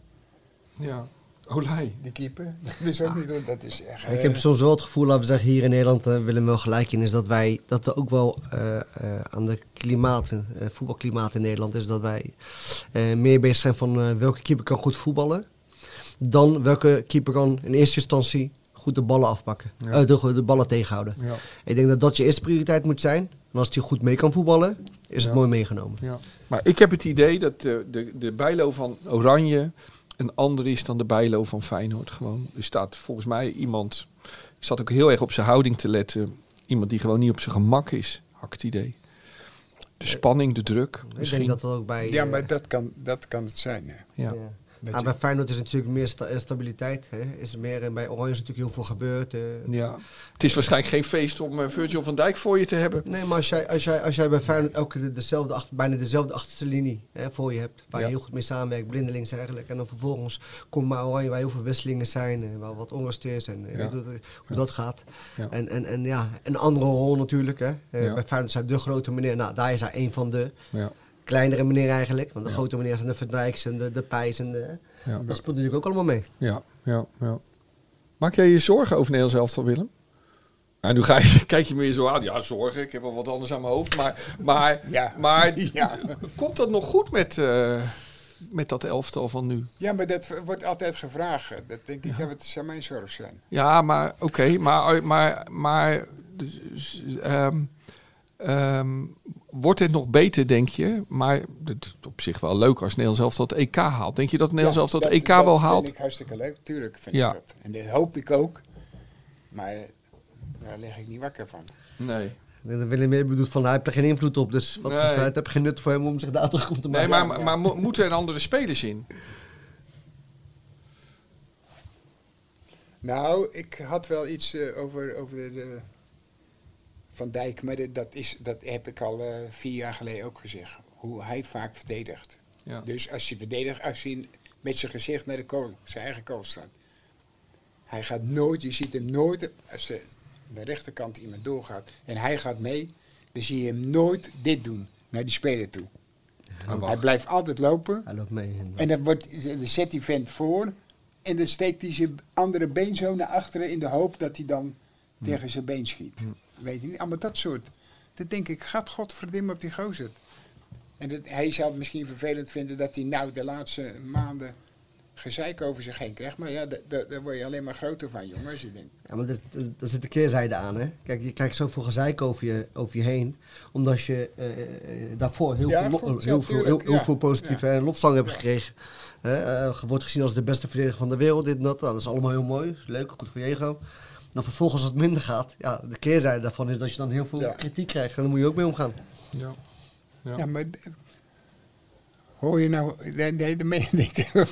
[SPEAKER 2] ja. Olij.
[SPEAKER 1] die keeper. Dat
[SPEAKER 2] Ah.
[SPEAKER 1] is ook niet, hoor, dat is echt...
[SPEAKER 5] Ik
[SPEAKER 1] eh,
[SPEAKER 5] heb soms wel het gevoel, laten we zeggen, hier in Nederland eh, willen we wel gelijk in, is dat wij, dat er ook wel eh, eh, aan de klimaten, eh, voetbalklimaat in Nederland is, dat wij eh, meer bezig zijn van eh, welke keeper kan goed voetballen, dan welke keeper kan in eerste instantie goed de ballen afpakken,
[SPEAKER 2] Ja.
[SPEAKER 5] Eh, de, de ballen tegenhouden.
[SPEAKER 2] Ja,
[SPEAKER 5] Ik denk dat dat je eerste prioriteit moet zijn. En als hij goed mee kan voetballen, is
[SPEAKER 2] Ja.
[SPEAKER 5] het mooi meegenomen.
[SPEAKER 2] ja. Maar ik heb het idee dat de, de, de bijlo van Oranje een ander is dan de bijlo van Feyenoord. Gewoon. Er staat volgens mij iemand... Ik zat ook heel erg op zijn houding te letten. Iemand die gewoon niet op zijn gemak is, had ik het idee. De spanning, de druk.
[SPEAKER 5] Ik
[SPEAKER 2] Misschien.
[SPEAKER 5] denk dat dat ook bij...
[SPEAKER 1] Ja,
[SPEAKER 5] eh,
[SPEAKER 1] maar dat kan, dat kan het zijn. Hè.
[SPEAKER 2] ja.
[SPEAKER 5] ja.
[SPEAKER 1] Weet
[SPEAKER 2] Ah,
[SPEAKER 5] Maar
[SPEAKER 1] je.
[SPEAKER 5] bij Feyenoord is natuurlijk meer sta- eh, stabiliteit. Hè? Is er meer, en bij Oranje is natuurlijk heel veel gebeurd. eh.
[SPEAKER 2] Ja. Het is waarschijnlijk geen feest om eh, Virgil van Dijk voor je te hebben.
[SPEAKER 5] Nee, maar als jij, als jij, als jij bij Feyenoord elke keer dezelfde, achter- bijna dezelfde achterste linie hè, voor je hebt, waar
[SPEAKER 2] Ja.
[SPEAKER 5] je heel goed mee samenwerkt, blindelings eigenlijk, en dan vervolgens komt maar Oranje waar heel veel wisselingen zijn, en waar wat onrust is en je
[SPEAKER 2] Ja.
[SPEAKER 5] weet hoe, dat- hoe dat gaat.
[SPEAKER 2] Ja.
[SPEAKER 5] En, en, en ja, een andere rol natuurlijk. Hè. Eh,
[SPEAKER 2] Ja.
[SPEAKER 5] Bij Feyenoord zijn de grote meneer, nou daar is hij een van de
[SPEAKER 2] Ja.
[SPEAKER 5] kleinere meneer eigenlijk, want de
[SPEAKER 2] Ja.
[SPEAKER 5] grote meneer zijn de Van Dijks en de, de Pijs en de... hè.
[SPEAKER 2] Ja.
[SPEAKER 5] Dat speelt natuurlijk ook allemaal mee.
[SPEAKER 2] Ja, ja, ja. Maak jij je zorgen over Nederlands elftal, Willem? Nou, nu ga je, kijk je meer zo aan. Ja, zorgen. Ik heb wel wat anders aan mijn hoofd. Maar, maar,
[SPEAKER 1] Ja.
[SPEAKER 2] maar
[SPEAKER 1] Ja.
[SPEAKER 2] komt dat nog goed met, eh, met dat elftal van nu?
[SPEAKER 1] Ja, maar dat v- wordt altijd gevraagd. hè. Dat denk ik, ja, wat zou mijn zorg zijn?
[SPEAKER 2] Ja, maar oké. maar, maar, maar dus, dus, ehm, ehm, wordt het nog beter, denk je? Maar het is op zich wel leuk als Nederlands elftal het EK haalt. Denk je dat Nederlands elftal het EK wel
[SPEAKER 1] Dat
[SPEAKER 2] haalt?
[SPEAKER 1] vind ik hartstikke leuk, tuurlijk vind
[SPEAKER 2] Ja.
[SPEAKER 1] ik dat. En dat hoop ik ook. Maar eh, daar lig ik niet wakker van.
[SPEAKER 2] Nee.
[SPEAKER 5] Ik denk dat Willem meer bedoelt van, hij heeft er geen invloed op, dus wat
[SPEAKER 2] Nee.
[SPEAKER 5] hij heeft geen nut voor hem om zich daar druk om te
[SPEAKER 2] Nee,
[SPEAKER 5] maken.
[SPEAKER 2] maar, maar, mo- moeten er andere spelers in?
[SPEAKER 1] Nou, ik had wel iets eh, over, over de Van Dijk, maar dit- dat, is, dat heb ik al eh, vier jaar geleden ook gezegd. Hoe hij vaak verdedigt.
[SPEAKER 2] Ja.
[SPEAKER 1] Dus als hij verdedigt, als hij met zijn gezicht naar de kool, zijn eigen kool staat. Hij gaat nooit, je ziet hem nooit, als de, de rechterkant iemand doorgaat en hij gaat mee, dan zie je hem nooit dit doen naar die speler toe.
[SPEAKER 2] Maar wacht.
[SPEAKER 1] Hij blijft altijd lopen
[SPEAKER 5] Hij loopt mee. En
[SPEAKER 1] en dan, wordt, dan zet die vent voor en dan steekt hij zijn andere been zo naar achteren in de hoop dat hij dan tegen zijn been schiet. Weet je niet, allemaal dat soort. Dat denk ik, gaat godverdomme op die gozer. En dat, hij zou het misschien vervelend vinden dat hij nou de laatste maanden gezeik over zich heen krijgt. Maar ja, da- da- daar word je alleen maar groter van, jongen. Als je denkt.
[SPEAKER 5] Ja, maar er, er- er zit een keerzijde aan, hè? Kijk, je krijgt zoveel gezeik over je, over je heen. Omdat je eh, eh, daarvoor heel,
[SPEAKER 1] Ja,
[SPEAKER 5] veel, mo-
[SPEAKER 1] goed, ja,
[SPEAKER 5] heel, veel, heel,
[SPEAKER 1] tuurlijk,
[SPEAKER 5] heel
[SPEAKER 1] ja.
[SPEAKER 5] veel positieve eh, lofzang hebt gekregen. Hè, eh, je wordt gezien als de beste verdediger van de wereld, dit en dat. Nou, Dat is allemaal heel mooi, is leuk, goed voor je ego. Dan vervolgens als het minder gaat, ja, de keerzijde daarvan is dat je dan heel veel
[SPEAKER 1] Ja.
[SPEAKER 5] kritiek krijgt. En daar moet je ook mee omgaan.
[SPEAKER 2] Ja. Ja.
[SPEAKER 1] Ja, maar d- hoor je nou, nee, nee, dat meen ik.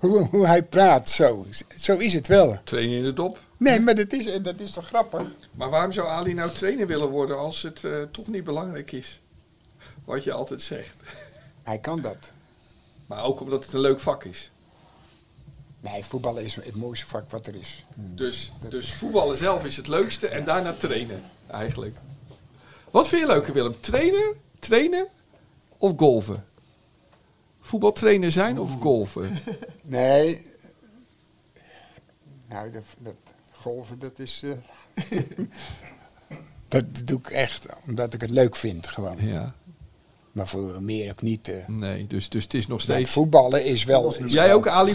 [SPEAKER 1] hoe, hoe hij praat, zo. Zo is het wel.
[SPEAKER 2] Trainen in de dop.
[SPEAKER 1] Nee, maar dat is, dat is toch grappig?
[SPEAKER 2] Maar waarom zou Ali nou trainer willen worden als het eh, toch niet belangrijk is? Wat je altijd zegt.
[SPEAKER 1] Hij kan dat.
[SPEAKER 2] Maar ook omdat het een leuk vak is.
[SPEAKER 1] Nee, voetballen is het mooiste vak wat er is.
[SPEAKER 2] Dus, dus voetballen zelf is het leukste en daarna trainen eigenlijk. Wat vind je leuker Willem? Trainen, trainen of golven? Voetbaltrainer zijn of golven?
[SPEAKER 1] Nee. Nou, dat, dat golven, dat is. eh, dat doe ik echt omdat ik het leuk vind, gewoon.
[SPEAKER 2] Ja.
[SPEAKER 1] Maar voor meer ook niet. eh.
[SPEAKER 2] Nee, dus, dus het is nog
[SPEAKER 1] Maar het
[SPEAKER 2] steeds...
[SPEAKER 1] voetballen is wel... is
[SPEAKER 2] Jij
[SPEAKER 1] wel-
[SPEAKER 2] ook, Ali,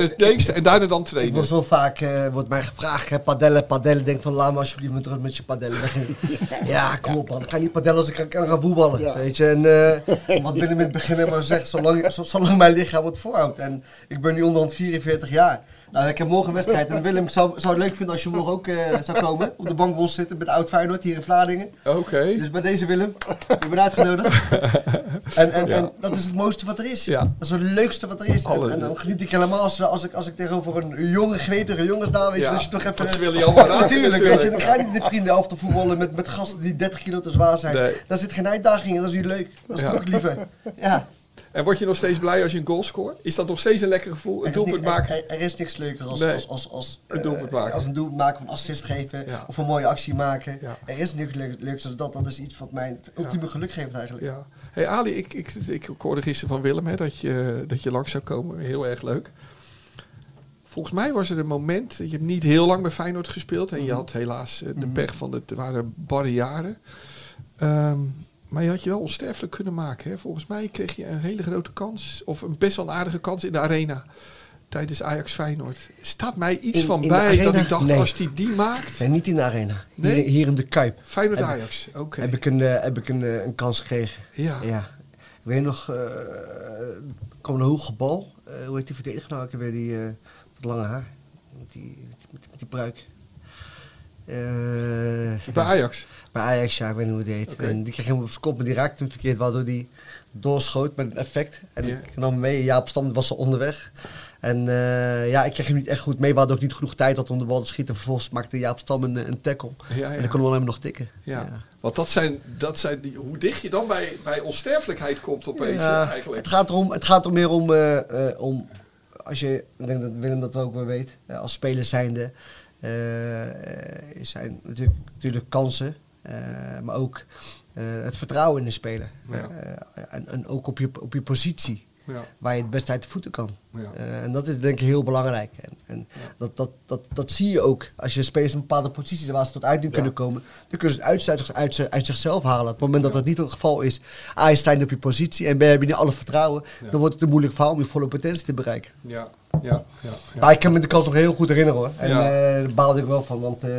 [SPEAKER 2] is het leukste en daarna dan
[SPEAKER 5] Ik word
[SPEAKER 2] trainen.
[SPEAKER 5] zo vaak, eh, wordt mij gevraagd, hè, padellen, padellen. Denk van, laat me alsjeblieft met rust met je padellen. ja, kom op man. Ik ga niet padellen als ik kan, kan gaan voetballen.
[SPEAKER 1] Ja.
[SPEAKER 5] Weet je, en eh, wat binnen met beginnen maar zegt, zolang, zo- zolang mijn lichaam het voorhoudt. En ik ben nu onderhand 44 jaar. Nou, ik heb morgen een wedstrijd. En Willem, ik zou, zou het leuk vinden als je morgen ook eh, zou komen. Op de bank wil zitten met oud Feyenoord hier in Vlaardingen.
[SPEAKER 2] Oké.
[SPEAKER 5] Dus bij deze Willem, je bent uitgenodigd. En, en, en dat is het mooiste wat er is.
[SPEAKER 2] Ja.
[SPEAKER 5] Dat is het leukste wat er is. En,
[SPEAKER 2] Alle-
[SPEAKER 5] en dan geniet ik helemaal als, als, ik, als ik tegenover een jonge, gretige jongen sta. Weet je,
[SPEAKER 2] Ja,
[SPEAKER 5] dat je toch even...
[SPEAKER 2] dat ze willen je allemaal raken
[SPEAKER 5] Natuurlijk, weet je.
[SPEAKER 2] natuurlijk.
[SPEAKER 5] Dan ga je niet in de vriendenhelft te voetballen met, met gasten die 30 kilo te zwaar zijn.
[SPEAKER 2] Nee.
[SPEAKER 5] Daar zit geen uitdaging in. Dat is niet leuk. Dat is
[SPEAKER 2] Ja.
[SPEAKER 5] toch ook liever. Ja.
[SPEAKER 2] En word je nog steeds blij als je een goal scoort? Is dat nog steeds een lekker gevoel? Een
[SPEAKER 5] Er is
[SPEAKER 2] doelpunt
[SPEAKER 5] ni- er-
[SPEAKER 2] maken?
[SPEAKER 5] Er, er is niks leuker als,
[SPEAKER 2] Nee.
[SPEAKER 5] als, als, als,
[SPEAKER 2] Een
[SPEAKER 5] eh,
[SPEAKER 2] doelpunt maken.
[SPEAKER 5] als een doelpunt maken of een assist geven
[SPEAKER 2] Ja.
[SPEAKER 5] of een mooie actie maken.
[SPEAKER 2] Ja.
[SPEAKER 5] Er is niks leuk- leuks dan dat. Dat is iets wat mij het ultieme geluk geeft eigenlijk.
[SPEAKER 2] Ja. hey Ali, ik, ik, ik hoorde gisteren van Willem hè, dat, je, dat je langs zou komen. Heel erg leuk. Volgens mij was er een moment, je hebt niet heel lang bij Feyenoord gespeeld. En je
[SPEAKER 5] Mhm.
[SPEAKER 2] had helaas eh, de pech van, het waren barre jaren. Ehm, maar je had je wel onsterfelijk kunnen maken. Hè? Volgens mij kreeg je een hele grote kans, of een best wel een aardige kans in de arena. Tijdens Ajax Feyenoord. Staat mij iets
[SPEAKER 5] In-
[SPEAKER 2] van
[SPEAKER 5] in de
[SPEAKER 2] bij dat
[SPEAKER 5] arena?
[SPEAKER 2] ik dacht,
[SPEAKER 5] Nee.
[SPEAKER 2] als die die maakt.
[SPEAKER 5] Nee, niet in de arena.
[SPEAKER 2] Nee?
[SPEAKER 5] Hier, hier in de Kuip.
[SPEAKER 2] Feyenoord
[SPEAKER 5] Heb-
[SPEAKER 2] Ajax, oké.
[SPEAKER 5] Heb ik, een, eh, heb ik een, eh, een kans gekregen.
[SPEAKER 2] Ja.
[SPEAKER 5] Ja. Ik weet nog, eh kwam een hoge bal. Eh, hoe heet die verdediger nou? Ik weet die eh, met lange haar. Met die, met die, met die, met die pruik. Eh,
[SPEAKER 2] Bij Ajax.
[SPEAKER 5] bij Ajax, ja, ik weet niet hoe het heet.
[SPEAKER 2] Oké.
[SPEAKER 5] En die kreeg hem op zijn kop, maar die raakte hem verkeerd, waardoor die doorschoot met een effect. En
[SPEAKER 2] Ja.
[SPEAKER 5] ik nam hem mee, Jaap Stam was al onderweg. En eh, ja, ik kreeg hem niet echt goed mee, waardoor ik niet genoeg tijd had om de bal te schieten. Vervolgens maakte Jaap Stam een, eh, een tackle.
[SPEAKER 2] Ja,
[SPEAKER 5] En
[SPEAKER 2] ja.
[SPEAKER 5] ik kon hem alleen maar nog tikken.
[SPEAKER 2] Ja. Want dat zijn, dat zijn die, hoe dicht je dan bij, bij onsterfelijkheid komt opeens
[SPEAKER 5] Ja,
[SPEAKER 2] hè, eigenlijk.
[SPEAKER 5] Het gaat, erom, het gaat er meer om, eh, eh, om als je, ik denk dat Willem dat ook wel weet, eh, als speler zijnde, eh, eh, zijn natuurlijk, natuurlijk kansen, eh, maar ook eh, het vertrouwen in de speler.
[SPEAKER 2] Ja.
[SPEAKER 5] Eh, en, en ook op je, op je positie,
[SPEAKER 2] Ja.
[SPEAKER 5] waar je het best uit de voeten kan.
[SPEAKER 2] Ja.
[SPEAKER 5] Eh, en dat is denk ik heel belangrijk. En, en dat, dat, dat, dat zie je ook. Als je spelers in bepaalde posities waar ze tot uiting kunnen komen, dan kunnen ze het uit, zich- uit, zich- uit zichzelf halen. Op het moment dat dat niet het geval is, A, je staat niet op je positie en B, heb je niet alle vertrouwen,
[SPEAKER 2] Ja.
[SPEAKER 5] dan wordt het een moeilijk verhaal om je volle potentie te bereiken.
[SPEAKER 2] Ja, ja, ja. ja.
[SPEAKER 5] Maar ik kan me de kans nog heel goed herinneren hoor. En
[SPEAKER 2] Ja.
[SPEAKER 5] eh, daar baalde ik wel van, want eh,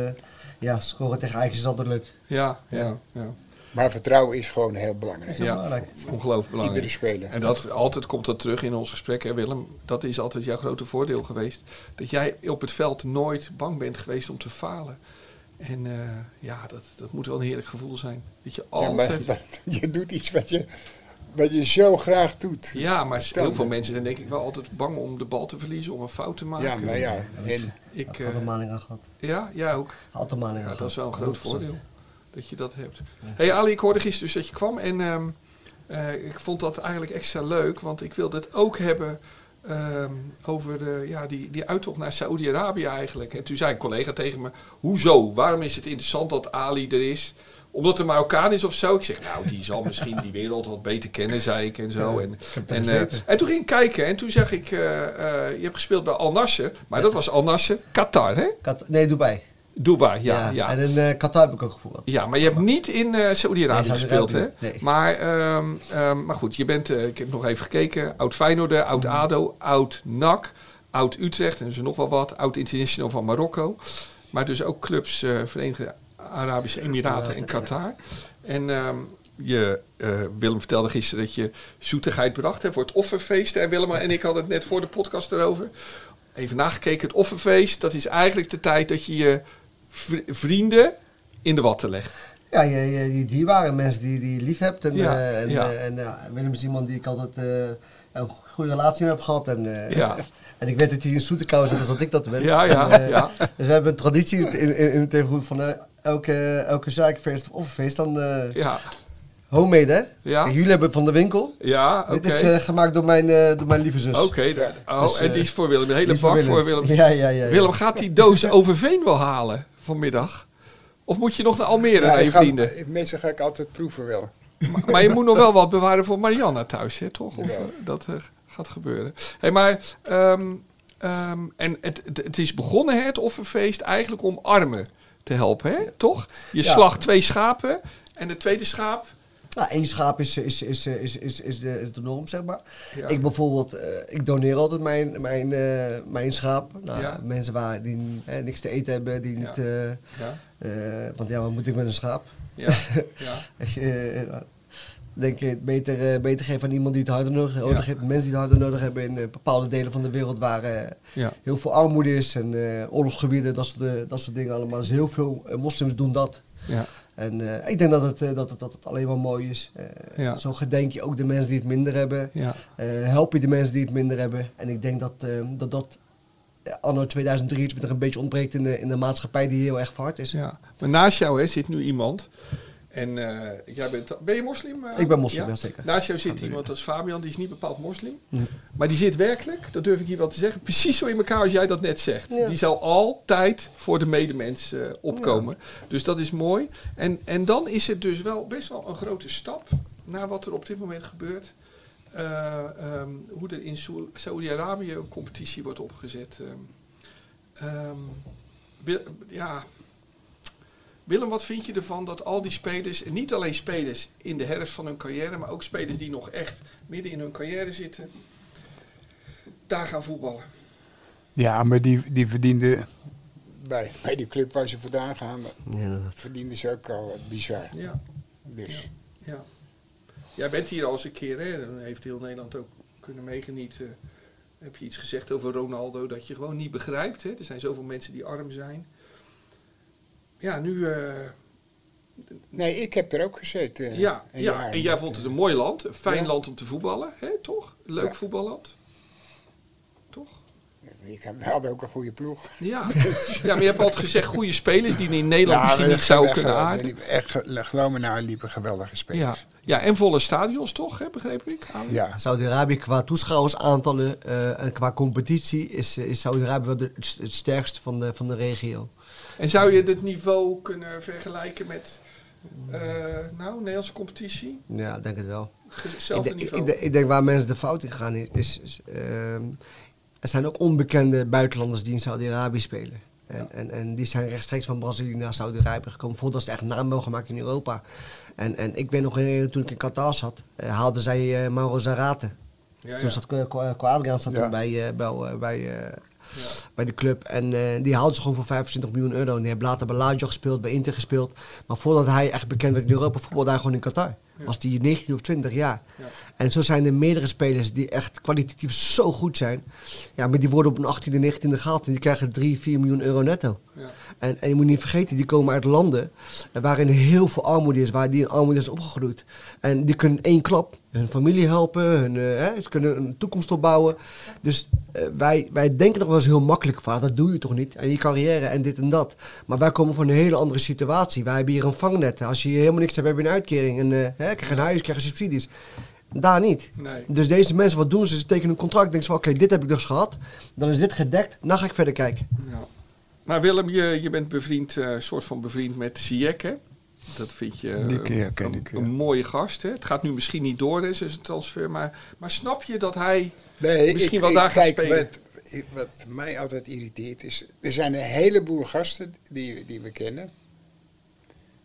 [SPEAKER 5] ja, scoren tegen Ajax is altijd leuk.
[SPEAKER 2] Ja, ja, ja.
[SPEAKER 1] Maar vertrouwen is gewoon heel belangrijk.
[SPEAKER 5] heel belangrijk.
[SPEAKER 2] Ongelooflijk belangrijk.
[SPEAKER 1] Iedere speler.
[SPEAKER 2] En dat, altijd komt dat terug in ons gesprek, hè Willem. Dat is altijd jouw grote voordeel geweest. Dat jij op het veld nooit bang bent geweest om te falen. En eh, ja, dat, dat moet wel een heerlijk gevoel zijn. Dat je
[SPEAKER 1] Ja, maar-
[SPEAKER 2] altijd...
[SPEAKER 1] je doet iets wat je, wat je zo graag doet.
[SPEAKER 2] Ja, maar heel
[SPEAKER 1] Vertel
[SPEAKER 2] veel
[SPEAKER 1] me.
[SPEAKER 2] mensen zijn denk ik wel altijd bang om de bal te verliezen, om een fout te maken.
[SPEAKER 1] Ja, maar ja. En
[SPEAKER 5] Ik
[SPEAKER 2] Ik,
[SPEAKER 5] had
[SPEAKER 2] eh,
[SPEAKER 5] een maling aan gehad.
[SPEAKER 2] ja, jij ook.
[SPEAKER 5] Had een maling aan
[SPEAKER 2] Ja,
[SPEAKER 5] gehad.
[SPEAKER 2] dat is wel een groot
[SPEAKER 5] 100%.
[SPEAKER 2] voordeel dat je dat hebt. hey Ali, ik hoorde gisteren dus dat je kwam en ehm, eh, ik vond dat eigenlijk extra leuk, want ik wilde het ook hebben ehm, over de, ja, die, die uittocht naar Saoedi-Arabië eigenlijk. En toen zei een collega tegen me, hoezo? Waarom is het interessant dat Ali er is? Omdat er Marokkaan is of zo? Ik zeg, nou, die zal misschien die wereld wat beter kennen, zei ik en zo. En,
[SPEAKER 5] heb er
[SPEAKER 2] en, eh,
[SPEAKER 5] gezeten.
[SPEAKER 2] en toen ging ik kijken en toen zag ik, eh, eh, je hebt gespeeld bij Al Nasser, maar dat was Al Nasser, Qatar, hè?
[SPEAKER 5] Kat- nee, Dubai.
[SPEAKER 2] Dubai, ja. ja.
[SPEAKER 5] En in eh, Qatar heb ik ook gevoerd.
[SPEAKER 2] Ja, maar je hebt niet in eh Saoedi-Arabië
[SPEAKER 5] Nee,
[SPEAKER 2] gespeeld,
[SPEAKER 5] Saoedi-Arabië,
[SPEAKER 2] hè?
[SPEAKER 5] nee.
[SPEAKER 2] Maar, ehm, ehm, maar goed, je bent, eh, ik heb nog even gekeken, oud Feyenoord, oud ADO, oud NAC, oud Utrecht en dus nog wel wat, oud International van Marokko. Maar dus ook clubs eh, Verenigde Arabische Emiraten en Qatar. En ehm, je, eh, Willem vertelde gisteren dat je zoetigheid bracht hè, voor het offerfeest. En Willem en ik hadden het net voor de podcast erover. Even nagekeken, het offerfeest, dat is eigenlijk de tijd dat je je vri- vrienden in de watten legt.
[SPEAKER 5] Ja, je, je, die dierbare mensen die, die je lief hebt. En,
[SPEAKER 2] Ja,
[SPEAKER 5] eh, en,
[SPEAKER 2] ja.
[SPEAKER 5] eh, en eh, Willem is iemand die ik altijd eh, een goede relatie mee heb gehad. En, eh,
[SPEAKER 2] Ja.
[SPEAKER 5] en ik weet dat hij in zoete kou zit, dus dat ik dat ben.
[SPEAKER 2] Ja, ja,
[SPEAKER 5] En, eh,
[SPEAKER 2] ja.
[SPEAKER 5] Dus we hebben een traditie in, in, in het tegenwoordig van eh, elke, elke zaakfeest of feest dan eh,
[SPEAKER 2] Ja,
[SPEAKER 5] homemade, hè?
[SPEAKER 2] Ja.
[SPEAKER 5] Kijk, jullie hebben het van de winkel.
[SPEAKER 2] ja oké.
[SPEAKER 5] Dit is eh, gemaakt door mijn, eh, door mijn lieve zus.
[SPEAKER 2] Oké, da- oh,
[SPEAKER 5] Dus,
[SPEAKER 2] en
[SPEAKER 5] eh,
[SPEAKER 2] die is voor Willem. Een
[SPEAKER 5] Die
[SPEAKER 2] hele
[SPEAKER 5] is van
[SPEAKER 2] bak voor Willem.
[SPEAKER 5] Ja, ja, ja. ja.
[SPEAKER 2] Willem, gaat die doos Overveen wel halen vanmiddag? Of moet je nog naar Almere
[SPEAKER 1] Ja,
[SPEAKER 2] naar je
[SPEAKER 1] ik ga-
[SPEAKER 2] vrienden?
[SPEAKER 1] Mensen ga ik altijd proeven wel.
[SPEAKER 2] Maar, maar je moet nog wel wat bewaren voor Marianna thuis, hè, toch? Of,
[SPEAKER 1] Ja.
[SPEAKER 2] eh, Dat eh, gaat gebeuren. hey, maar ehm, ehm, en het, het, het is begonnen, hè, het offerfeest, eigenlijk om armen te helpen, hè, toch? Je
[SPEAKER 5] Ja.
[SPEAKER 2] slacht twee schapen en de tweede schaap
[SPEAKER 5] Nou, één schaap is, is, is, is, is, is, de, is de norm, zeg maar.
[SPEAKER 2] Ja.
[SPEAKER 5] Ik bijvoorbeeld, eh, ik doneer altijd mijn, mijn, eh, mijn schaap. Nou,
[SPEAKER 2] Ja.
[SPEAKER 5] Mensen waar, die eh, niks te eten hebben, die
[SPEAKER 2] Ja.
[SPEAKER 5] niet... eh,
[SPEAKER 2] Ja,
[SPEAKER 5] eh, want ja, wat moet ik met een schaap?
[SPEAKER 2] ja, ja.
[SPEAKER 5] Als je, eh, nou, denk je, het beter, eh, beter geven aan iemand die het harder nodig, nodig heeft. Mensen die het harder nodig hebben in eh, bepaalde delen van de wereld waar eh,
[SPEAKER 2] ja.
[SPEAKER 5] heel veel armoede is. En eh, oorlogsgebieden, dat soort, eh, dat soort dingen allemaal. Dus heel veel eh, moslims doen dat.
[SPEAKER 2] ja.
[SPEAKER 5] En eh, ik denk dat het, eh, dat, het, dat het alleen maar mooi is. Eh,
[SPEAKER 2] Ja.
[SPEAKER 5] Zo gedenk je ook de mensen die het minder hebben.
[SPEAKER 2] Ja,
[SPEAKER 5] Eh, help je de mensen die het minder hebben. En ik denk dat eh, dat, dat eh, anno 2023 een beetje ontbreekt in de, in de maatschappij die heel erg verhard is.
[SPEAKER 2] ja. Maar naast jou hè, zit nu iemand. En eh, jij bent, ben je moslim? eh?
[SPEAKER 5] Ik ben moslim, ja, zeker.
[SPEAKER 2] Naast jou zit iemand als Fabian, die is niet bepaald moslim. Maar die zit werkelijk, dat durf ik hier wel te zeggen, precies zo in elkaar als jij dat net zegt.
[SPEAKER 5] Ja.
[SPEAKER 2] Die zal altijd voor de medemens eh, opkomen. Dus dat is mooi. En, en dan is het dus wel best wel een grote stap naar wat er op dit moment gebeurt. Eh, ehm, hoe er in Saoe- Saoedi-Arabië een competitie wordt opgezet. Ehm, ehm, wil- ja, Willem, wat vind je ervan dat al die spelers, en niet alleen spelers in de herfst van hun carrière, maar ook spelers die nog echt midden in hun carrière zitten, daar gaan voetballen?
[SPEAKER 1] Ja, maar die, die verdiende. Bij, bij die club waar ze vandaan gaan, verdienden ze ook al eh, bizar.
[SPEAKER 2] Ja,
[SPEAKER 1] Dus
[SPEAKER 2] ja. Jij bent hier al eens een keer, hè? Dan heeft heel Nederland ook kunnen meegenieten. Heb je iets gezegd over Ronaldo dat je gewoon niet begrijpt? Hè? Er zijn zoveel mensen die arm zijn. Ja, nu. eh,
[SPEAKER 1] Nee, ik heb er ook gezeten. eh,
[SPEAKER 2] ja,
[SPEAKER 1] een
[SPEAKER 2] ja.
[SPEAKER 1] jaar. eh,
[SPEAKER 2] En jij vond het een mooi land. Een fijn
[SPEAKER 1] Ja.
[SPEAKER 2] land om te voetballen, hè? toch? Leuk
[SPEAKER 1] Ja.
[SPEAKER 2] voetballand. Toch?
[SPEAKER 1] eh, Ik had- We hadden ook een goede ploeg.
[SPEAKER 2] Ja. ja, maar je hebt altijd gezegd goede spelers die in Nederland misschien
[SPEAKER 1] Nou, we-
[SPEAKER 2] niet zouden
[SPEAKER 1] we-
[SPEAKER 2] kunnen
[SPEAKER 1] we- we-
[SPEAKER 2] aarden.
[SPEAKER 1] liepen Echt, ge- geloof me nou, liepen geweldige
[SPEAKER 2] Ja.
[SPEAKER 1] spelers.
[SPEAKER 2] ja, en volle stadions toch, hè, begreep ik? Aan-
[SPEAKER 1] Ja.
[SPEAKER 5] Saudi-Arabië qua toeschouwersaantallen eh, en qua competitie is, eh, is Saudi-Arabië wel de, het het sterkste van de, van de regio.
[SPEAKER 2] En zou je dit niveau kunnen vergelijken met, eh, nou, Nederlandse competitie?
[SPEAKER 5] Ja, ik denk het wel. Ik,
[SPEAKER 2] Dus Hetzelfde
[SPEAKER 5] denk- ik,
[SPEAKER 2] niveau.
[SPEAKER 5] denk- ik denk waar mensen de fout in gaan i- is... is, ehm, er zijn ook onbekende buitenlanders die in Saudi-Arabië spelen. En, en, en die zijn rechtstreeks van Brazilië naar Saudi-Arabië gekomen. Voordat ze echt naam hebben gemaakt in Europa. En, en ik weet nog, eh, toen ik in Qatar zat, eh, haalden zij eh Mauro Zarate.
[SPEAKER 2] ja, ja.
[SPEAKER 5] Toen zat Ko- Ko- Ko Adriaan zat
[SPEAKER 1] Ja.
[SPEAKER 5] toen bij, eh, bij, eh, bij, eh, bij de club. En eh, die haalde ze gewoon voor 25 miljoen euro. En die heeft later bij Lazio gespeeld, bij Inter gespeeld. Maar voordat hij echt bekend werd in Europa, voetbalde hij gewoon in Qatar. Was hij 19 of 20 jaar.
[SPEAKER 2] Ja.
[SPEAKER 5] En zo zijn er meerdere spelers die echt kwalitatief zo goed zijn. Ja, maar die worden op een 18e, 19e gehaald. En die krijgen 3, 4 miljoen euro netto.
[SPEAKER 2] Ja.
[SPEAKER 5] En, en je moet niet vergeten, die komen uit landen eh, waarin heel veel armoede is, waar die in armoede is opgegroeid. En die kunnen in één klap hun familie helpen, hun, eh, hè, ze kunnen een toekomst opbouwen. Dus eh, wij, wij denken nog wel eens heel makkelijk van, dat doe je toch niet, en je carrière en dit en dat. Maar wij komen van een hele andere situatie. Wij hebben hier een vangnet. Als je hier helemaal niks hebt, heb je een uitkering. En eh, hè, krijg je een huis, krijg je subsidies. Daar niet.
[SPEAKER 2] Nee.
[SPEAKER 5] Dus deze mensen, wat doen ze? Ze tekenen een contract, denken ze van, oké, dit heb ik dus gehad. Dan is dit gedekt, dan ga ik verder kijken.
[SPEAKER 2] Ja. Maar Willem, je, je bent bevriend, eh, soort van bevriend met Ziyech, hè? Dat vind je eh,
[SPEAKER 1] Die keer ken
[SPEAKER 2] een,
[SPEAKER 1] ik, ja.
[SPEAKER 2] een mooie gast. Hè? Het gaat nu misschien niet door, hè, zijn transfer. Maar, maar snap je dat hij
[SPEAKER 1] Nee,
[SPEAKER 2] misschien
[SPEAKER 1] ik-
[SPEAKER 2] wel
[SPEAKER 1] ik-
[SPEAKER 2] daar gaat
[SPEAKER 1] kijk,
[SPEAKER 2] spelen?
[SPEAKER 1] Wat, ik- wat mij altijd irriteert is, er zijn een heleboel gasten die, die we kennen,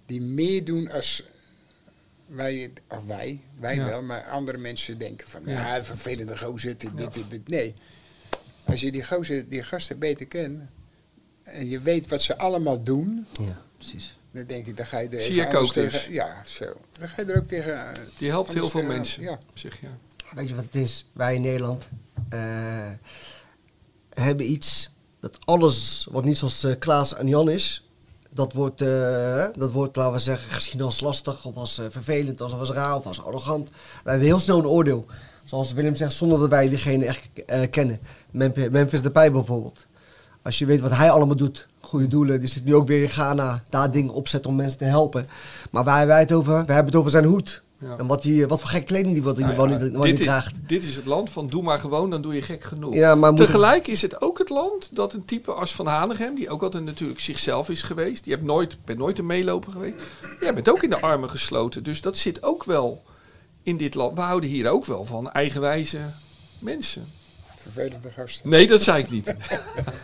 [SPEAKER 1] die meer doen als wij, of wij, wij
[SPEAKER 2] Ja.
[SPEAKER 1] wel, maar andere mensen denken van,
[SPEAKER 2] Ja.
[SPEAKER 1] ja, vervelende gozer, dit, dit, dit, dit." Nee, als je die, gozer, die gasten beter kent en je weet wat ze allemaal doen,
[SPEAKER 5] Ja, precies.
[SPEAKER 1] dan denk ik, dan ga je er
[SPEAKER 2] Zie
[SPEAKER 1] even
[SPEAKER 2] ik
[SPEAKER 1] anders
[SPEAKER 2] ook dus.
[SPEAKER 1] tegen. Ja, zo. Dan ga je er ook tegen. eh,
[SPEAKER 2] Die helpt heel
[SPEAKER 1] anders
[SPEAKER 2] veel
[SPEAKER 1] tegenaan.
[SPEAKER 2] mensen.
[SPEAKER 1] Ja.
[SPEAKER 2] Zeg, ja.
[SPEAKER 5] Weet je wat het is? Wij in Nederland eh, hebben iets dat alles wat niet zoals eh, Klaas en Jan is, dat wordt, eh, dat wordt, laten we zeggen, gezien als lastig of als eh, vervelend, als, als raar of als arrogant. Wij hebben heel snel een oordeel. Zoals Willem zegt, zonder dat wij diegene echt eh, kennen. Memphis, Memphis Depay bijvoorbeeld. Als je weet wat hij allemaal doet, goede doelen, die zit nu ook weer in Ghana, daar dingen opzet om mensen te helpen. Maar waar hebben wij het over? Wij hebben het over zijn hoed.
[SPEAKER 2] Ja.
[SPEAKER 5] En wat, die, wat voor gek kleding die wat
[SPEAKER 2] Nou
[SPEAKER 5] wel
[SPEAKER 2] ja,
[SPEAKER 5] niet, wel
[SPEAKER 2] dit,
[SPEAKER 5] niet
[SPEAKER 2] is,
[SPEAKER 5] draagt.
[SPEAKER 2] dit is het land van doe maar gewoon, dan doe je gek genoeg.
[SPEAKER 5] Ja, maar moet-
[SPEAKER 2] Tegelijk is het ook het land dat een type als Van Hanegem, die ook altijd natuurlijk zichzelf is geweest, die hebt nooit, bent nooit een meeloper geweest, jij bent ook in de armen gesloten. Dus dat zit ook wel in dit land. We houden hier ook wel van eigenwijze mensen.
[SPEAKER 1] Vervelende gasten.
[SPEAKER 2] Nee, dat zei ik niet.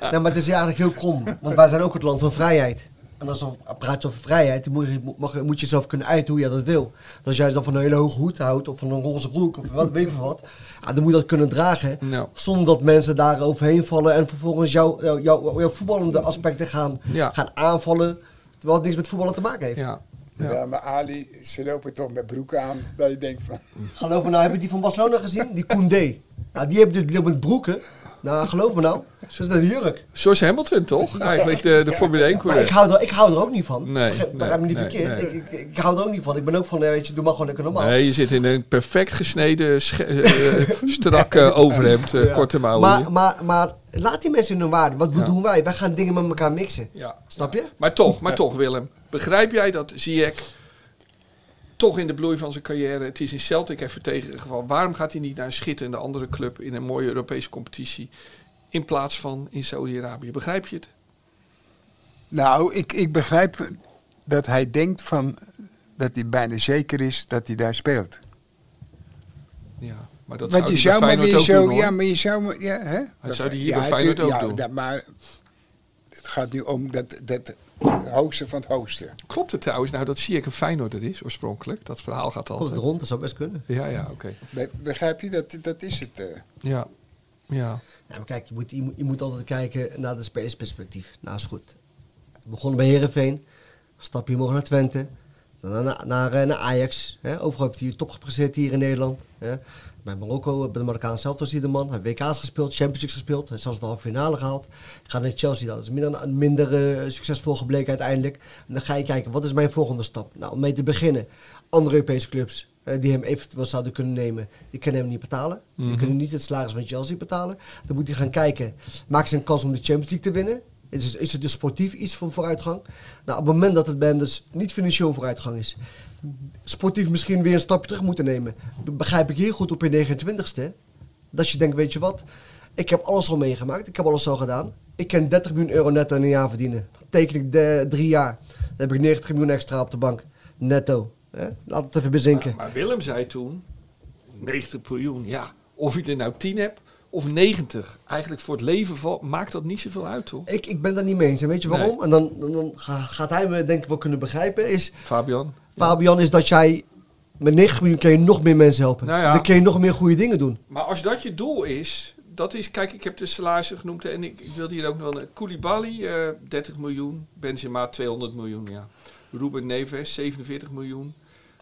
[SPEAKER 5] Nou, maar het is eigenlijk heel krom. Want wij zijn ook het land van vrijheid. En als dan praat je over vrijheid, dan moet je, mag, moet je zelf kunnen uiten hoe je dat wil. Dus als jij dan van een hele hoge hoed houdt, of van een roze broek, of wat, weet ik veel wat. ja, dan moet je dat kunnen dragen.
[SPEAKER 2] Nou.
[SPEAKER 5] Zonder dat mensen daar overheen vallen en vervolgens jouw jou, jou, jouw voetballende aspecten gaan,
[SPEAKER 2] Ja.
[SPEAKER 5] gaan aanvallen. Terwijl het niks met voetballen te maken heeft.
[SPEAKER 2] Ja.
[SPEAKER 1] Ja.
[SPEAKER 2] Ja.
[SPEAKER 1] maar Ali, ze lopen toch met broeken aan. Dat je denkt van,
[SPEAKER 5] Geloof me nou, heb je die van Barcelona gezien? Die Koundé. Ja, die heeft natuurlijk met broeken. Nou, geloof me nou, ze is met een jurk.
[SPEAKER 2] George Hamilton toch? Eigenlijk de, de Formule 1
[SPEAKER 5] Maar ik
[SPEAKER 2] coureur.
[SPEAKER 5] hou, er, ik hou er ook niet van.
[SPEAKER 2] Nee,
[SPEAKER 5] Vergeet- Begrijp me
[SPEAKER 2] nee, nee,
[SPEAKER 5] niet verkeerd.
[SPEAKER 2] nee.
[SPEAKER 5] Ik, ik, ik hou er ook niet van. Ik ben ook van, eh, weet je, doe maar gewoon lekker normaal.
[SPEAKER 2] Nee, je zit in een perfect gesneden, sche- eh, strak eh, overhemd, eh,
[SPEAKER 5] Ja.
[SPEAKER 2] korte mouwen.
[SPEAKER 5] maar, maar, maar laat die mensen in hun waarde. Wat
[SPEAKER 2] Ja.
[SPEAKER 5] doen wij? Wij gaan dingen met elkaar mixen.
[SPEAKER 2] ja.
[SPEAKER 5] Snap je?
[SPEAKER 2] Maar toch, maar toch Willem. Begrijp jij dat Ziyech toch in de bloei van zijn carrière... Het is in Celtic even tegengevallen. Waarom gaat hij niet naar een schitterende andere club... in een mooie Europese competitie... in plaats van in Saudi-Arabië? Begrijp je het?
[SPEAKER 1] Nou, ik, ik begrijp dat hij denkt van dat hij bijna zeker is dat hij daar speelt.
[SPEAKER 2] Ja, maar dat
[SPEAKER 1] Want
[SPEAKER 2] zou
[SPEAKER 1] je
[SPEAKER 2] hij
[SPEAKER 1] zou
[SPEAKER 2] bij
[SPEAKER 1] maar
[SPEAKER 2] Feyenoord
[SPEAKER 1] weer
[SPEAKER 2] ook
[SPEAKER 1] zo,
[SPEAKER 2] doen, hoor.
[SPEAKER 1] ja, maar je zou maar, ja, hè? Dat
[SPEAKER 2] zou die hier
[SPEAKER 1] ja,
[SPEAKER 2] bij Feyenoord
[SPEAKER 1] tuur-
[SPEAKER 2] ook
[SPEAKER 1] ja,
[SPEAKER 2] doen.
[SPEAKER 1] dat- maar het gaat nu om dat, dat hoogste van het hoogste.
[SPEAKER 2] Klopt het trouwens nou dat Ziyech een Feyenoorder is oorspronkelijk? Dat verhaal gaat
[SPEAKER 5] Komt
[SPEAKER 2] altijd.
[SPEAKER 5] het rond, dat zou best kunnen.
[SPEAKER 2] Ja, ja, oké.
[SPEAKER 1] Be- Begrijp je? Dat, dat is het. eh.
[SPEAKER 2] Ja, ja.
[SPEAKER 5] Nou, maar kijk, je moet, je, moet, je moet altijd kijken naar de spelersperspectief. Nou, is goed. We begonnen bij Herenveen, stap je morgen naar Twente, dan naar, naar, eh, naar Ajax. Hè? Overal heeft hij je top gepresteerd hier in Nederland. Hè? Bij Marokko, eh, bij de Marokkaan zelf was hij de man. Hij heeft WK's gespeeld, Champions League gespeeld, hij heeft zelfs de halve finale gehaald. Gaat naar Chelsea, dat is minder, minder eh, succesvol gebleken uiteindelijk. En dan ga je kijken, wat is mijn volgende stap? Nou, om mee te beginnen, andere Europese clubs eh, die hem eventueel zouden kunnen nemen, die kunnen hem niet betalen. Die kunnen niet het salaris van Chelsea betalen. Dan moet hij gaan kijken, maakt ze een kans om de Champions League te winnen? Is, is, is er dus sportief iets van vooruitgang? Nou, op het moment dat het bij hem dus niet financieel vooruitgang is, sportief misschien weer een stapje terug moeten nemen, be- begrijp ik hier goed op je 29ste, dat je denkt, weet je wat, ik heb alles al meegemaakt, ik heb alles al gedaan. Ik kan 30 miljoen euro netto in een jaar verdienen. Dan teken ik de, drie jaar, dan heb ik 90 miljoen extra op de bank, netto. hè? Laat het even bezinken.
[SPEAKER 2] Maar, maar Willem zei toen, 90 miljoen, ja. Of je er nou 10 hebt of 90. Eigenlijk voor het leven val- maakt dat niet zoveel uit, hoor.
[SPEAKER 5] Ik, ik ben daar niet mee eens. En weet je
[SPEAKER 2] Nee.
[SPEAKER 5] waarom? En dan, dan, dan ga- gaat hij me denk ik wel kunnen begrijpen. Is,
[SPEAKER 2] Fabian?
[SPEAKER 5] Fabian, is dat jij met 9 miljoen kan je nog meer mensen helpen.
[SPEAKER 2] Nou ja.
[SPEAKER 5] Dan kan je nog meer goede dingen doen.
[SPEAKER 2] Maar als dat je doel is, dat is, kijk, ik heb de salarissen genoemd en ik, ik wilde hier ook nog een Koulibaly, eh 30 miljoen, Benzema 200 miljoen, ja. Ruben Neves 47 miljoen,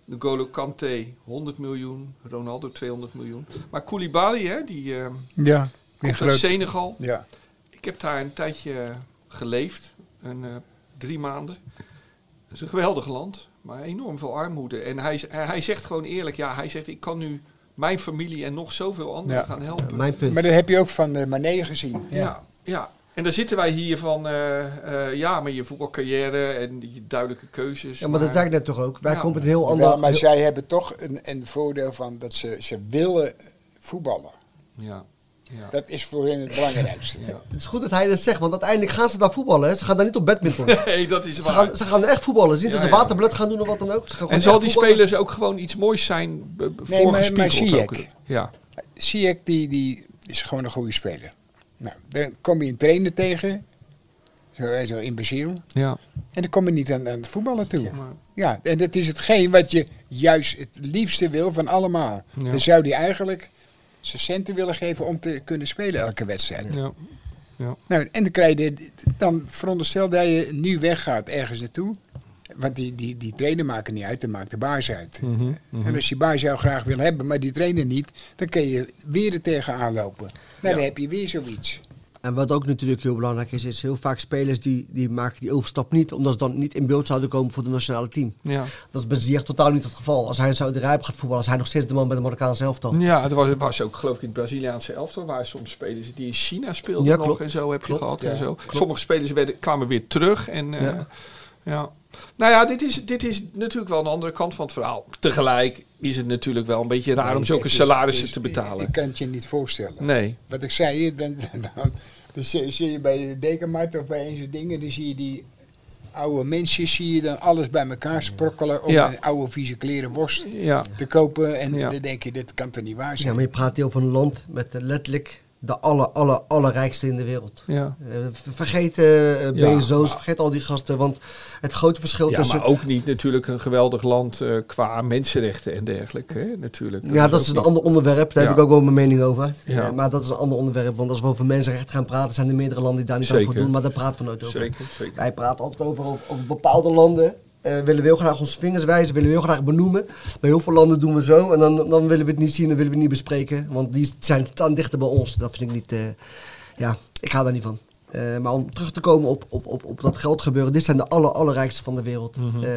[SPEAKER 2] N'Golo Kante 100 miljoen, Ronaldo 200 miljoen. Maar Koulibaly, hè, die eh,
[SPEAKER 1] Ja, die
[SPEAKER 2] komt uit
[SPEAKER 1] groot-
[SPEAKER 2] Senegal.
[SPEAKER 1] ja.
[SPEAKER 2] Ik heb daar een tijdje geleefd, een, eh, drie maanden. Het is een geweldig land, maar enorm veel armoede. En hij, z- eh, hij zegt gewoon eerlijk, ja, hij zegt ik kan nu mijn familie en nog zoveel anderen
[SPEAKER 1] Ja.
[SPEAKER 2] gaan helpen.
[SPEAKER 5] Mijn punt.
[SPEAKER 1] Maar dat heb je ook van eh Mané gezien.
[SPEAKER 2] Ja. ja, En dan zitten wij hier van, eh, eh, ja, maar je voetbalcarrière en je duidelijke keuzes.
[SPEAKER 5] ja, maar dat zei ik net toch ook. Wij
[SPEAKER 2] Ja.
[SPEAKER 5] komen met een heel
[SPEAKER 1] Terwijl,
[SPEAKER 5] ander...
[SPEAKER 1] maar zij hebben toch een, een voordeel van dat ze, ze willen voetballen.
[SPEAKER 2] Ja, ja.
[SPEAKER 1] Dat is voor hen het belangrijkste.
[SPEAKER 2] Ja.
[SPEAKER 5] Het is goed dat hij dat zegt, want uiteindelijk gaan ze daar voetballen. Hè. Ze gaan daar niet op badminton. ze,
[SPEAKER 2] Nee, dat is waar.
[SPEAKER 5] gaan, ze gaan echt voetballen. Het is niet
[SPEAKER 2] Ja,
[SPEAKER 5] dat ze
[SPEAKER 2] ja.
[SPEAKER 5] waterblad gaan doen of wat dan ook. Ze gaan gewoon
[SPEAKER 2] En zal
[SPEAKER 5] echt
[SPEAKER 2] die
[SPEAKER 5] voetballen.
[SPEAKER 2] spelers ook gewoon iets moois zijn be- be-
[SPEAKER 1] Nee, maar- maar
[SPEAKER 2] voorgespiegeld
[SPEAKER 1] zie
[SPEAKER 2] ook?
[SPEAKER 1] ik.
[SPEAKER 2] Ja,
[SPEAKER 1] Ziyech die, die is gewoon een goede speler. Nou, dan kom je een trainer tegen, zo, eh, zo imbeciel,
[SPEAKER 2] ja.
[SPEAKER 1] en dan kom je niet aan, aan het voetballen toe.
[SPEAKER 2] Maar-
[SPEAKER 1] Ja, en dat is hetgeen wat je juist het liefste wil van allemaal.
[SPEAKER 2] Ja.
[SPEAKER 1] Dan zou die eigenlijk zijn centen willen geven om te kunnen spelen elke wedstrijd.
[SPEAKER 2] ja.
[SPEAKER 1] Nou, en dan, krijg je, dit- dan veronderstel dat je nu weggaat ergens naartoe. Want die, die, die trainer maken niet uit, dan maakt de baas uit.
[SPEAKER 2] Mhm, mhm.
[SPEAKER 1] En als je baas jou graag wil hebben, maar die trainer niet, dan kun je weer er tegenaan lopen. Nou, dan heb je weer zoiets.
[SPEAKER 5] En wat ook natuurlijk heel belangrijk is, is heel vaak spelers die, die maken die overstap niet, omdat ze dan niet in beeld zouden komen voor het nationale team.
[SPEAKER 2] ja.
[SPEAKER 5] Dat is bij Ziyech totaal niet het geval. Als hij in Saudi-Arabië gaat voetballen, is hij nog steeds de man bij de Marokkaanse elftal.
[SPEAKER 2] Ja, er was, was ook geloof ik in het Braziliaanse elftal waar soms spelers die in China speelden
[SPEAKER 5] Ja,
[SPEAKER 2] nog
[SPEAKER 5] klopt.
[SPEAKER 2] en zo heb
[SPEAKER 5] Klopt,
[SPEAKER 2] je gehad
[SPEAKER 5] ja.
[SPEAKER 2] en zo.
[SPEAKER 5] Klopt.
[SPEAKER 2] Sommige spelers werden, kwamen weer terug en eh,
[SPEAKER 5] Ja.
[SPEAKER 2] ja. Nou ja, dit is, dit is natuurlijk wel een andere kant van het verhaal. Tegelijk is het natuurlijk wel een beetje raar om
[SPEAKER 1] Het
[SPEAKER 2] zulke
[SPEAKER 1] is-
[SPEAKER 2] salarissen
[SPEAKER 1] is-
[SPEAKER 2] te
[SPEAKER 1] Ik,
[SPEAKER 2] betalen.
[SPEAKER 1] ik kan het je niet voorstellen.
[SPEAKER 2] nee.
[SPEAKER 1] Wat ik zei, dan, dan, dan zie, zie je bij de dekenmarkt of bij een zo'n dingen, dan zie je die oude mensen, zie je dan alles bij elkaar sprokkelen om
[SPEAKER 2] Ja.
[SPEAKER 1] een oude vieze kleren worst
[SPEAKER 2] Ja.
[SPEAKER 1] te kopen. En
[SPEAKER 2] Ja.
[SPEAKER 1] dan denk je, dit kan toch niet waar
[SPEAKER 5] Ja,
[SPEAKER 1] zijn?
[SPEAKER 5] maar je praat heel van een land met eh, letterlijk de aller, aller, allerrijkste in de wereld.
[SPEAKER 2] Ja.
[SPEAKER 5] Eh, v- vergeet eh eh,
[SPEAKER 2] Ja.
[SPEAKER 5] Bezos, vergeet al die gasten. Want het grote verschil
[SPEAKER 2] Ja,
[SPEAKER 5] tussen...
[SPEAKER 2] maar ook niet natuurlijk een geweldig land eh, qua mensenrechten en dergelijke. Hè? Natuurlijk.
[SPEAKER 5] Ja, dat is een
[SPEAKER 2] ook
[SPEAKER 5] ander onderwerp. Daar
[SPEAKER 2] Ja.
[SPEAKER 5] heb ik ook wel mijn mening over.
[SPEAKER 2] Ja.
[SPEAKER 5] Eh, maar dat is een ander onderwerp. Want als we over mensenrechten gaan praten, zijn er meerdere landen die daar niet aan
[SPEAKER 2] Zeker.
[SPEAKER 5] voor doen. Maar daar praten we nooit
[SPEAKER 2] niet.
[SPEAKER 5] over.
[SPEAKER 2] Zeker, zeker.
[SPEAKER 5] Wij praten altijd over, over, over bepaalde landen. Eh, willen we heel graag onze vingers wijzen, willen we heel graag benoemen. Bij heel veel landen doen we zo en dan, dan willen we het niet zien, dan willen we het niet bespreken. Want die zijn, staan dichter bij ons. Dat vind ik niet. eh, ja, ik hou daar niet van. Eh, maar om terug te komen op, op, op, op dat geldgebeuren. Dit zijn de aller, allerrijkste van de wereld.
[SPEAKER 2] Mhm.
[SPEAKER 5] Eh,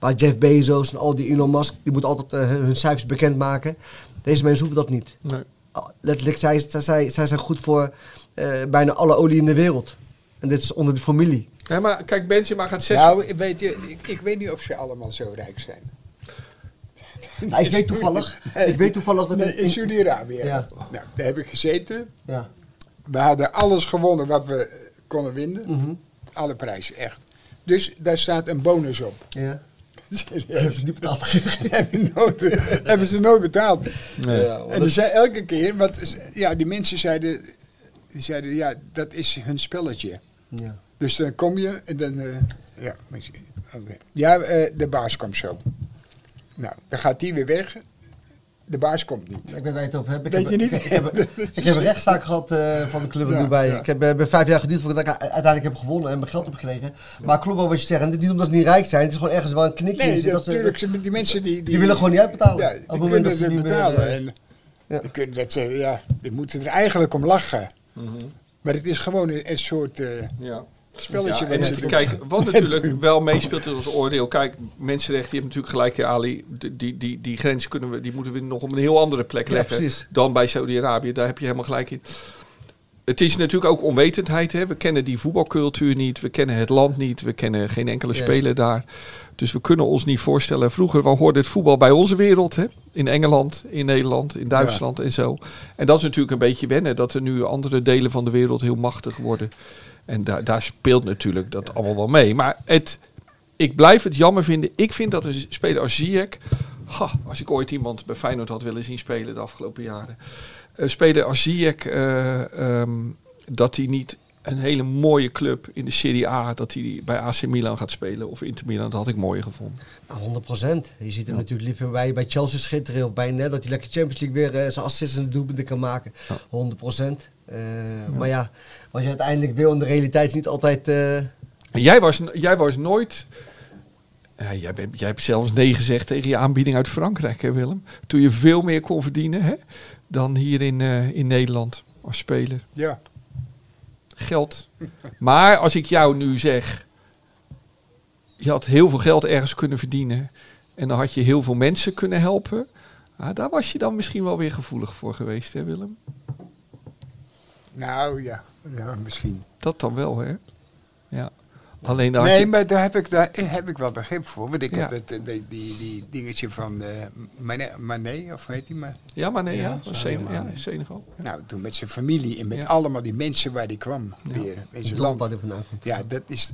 [SPEAKER 5] waar Jeff Bezos en al die Elon Musk, die moeten altijd eh, hun cijfers bekendmaken. Deze mensen hoeven dat niet.
[SPEAKER 2] Nee.
[SPEAKER 5] Ah, letterlijk, zij, zij, zij, zij zijn goed voor eh, bijna alle olie in de wereld. En dit is onder de familie.
[SPEAKER 2] Ja, maar kijk, Benzema gaat zes.
[SPEAKER 1] Nou, weet je, ik, ik weet niet of ze allemaal zo rijk zijn.
[SPEAKER 5] Ja, Nou, ik weet toevallig.
[SPEAKER 1] Nee.
[SPEAKER 5] Ik weet toevallig dat
[SPEAKER 1] Nee,
[SPEAKER 5] in-
[SPEAKER 1] in Saudi-Arabië.
[SPEAKER 5] Ja.
[SPEAKER 1] Nou, daar heb ik gezeten.
[SPEAKER 5] Ja.
[SPEAKER 1] We hadden alles gewonnen wat we eh, konden winnen.
[SPEAKER 5] Mhm.
[SPEAKER 1] Alle prijzen, echt. Dus daar staat een bonus op.
[SPEAKER 5] Ja.
[SPEAKER 1] Serieus.
[SPEAKER 5] niet betaald.
[SPEAKER 1] hebben, nooit, hebben ze nooit betaald.
[SPEAKER 2] Nee.
[SPEAKER 5] Ja, want
[SPEAKER 1] En
[SPEAKER 5] dat-
[SPEAKER 1] die zei elke keer, want ze- ja, die mensen zeiden, die zeiden, ja, dat is hun spelletje.
[SPEAKER 5] ja.
[SPEAKER 1] Dus dan kom je en dan, eh, ja, maar ik zie- oké. ja eh, de baas komt zo. Nou, dan gaat die weer weg. De baas komt niet.
[SPEAKER 5] Ik weet waar je het over hebt. Ik
[SPEAKER 1] Weet
[SPEAKER 5] heb,
[SPEAKER 1] je niet?
[SPEAKER 5] Ik, heb, ik heb een rechtszaak gehad eh, van de club in
[SPEAKER 1] Ja,
[SPEAKER 5] Dubai.
[SPEAKER 1] ja.
[SPEAKER 5] Ik heb eh, bij vijf jaar geduurd voordat ik u- uiteindelijk heb gewonnen en mijn geld heb gekregen. Maar klopt wel wat je zegt. En dit is niet omdat ze niet rijk zijn. Het is gewoon ergens wel een knikje. in
[SPEAKER 1] Nee,
[SPEAKER 5] zit dat ze-
[SPEAKER 1] natuurlijk, ze- die mensen die, die...
[SPEAKER 5] willen gewoon niet uitbetalen.
[SPEAKER 1] Ja,
[SPEAKER 5] Op
[SPEAKER 1] die
[SPEAKER 5] het moment
[SPEAKER 1] kunnen
[SPEAKER 5] dat ze
[SPEAKER 1] het
[SPEAKER 5] niet meer,
[SPEAKER 1] betalen.
[SPEAKER 5] eh,
[SPEAKER 1] en
[SPEAKER 5] ja.
[SPEAKER 1] die, kunnen dat, ze- ja, die moeten er eigenlijk om lachen.
[SPEAKER 2] Mhm.
[SPEAKER 1] Maar het is gewoon een, een soort eh,
[SPEAKER 2] Ja.
[SPEAKER 1] spelletje.
[SPEAKER 2] Ja,
[SPEAKER 1] wat
[SPEAKER 2] en
[SPEAKER 1] ze
[SPEAKER 2] het-
[SPEAKER 1] doen.
[SPEAKER 2] kijk, wat natuurlijk wel meespeelt in ons oordeel. Kijk, mensenrechten, je hebt natuurlijk gelijk, ja, Ali. Die, die, die, die grens kunnen we, die moeten we nog op een heel andere plek
[SPEAKER 5] Ja,
[SPEAKER 2] leggen
[SPEAKER 5] precies.
[SPEAKER 2] dan bij Saudi-Arabië. Daar heb je helemaal gelijk in. Het is natuurlijk ook onwetendheid. Hè? We kennen die voetbalcultuur niet. We kennen het land niet. We kennen geen enkele
[SPEAKER 5] Juist.
[SPEAKER 2] speler daar. Dus we kunnen ons niet voorstellen. Vroeger wel hoorde het voetbal bij onze wereld. Hè? In Engeland, in Nederland, in Duitsland en zo. En dat is natuurlijk een beetje wennen. Dat er nu andere delen van de wereld heel machtig worden. En daar daar speelt natuurlijk dat allemaal wel mee. Maar het, ik blijf het jammer vinden. Ik vind dat een speler als Ziyech... Ha, als ik ooit iemand bij Feyenoord had willen zien spelen de afgelopen jaren. Een speler als Ziyech... eh, ehm, dat hij niet een hele mooie club in de Serie A... dat hij bij AC Milan gaat spelen of Inter Milan. Dat had ik mooier gevonden.
[SPEAKER 5] Nou, 100 Je ziet hem natuurlijk liever bij, bij Chelsea schitteren of bij net dat hij lekker Champions League weer eh, zijn assists en doelpunten kan maken. 100 Eh, Maar ja, wat je uiteindelijk wil in de realiteit is niet altijd. eh,
[SPEAKER 2] En Jij was, n- jij was nooit... Ja, jij, bent- jij hebt zelfs nee gezegd tegen je aanbieding uit Frankrijk, hè Willem? Toen je veel meer kon verdienen hè, dan hier in, eh, in Nederland als speler.
[SPEAKER 1] Ja,
[SPEAKER 2] geld. Maar als ik jou nu zeg, je had heel veel geld ergens kunnen verdienen en dan had je heel veel mensen kunnen helpen, ah, daar was je dan misschien wel weer gevoelig voor geweest, hè Willem?
[SPEAKER 1] nou ja, ja misschien.
[SPEAKER 2] Dat dan wel, hè? Ja. Alleen dan had
[SPEAKER 1] nee,
[SPEAKER 2] je-
[SPEAKER 1] maar daar heb, ik, daar heb ik wel begrip voor. Want ik
[SPEAKER 2] Ja.
[SPEAKER 1] heb dat, eh, die, die, die dingetje van eh Mané- Mané, of weet hij maar.
[SPEAKER 2] ja, maar nee, ja,
[SPEAKER 4] Ja,
[SPEAKER 2] was
[SPEAKER 4] sorry,
[SPEAKER 2] Senegal,
[SPEAKER 4] maar
[SPEAKER 2] ja,
[SPEAKER 4] nee.
[SPEAKER 2] Senegal. Ja.
[SPEAKER 1] Nou, toen met zijn familie en met
[SPEAKER 2] Ja.
[SPEAKER 1] allemaal die mensen waar die kwam. Weer, in zijn
[SPEAKER 5] land waar
[SPEAKER 1] land.
[SPEAKER 5] hij vandaan komt.
[SPEAKER 1] Ja, dat is,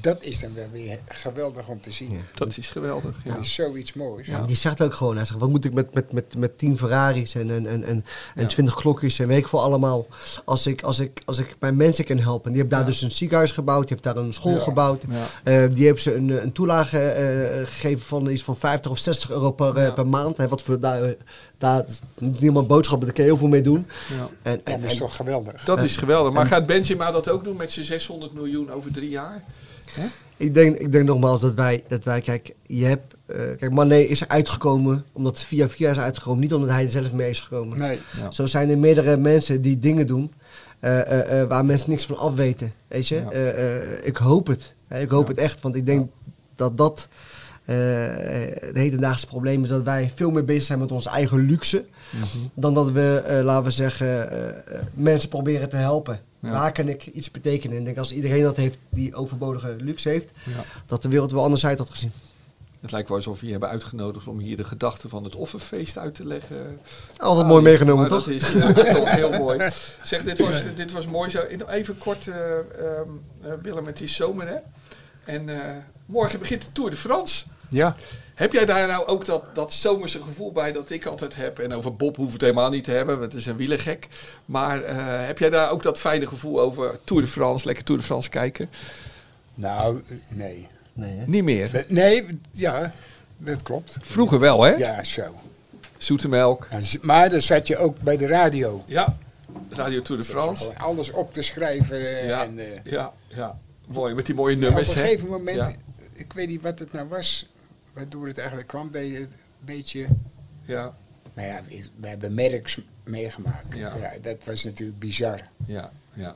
[SPEAKER 1] dat is dan wel weer geweldig om te zien.
[SPEAKER 5] Ja.
[SPEAKER 2] Dat is geweldig. Ja.
[SPEAKER 1] Dat is zoiets moois.
[SPEAKER 5] Ja, maar Die zegt ook gewoon, hij zegt, wat moet ik met, met, met, met 10 Ferraris en, en, en, en, en 20 klokjes en weet ik voor allemaal. Als ik, als, ik, als ik mijn mensen kan helpen. Die hebben daar dus een ziekenhuis gebouwd, die heeft daar een school
[SPEAKER 1] Ja.
[SPEAKER 5] gebouwd.
[SPEAKER 2] Ja.
[SPEAKER 5] Eh, die hebben ze een, eh, een toelage eh, eh, gegeven van iets van 50 of 60 euro per, eh,
[SPEAKER 2] Ja.
[SPEAKER 5] per maand. Hè, wat voor daar, eh, daar niet helemaal boodschappen, daar kun je heel veel mee doen.
[SPEAKER 2] Ja.
[SPEAKER 5] En,
[SPEAKER 1] Ja,
[SPEAKER 5] en,
[SPEAKER 1] dat is
[SPEAKER 5] en-
[SPEAKER 1] toch geweldig.
[SPEAKER 2] Dat is geweldig. Maar gaat Benzema dat ook doen met zijn 600 miljoen over drie jaar?
[SPEAKER 5] ik, denk, ik denk nogmaals dat wij, dat wij kijk, je hebt, eh, kijk, Mané is er uitgekomen omdat het via via is uitgekomen, niet omdat hij er zelf mee is gekomen.
[SPEAKER 1] Nee,
[SPEAKER 2] Ja.
[SPEAKER 5] Zo zijn er meerdere mensen die dingen doen eh, eh, eh, waar mensen niks van afweten. Weet je?
[SPEAKER 2] Ja.
[SPEAKER 5] Eh, eh, ik hoop het. Hè, ik hoop
[SPEAKER 2] Ja.
[SPEAKER 5] het echt. Want ik denk dat dat eh, het hedendaagse probleem is. Dat wij veel meer bezig zijn met onze eigen luxe.
[SPEAKER 2] Mhm.
[SPEAKER 5] Dan dat we, eh, laten we zeggen, eh, eh, mensen proberen te helpen.
[SPEAKER 2] Ja.
[SPEAKER 5] Waar kan ik iets betekenen? Ik denk als iedereen dat heeft, die overbodige luxe heeft,
[SPEAKER 2] Ja.
[SPEAKER 5] dat de wereld wel anders uit had gezien.
[SPEAKER 2] Het lijkt wel alsof we je hebben uitgenodigd om hier de gedachte van het offerfeest uit te leggen.
[SPEAKER 5] Altijd
[SPEAKER 2] Ah,
[SPEAKER 5] mooi
[SPEAKER 2] ja,
[SPEAKER 5] meegenomen,
[SPEAKER 2] maar
[SPEAKER 5] toch?
[SPEAKER 2] Dat is ja, toch heel mooi. Zeg, dit was, dit was mooi zo. En Even kort, eh, ehm, eh, Willem, het is zomer hè. En eh, morgen begint de Tour de France.
[SPEAKER 1] ja.
[SPEAKER 2] Heb jij daar nou ook dat, dat zomerse gevoel bij dat ik altijd heb? En over Bob hoeven we het helemaal niet te hebben, want het is een wielergek. Maar eh, heb jij daar ook dat fijne gevoel over Tour de France, lekker Tour de France kijken?
[SPEAKER 1] Nou, nee.
[SPEAKER 5] Nee, hè?
[SPEAKER 2] Niet meer.
[SPEAKER 1] Nee, ja, dat klopt.
[SPEAKER 2] Vroeger wel, hè?
[SPEAKER 1] Ja, zo.
[SPEAKER 2] Zoete melk.
[SPEAKER 1] En z- Maar dan zat je ook bij de radio.
[SPEAKER 2] Ja, Radio Tour de
[SPEAKER 1] Zat je
[SPEAKER 2] France.
[SPEAKER 1] gewoon Alles op te schrijven. eh,
[SPEAKER 2] Ja,
[SPEAKER 1] En, eh,
[SPEAKER 2] ja, ja. Mooi, met die mooie
[SPEAKER 1] op een
[SPEAKER 2] nummers, hè?
[SPEAKER 1] gegeven moment,
[SPEAKER 2] Ja.
[SPEAKER 1] ik weet niet wat het nou was, waardoor het eigenlijk kwam, dat je het een beetje...
[SPEAKER 2] Ja,
[SPEAKER 1] Nou ja, we- we hebben merks meegemaakt.
[SPEAKER 2] Ja.
[SPEAKER 1] Ja. dat was natuurlijk bizar.
[SPEAKER 2] ja, ja.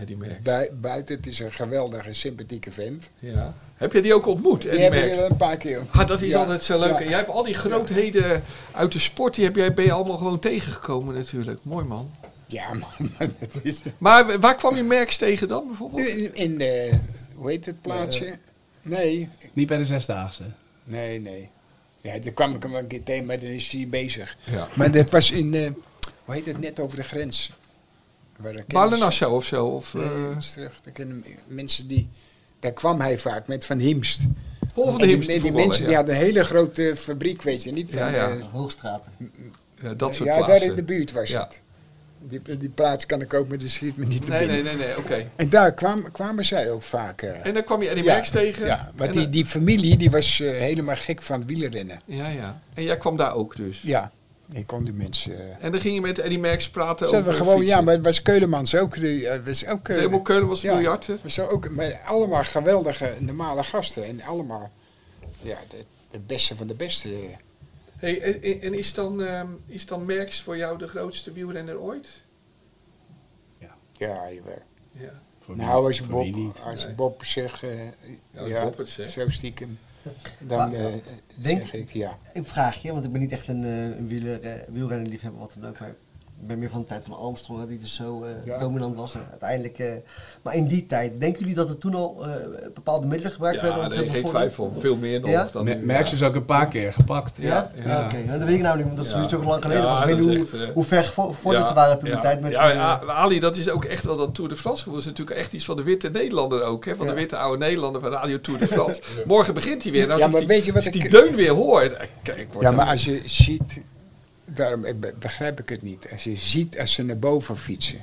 [SPEAKER 2] Eddie Merckx.
[SPEAKER 1] Bui- buiten, het is een geweldige, sympathieke vent.
[SPEAKER 2] Ja. Heb je die ook ontmoet,
[SPEAKER 1] Die
[SPEAKER 2] Eddie
[SPEAKER 1] hebben
[SPEAKER 2] Merckx?
[SPEAKER 1] we een paar keer.
[SPEAKER 2] Ah, dat is
[SPEAKER 1] Ja,
[SPEAKER 2] altijd zo leuk.
[SPEAKER 1] ja.
[SPEAKER 2] En jij hebt al die grootheden uit de sport, die heb jij, ben je allemaal gewoon tegengekomen natuurlijk. Mooi man.
[SPEAKER 1] Ja, maar, maar dat is...
[SPEAKER 2] Maar w- waar kwam je merks tegen dan bijvoorbeeld?
[SPEAKER 1] In, in eh, hoe heet het plaatsje? Nee,
[SPEAKER 4] Niet bij de zesdaagse.
[SPEAKER 1] nee, nee. Ja, toen kwam ik hem een keer tegen, maar dan is hij bezig.
[SPEAKER 2] Ja.
[SPEAKER 1] Maar dat was in, eh, hoe heet het, net over de grens. Waar ik
[SPEAKER 2] Baarle-Nassau of zo? Of,
[SPEAKER 1] Nee,
[SPEAKER 2] eh,
[SPEAKER 1] Utrecht. Ik ken mensen die... Daar kwam hij vaak met Van Himst.
[SPEAKER 2] Paul van
[SPEAKER 1] En
[SPEAKER 2] de
[SPEAKER 1] die-
[SPEAKER 2] Himst
[SPEAKER 1] Die,
[SPEAKER 2] voetballer,
[SPEAKER 1] mensen die
[SPEAKER 2] ja.
[SPEAKER 1] hadden een hele grote fabriek, weet je niet? Van,
[SPEAKER 2] Ja, ja.
[SPEAKER 1] eh,
[SPEAKER 5] Hoogstraat.
[SPEAKER 2] Ja, dat soort
[SPEAKER 1] ja, daar
[SPEAKER 2] plaatsen.
[SPEAKER 1] in de buurt was
[SPEAKER 2] Ja.
[SPEAKER 1] het. Die, die plaats kan ik ook, maar die schiet me niet te
[SPEAKER 2] Nee,
[SPEAKER 1] binnen.
[SPEAKER 2] nee, nee, nee, oké.
[SPEAKER 1] En daar kwam, kwamen zij ook vaak. eh.
[SPEAKER 2] En dan kwam je Eddie
[SPEAKER 1] Ja,
[SPEAKER 2] Merckx tegen.
[SPEAKER 1] Ja,
[SPEAKER 2] en
[SPEAKER 1] want die,
[SPEAKER 2] dan-
[SPEAKER 1] die familie die was eh, helemaal gek van wielrennen.
[SPEAKER 2] ja, ja. En jij kwam daar ook dus.
[SPEAKER 1] Ja, ik kon die mensen... eh
[SPEAKER 2] En dan ging je met Eddie Merckx praten
[SPEAKER 1] zaten
[SPEAKER 2] over
[SPEAKER 1] we gewoon,
[SPEAKER 2] fietsen.
[SPEAKER 1] ja, maar het was Keulemans ook. Die, eh, was ook eh,
[SPEAKER 2] Raymond Keulen was
[SPEAKER 1] Ja.
[SPEAKER 2] miljarder.
[SPEAKER 1] We zijn ook maar allemaal geweldige, normale gasten. En allemaal ja, de, de beste van de beste. eh.
[SPEAKER 2] Hey, en- en, en is dan, ehm, is dan Merckx voor jou de grootste wielrenner ooit?
[SPEAKER 1] Ja, jawel.
[SPEAKER 2] Ja.
[SPEAKER 4] Voor wie-
[SPEAKER 1] Nou, als
[SPEAKER 4] voor wie
[SPEAKER 1] Bob,
[SPEAKER 4] niet?
[SPEAKER 1] als
[SPEAKER 2] Nee.
[SPEAKER 1] Bob zegt, eh, ja,
[SPEAKER 2] als Bob het zegt.
[SPEAKER 1] zo stiekem, dan
[SPEAKER 5] Maar,
[SPEAKER 1] eh,
[SPEAKER 5] denk-
[SPEAKER 1] zeg ik ja.
[SPEAKER 5] Een vraagje, want ik ben niet echt een, eh, een wieler, eh, wielrenner liefhebber, wat dan ook. Maar ik ben meer van de tijd van Armstrong, hè, die dus zo eh,
[SPEAKER 1] Ja.
[SPEAKER 5] dominant was. En uiteindelijk, eh, maar in die tijd, denken jullie dat er toen al eh, bepaalde middelen gebruikt werden?
[SPEAKER 2] Ja,
[SPEAKER 5] om te
[SPEAKER 2] nee, geen
[SPEAKER 5] bevorderen?
[SPEAKER 2] twijfel. Veel meer nog
[SPEAKER 5] Ja?
[SPEAKER 2] dan
[SPEAKER 4] Me-
[SPEAKER 2] nu.
[SPEAKER 4] Merckx
[SPEAKER 2] Ja.
[SPEAKER 4] is ook een paar keer gepakt.
[SPEAKER 5] Ja, ja,
[SPEAKER 4] Ja.
[SPEAKER 5] oké. Nou, dat weet ik namelijk, omdat
[SPEAKER 2] Ja.
[SPEAKER 5] het zo lang geleden
[SPEAKER 2] Ja,
[SPEAKER 5] was. Ik weet
[SPEAKER 2] dat
[SPEAKER 5] niet
[SPEAKER 2] is
[SPEAKER 5] hoe,
[SPEAKER 2] echt, eh,
[SPEAKER 5] hoe ver gevo- gevorderd
[SPEAKER 2] Ja,
[SPEAKER 5] ze waren toen
[SPEAKER 2] ja.
[SPEAKER 5] de tijd met...
[SPEAKER 2] Ja,
[SPEAKER 5] eh,
[SPEAKER 2] A- Ali, dat is ook echt wel dat Tour de France gevoel. is natuurlijk echt iets van de witte Nederlander ook. Hè? Van de
[SPEAKER 5] Ja.
[SPEAKER 2] witte oude Nederlander van Radio Tour de France. Morgen begint hij weer. Nou,
[SPEAKER 1] Ja,
[SPEAKER 2] als
[SPEAKER 1] maar
[SPEAKER 2] ik
[SPEAKER 1] weet je
[SPEAKER 2] die,
[SPEAKER 1] wat
[SPEAKER 2] als
[SPEAKER 1] ik-
[SPEAKER 2] die deun weer hoor. eh, Kijk, ik word
[SPEAKER 1] Ja, maar
[SPEAKER 2] dan-
[SPEAKER 1] als je ziet, daarom eh, be- begrijp ik het niet. Als je ziet als ze naar boven fietsen,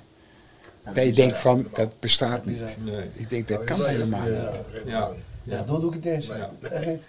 [SPEAKER 1] dan je denkt van, dat bestaat niet.
[SPEAKER 2] Nee.
[SPEAKER 1] Ik denk, dat kan helemaal niet.
[SPEAKER 2] Ja,
[SPEAKER 5] Ja, dan doe ik het niet eens. Echt niet.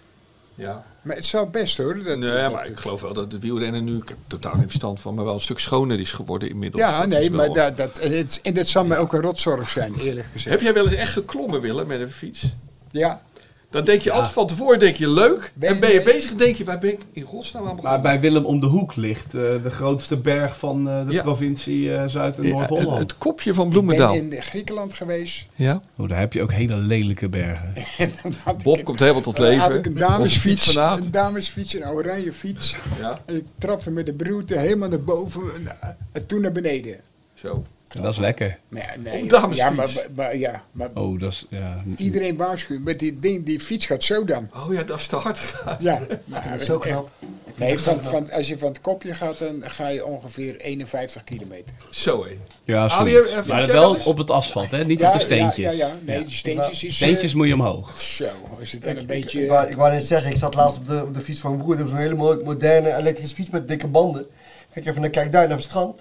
[SPEAKER 2] ja.
[SPEAKER 1] Maar het zou best hoor. Dat,
[SPEAKER 2] Nee,
[SPEAKER 1] dat-
[SPEAKER 2] maar ik
[SPEAKER 1] dat-
[SPEAKER 2] geloof wel dat de wielrennen nu, ik heb totaal geen verstand van, maar wel een stuk schoner is geworden inmiddels.
[SPEAKER 1] Ja,
[SPEAKER 2] Dat is
[SPEAKER 1] nee,
[SPEAKER 2] wel-
[SPEAKER 1] maar dat, dat, en het, en dat zal mij ook een rotzorg zijn, eerlijk gezegd.
[SPEAKER 2] Heb jij wel eens echt geklommen, Willem, met een fiets?
[SPEAKER 1] Ja,
[SPEAKER 2] Dan denk je altijd van tevoren, denk je leuk.
[SPEAKER 1] Ben
[SPEAKER 2] en ben je
[SPEAKER 1] je-
[SPEAKER 2] bezig, denk je, waar ben ik in godsnaam aan
[SPEAKER 4] Maar
[SPEAKER 2] begonnen?
[SPEAKER 4] bij Willem om de Hoek ligt eh, de grootste berg van eh, de
[SPEAKER 2] Ja.
[SPEAKER 4] provincie eh, Zuid- en
[SPEAKER 2] Ja, het,
[SPEAKER 4] Noord-Holland.
[SPEAKER 2] het kopje van
[SPEAKER 1] ik ben
[SPEAKER 2] Bloemendaal.
[SPEAKER 1] in Griekenland geweest.
[SPEAKER 2] Ja.
[SPEAKER 4] Oh, daar heb je ook hele lelijke bergen.
[SPEAKER 1] En dan had ik-
[SPEAKER 2] Bob komt helemaal tot
[SPEAKER 1] dan
[SPEAKER 2] leven.
[SPEAKER 1] had ik een
[SPEAKER 2] Onze
[SPEAKER 1] damesfiets,
[SPEAKER 2] fietsfanaat.
[SPEAKER 1] een damesfiets, een oranje fiets.
[SPEAKER 2] Ja,
[SPEAKER 1] En ik trapte met de broerte helemaal naar boven en, eh, en toen naar beneden.
[SPEAKER 2] zo.
[SPEAKER 4] En dat is lekker.
[SPEAKER 1] Nee, nee,
[SPEAKER 2] Op damesfiets?
[SPEAKER 1] Ja, maar, maar- maar- ja, maar
[SPEAKER 4] Oh, dat is... Ja.
[SPEAKER 1] iedereen waarschuwt. Met die ding, die fiets gaat zo dan.
[SPEAKER 2] Oh ja, dat is te hard gegaan.
[SPEAKER 1] Ja,
[SPEAKER 5] Dat
[SPEAKER 1] maar,
[SPEAKER 5] is zo knap.
[SPEAKER 1] Nee, van, van, als je van het kopje gaat, dan ga je ongeveer 51 kilometer.
[SPEAKER 2] Zo hé.
[SPEAKER 4] Ja,
[SPEAKER 2] Ali,
[SPEAKER 4] zoiets.
[SPEAKER 2] eh, fiets
[SPEAKER 4] maar
[SPEAKER 2] jij wel
[SPEAKER 4] wel
[SPEAKER 2] eens?
[SPEAKER 4] op het asfalt, hè? Niet op de steentjes.
[SPEAKER 1] Ja, ja, nee, de steentjes is... eh,
[SPEAKER 4] Steentjes moet je omhoog.
[SPEAKER 1] Zo, als het dan een
[SPEAKER 5] Ik,
[SPEAKER 1] beetje...
[SPEAKER 5] ik, wou, ik wou net zeggen, ik zat laatst op de, op de fiets van mijn broer. Die heeft zo'n hele mo- moderne elektrische fiets met dikke banden. Kijk even naar Kijkduin naar het strand.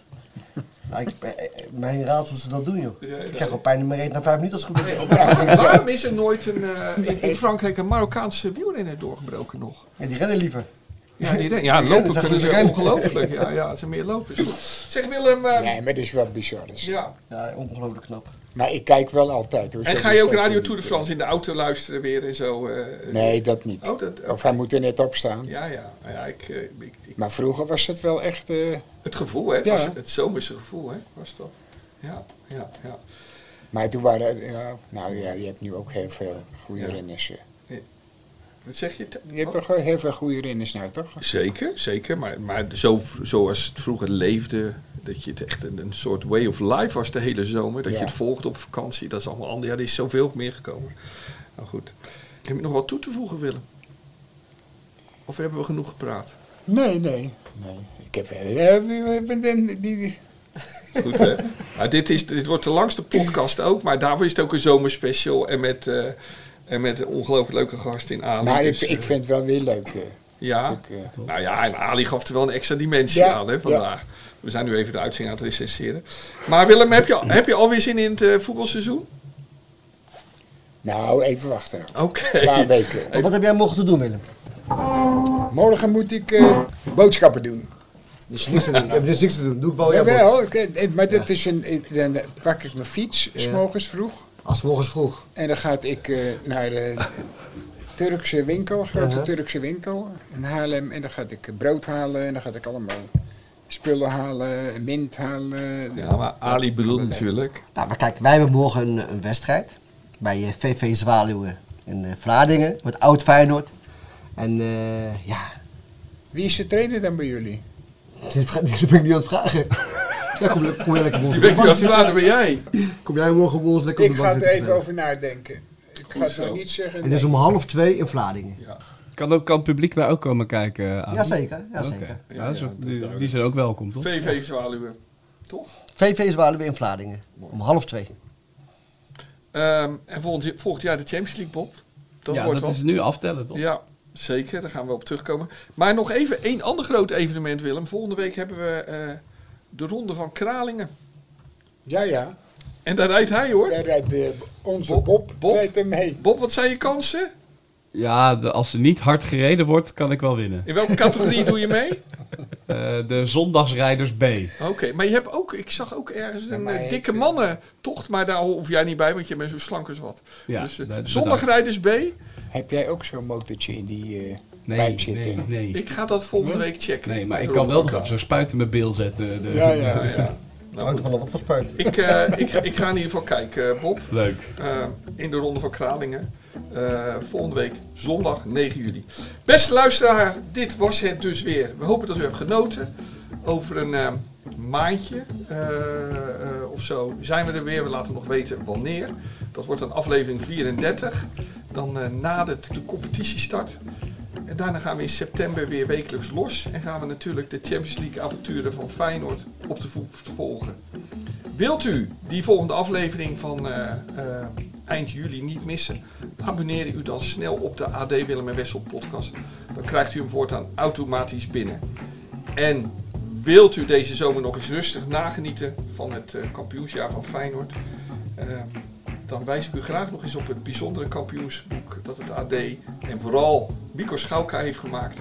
[SPEAKER 5] Nou, ik, eh, eh, mijn raad hoe ze dat doen, joh.
[SPEAKER 2] Ja, ja.
[SPEAKER 5] Ik krijg gewoon pijn in mijn reet na vijf minuten als het goed is.
[SPEAKER 2] Waarom is er nooit een, eh, in, in Frankrijk een Marokkaanse wielrenner doorgebroken nog?
[SPEAKER 5] Ja, die rennen liever.
[SPEAKER 2] Ja, die, denk- ja
[SPEAKER 5] Ja, dat
[SPEAKER 2] lopen
[SPEAKER 5] is
[SPEAKER 2] kunnen
[SPEAKER 5] echt
[SPEAKER 2] ze
[SPEAKER 5] rennen.
[SPEAKER 2] ongelooflijk. Ja, ja, ze meer lopen. is goed. Zeg Willem, eh,
[SPEAKER 1] Nee, maar dat is wel bizar. dat is-
[SPEAKER 2] ja.
[SPEAKER 5] Ja, ongelooflijk knap.
[SPEAKER 1] Maar ik kijk wel altijd. Hoor,
[SPEAKER 2] en
[SPEAKER 1] zo
[SPEAKER 2] ga
[SPEAKER 1] die
[SPEAKER 2] je ook
[SPEAKER 1] steppen
[SPEAKER 2] Radio
[SPEAKER 1] niet,
[SPEAKER 2] Tour de
[SPEAKER 1] eh.
[SPEAKER 2] France in de auto luisteren weer en zo? eh,
[SPEAKER 1] Nee, dat niet.
[SPEAKER 2] Oh, dat-
[SPEAKER 1] Of hij moet er net op staan.
[SPEAKER 2] Ja, ja. ja ik, eh, ik, ik-
[SPEAKER 1] Maar vroeger was het wel echt... eh,
[SPEAKER 2] het gevoel, hè. Het,
[SPEAKER 1] Ja.
[SPEAKER 2] was het zomerse gevoel, hè. Was dat. Ja, ja, ja.
[SPEAKER 1] maar toen waren... Ja, nou ja, je hebt nu ook heel veel goede
[SPEAKER 2] Ja. Oh.
[SPEAKER 1] renners. eh.
[SPEAKER 2] Wat zeg je?
[SPEAKER 1] Je hebt toch wel heel veel goede renners nou, toch?
[SPEAKER 2] Zeker, zeker. Maar, maar zo, zoals het vroeger leefde, dat je het echt een, een soort way of life was de hele zomer. Dat
[SPEAKER 1] Ja.
[SPEAKER 2] je het volgde op vakantie, dat is allemaal anders. Ja, er is zoveel meer gekomen. Nou goed. Heb je nog wat toe te voegen, Willem? Of hebben we genoeg gepraat?
[SPEAKER 1] Nee, nee. nee. Ik heb... eh, eh, ik ben- die- die-
[SPEAKER 2] Goed, hè? Nou, dit, is, dit wordt de langste podcast ook, maar daarvoor is het ook een zomerspecial. En met, eh, en met een ongelooflijk leuke gast in aan.
[SPEAKER 1] Nou, Maar ik, ik vind het wel weer leuk. eh.
[SPEAKER 2] Ja.
[SPEAKER 1] Dus ik, eh,
[SPEAKER 2] Nou ja, en Ali gaf er wel een extra dimensie
[SPEAKER 1] Ja,
[SPEAKER 2] aan hè, vandaag. We zijn nu even de uitzending aan het recenseren. Maar Willem, heb je, al- heb je alweer zin in het eh, voetbalseizoen?
[SPEAKER 1] nou, even wachten. nog.
[SPEAKER 2] Oké.
[SPEAKER 1] Een paar weken.
[SPEAKER 5] Maar wat heb jij mogen doen, Willem?
[SPEAKER 1] Morgen moet ik eh, boodschappen doen.
[SPEAKER 5] Dus niks te doen. Ik heb dus niks te doen. Doe ik wel jouw bord.
[SPEAKER 1] Jawel, ik- eh, maar dit is een, ik- dan pak ik mijn fiets, s morgens vroeg.
[SPEAKER 5] Als morgens vroeg.
[SPEAKER 1] En dan ga ik eh, naar de Turkse winkel, grote
[SPEAKER 5] Uh-huh.
[SPEAKER 1] Turkse winkel in Haarlem. En dan ga ik eh, brood halen en dan ga ik allemaal spullen halen, mint halen.
[SPEAKER 2] Ja, maar Ali bedoelt natuurlijk.
[SPEAKER 5] Nou, maar kijk, wij hebben morgen een, een wedstrijd. Bij eh, VV Zwaluwen in eh, Vlaardingen. Met oud Feyenoord. En eh, ja,
[SPEAKER 1] Wie is de trainer dan bij jullie?
[SPEAKER 5] dit, ga- dit ben ik nu aan het vragen. Ja, kom, kom jij lekker bij ons
[SPEAKER 2] Je
[SPEAKER 5] op de
[SPEAKER 2] bent nu
[SPEAKER 5] bank
[SPEAKER 2] als
[SPEAKER 5] zitten.
[SPEAKER 2] vader ben jij.
[SPEAKER 5] Kom jij morgen bij ons lekker op
[SPEAKER 1] Ik
[SPEAKER 5] de
[SPEAKER 1] ga
[SPEAKER 5] bank
[SPEAKER 1] er
[SPEAKER 5] zitten
[SPEAKER 1] even
[SPEAKER 5] vertellen.
[SPEAKER 1] over nadenken. Ik ga het
[SPEAKER 2] zo.
[SPEAKER 1] nog niet zeggen.
[SPEAKER 5] Het is om
[SPEAKER 1] nee.
[SPEAKER 5] half twee in Vlaardingen.
[SPEAKER 4] Kan, ook, kan het publiek daar ook komen kijken? Ali?
[SPEAKER 5] Jazeker, jazeker.
[SPEAKER 4] Oké.
[SPEAKER 2] Ja,
[SPEAKER 4] Ja, dat is
[SPEAKER 2] ja,
[SPEAKER 4] ook-
[SPEAKER 2] dat is
[SPEAKER 4] die,
[SPEAKER 2] duidelijk.
[SPEAKER 4] die zijn ook welkom, toch?
[SPEAKER 2] VV Zwaluwen. Toch?
[SPEAKER 5] VV Zwaluwen in Vlaardingen. Om half twee.
[SPEAKER 2] Ehm, en volgend, volgend jaar de Champions League, Bob. Dat
[SPEAKER 4] ja,
[SPEAKER 2] wordt
[SPEAKER 4] dat
[SPEAKER 2] wel.
[SPEAKER 4] is nu aftellen, toch?
[SPEAKER 2] Ja, zeker. Daar gaan we op terugkomen. Maar nog even één ander groot evenement, Willem. Volgende week hebben we eh, de Ronde van Kralingen.
[SPEAKER 1] Ja, ja.
[SPEAKER 2] En daar rijdt hij, hoor.
[SPEAKER 1] Daar rijdt eh, onze
[SPEAKER 2] Bob,
[SPEAKER 1] Bob,
[SPEAKER 2] Bob.
[SPEAKER 1] rijdt er mee.
[SPEAKER 2] Bob, wat zijn je kansen?
[SPEAKER 4] Ja, de- als er niet hard gereden wordt, kan ik wel winnen.
[SPEAKER 2] In welke categorie doe je mee?
[SPEAKER 4] Eh, de zondagsrijders B.
[SPEAKER 2] Oké, maar je hebt ook, ik zag ook ergens een
[SPEAKER 1] maar
[SPEAKER 2] eh,
[SPEAKER 1] ik-
[SPEAKER 2] dikke mannentocht, maar daar hoef jij niet bij, want je bent zo slank als wat.
[SPEAKER 4] Ja,
[SPEAKER 2] dus eh,
[SPEAKER 4] dat-
[SPEAKER 2] zondagrijders B,
[SPEAKER 1] Heb jij ook zo'n motortje in die eh
[SPEAKER 4] Nee,
[SPEAKER 1] pijp zitten?
[SPEAKER 4] nee, nee.
[SPEAKER 2] ik ga dat volgende week checken.
[SPEAKER 4] Nee, maar ik
[SPEAKER 2] De
[SPEAKER 4] kan wel
[SPEAKER 2] Ronde van
[SPEAKER 4] nog zo spuit in mijn bil zetten. De-
[SPEAKER 1] Ja, ja.
[SPEAKER 2] Kralingen. Nou, goed.
[SPEAKER 5] wat voor spuit.
[SPEAKER 2] ik, eh, ik, ik ga in ieder geval kijken, eh, Bob.
[SPEAKER 4] Leuk.
[SPEAKER 2] Eh, in de Ronde van Kralingen. Eh, volgende week, zondag 9 juli. Beste luisteraar, dit was het dus weer. We hopen dat u hebt genoten. Over een eh, maandje eh, eh, of zo zijn we er weer. We laten nog weten wanneer. Dat wordt dan aflevering 34. Dan eh nadert de competitiestart. En daarna gaan we in september weer wekelijks los. En gaan we natuurlijk de Champions League avonturen van Feyenoord op de voet volgen. Wilt u die volgende aflevering van eh, eh, eind juli niet missen? Abonneer u dan snel op de AD Willem en Wessel podcast. Dan krijgt u hem voortaan automatisch binnen. En wilt u deze zomer nog eens rustig nagenieten van het eh, kampioensjaar van Feyenoord? eh, dan wijs ik u graag nog eens op het bijzondere kampioensboek dat het AD en vooral Mico Schauka heeft gemaakt.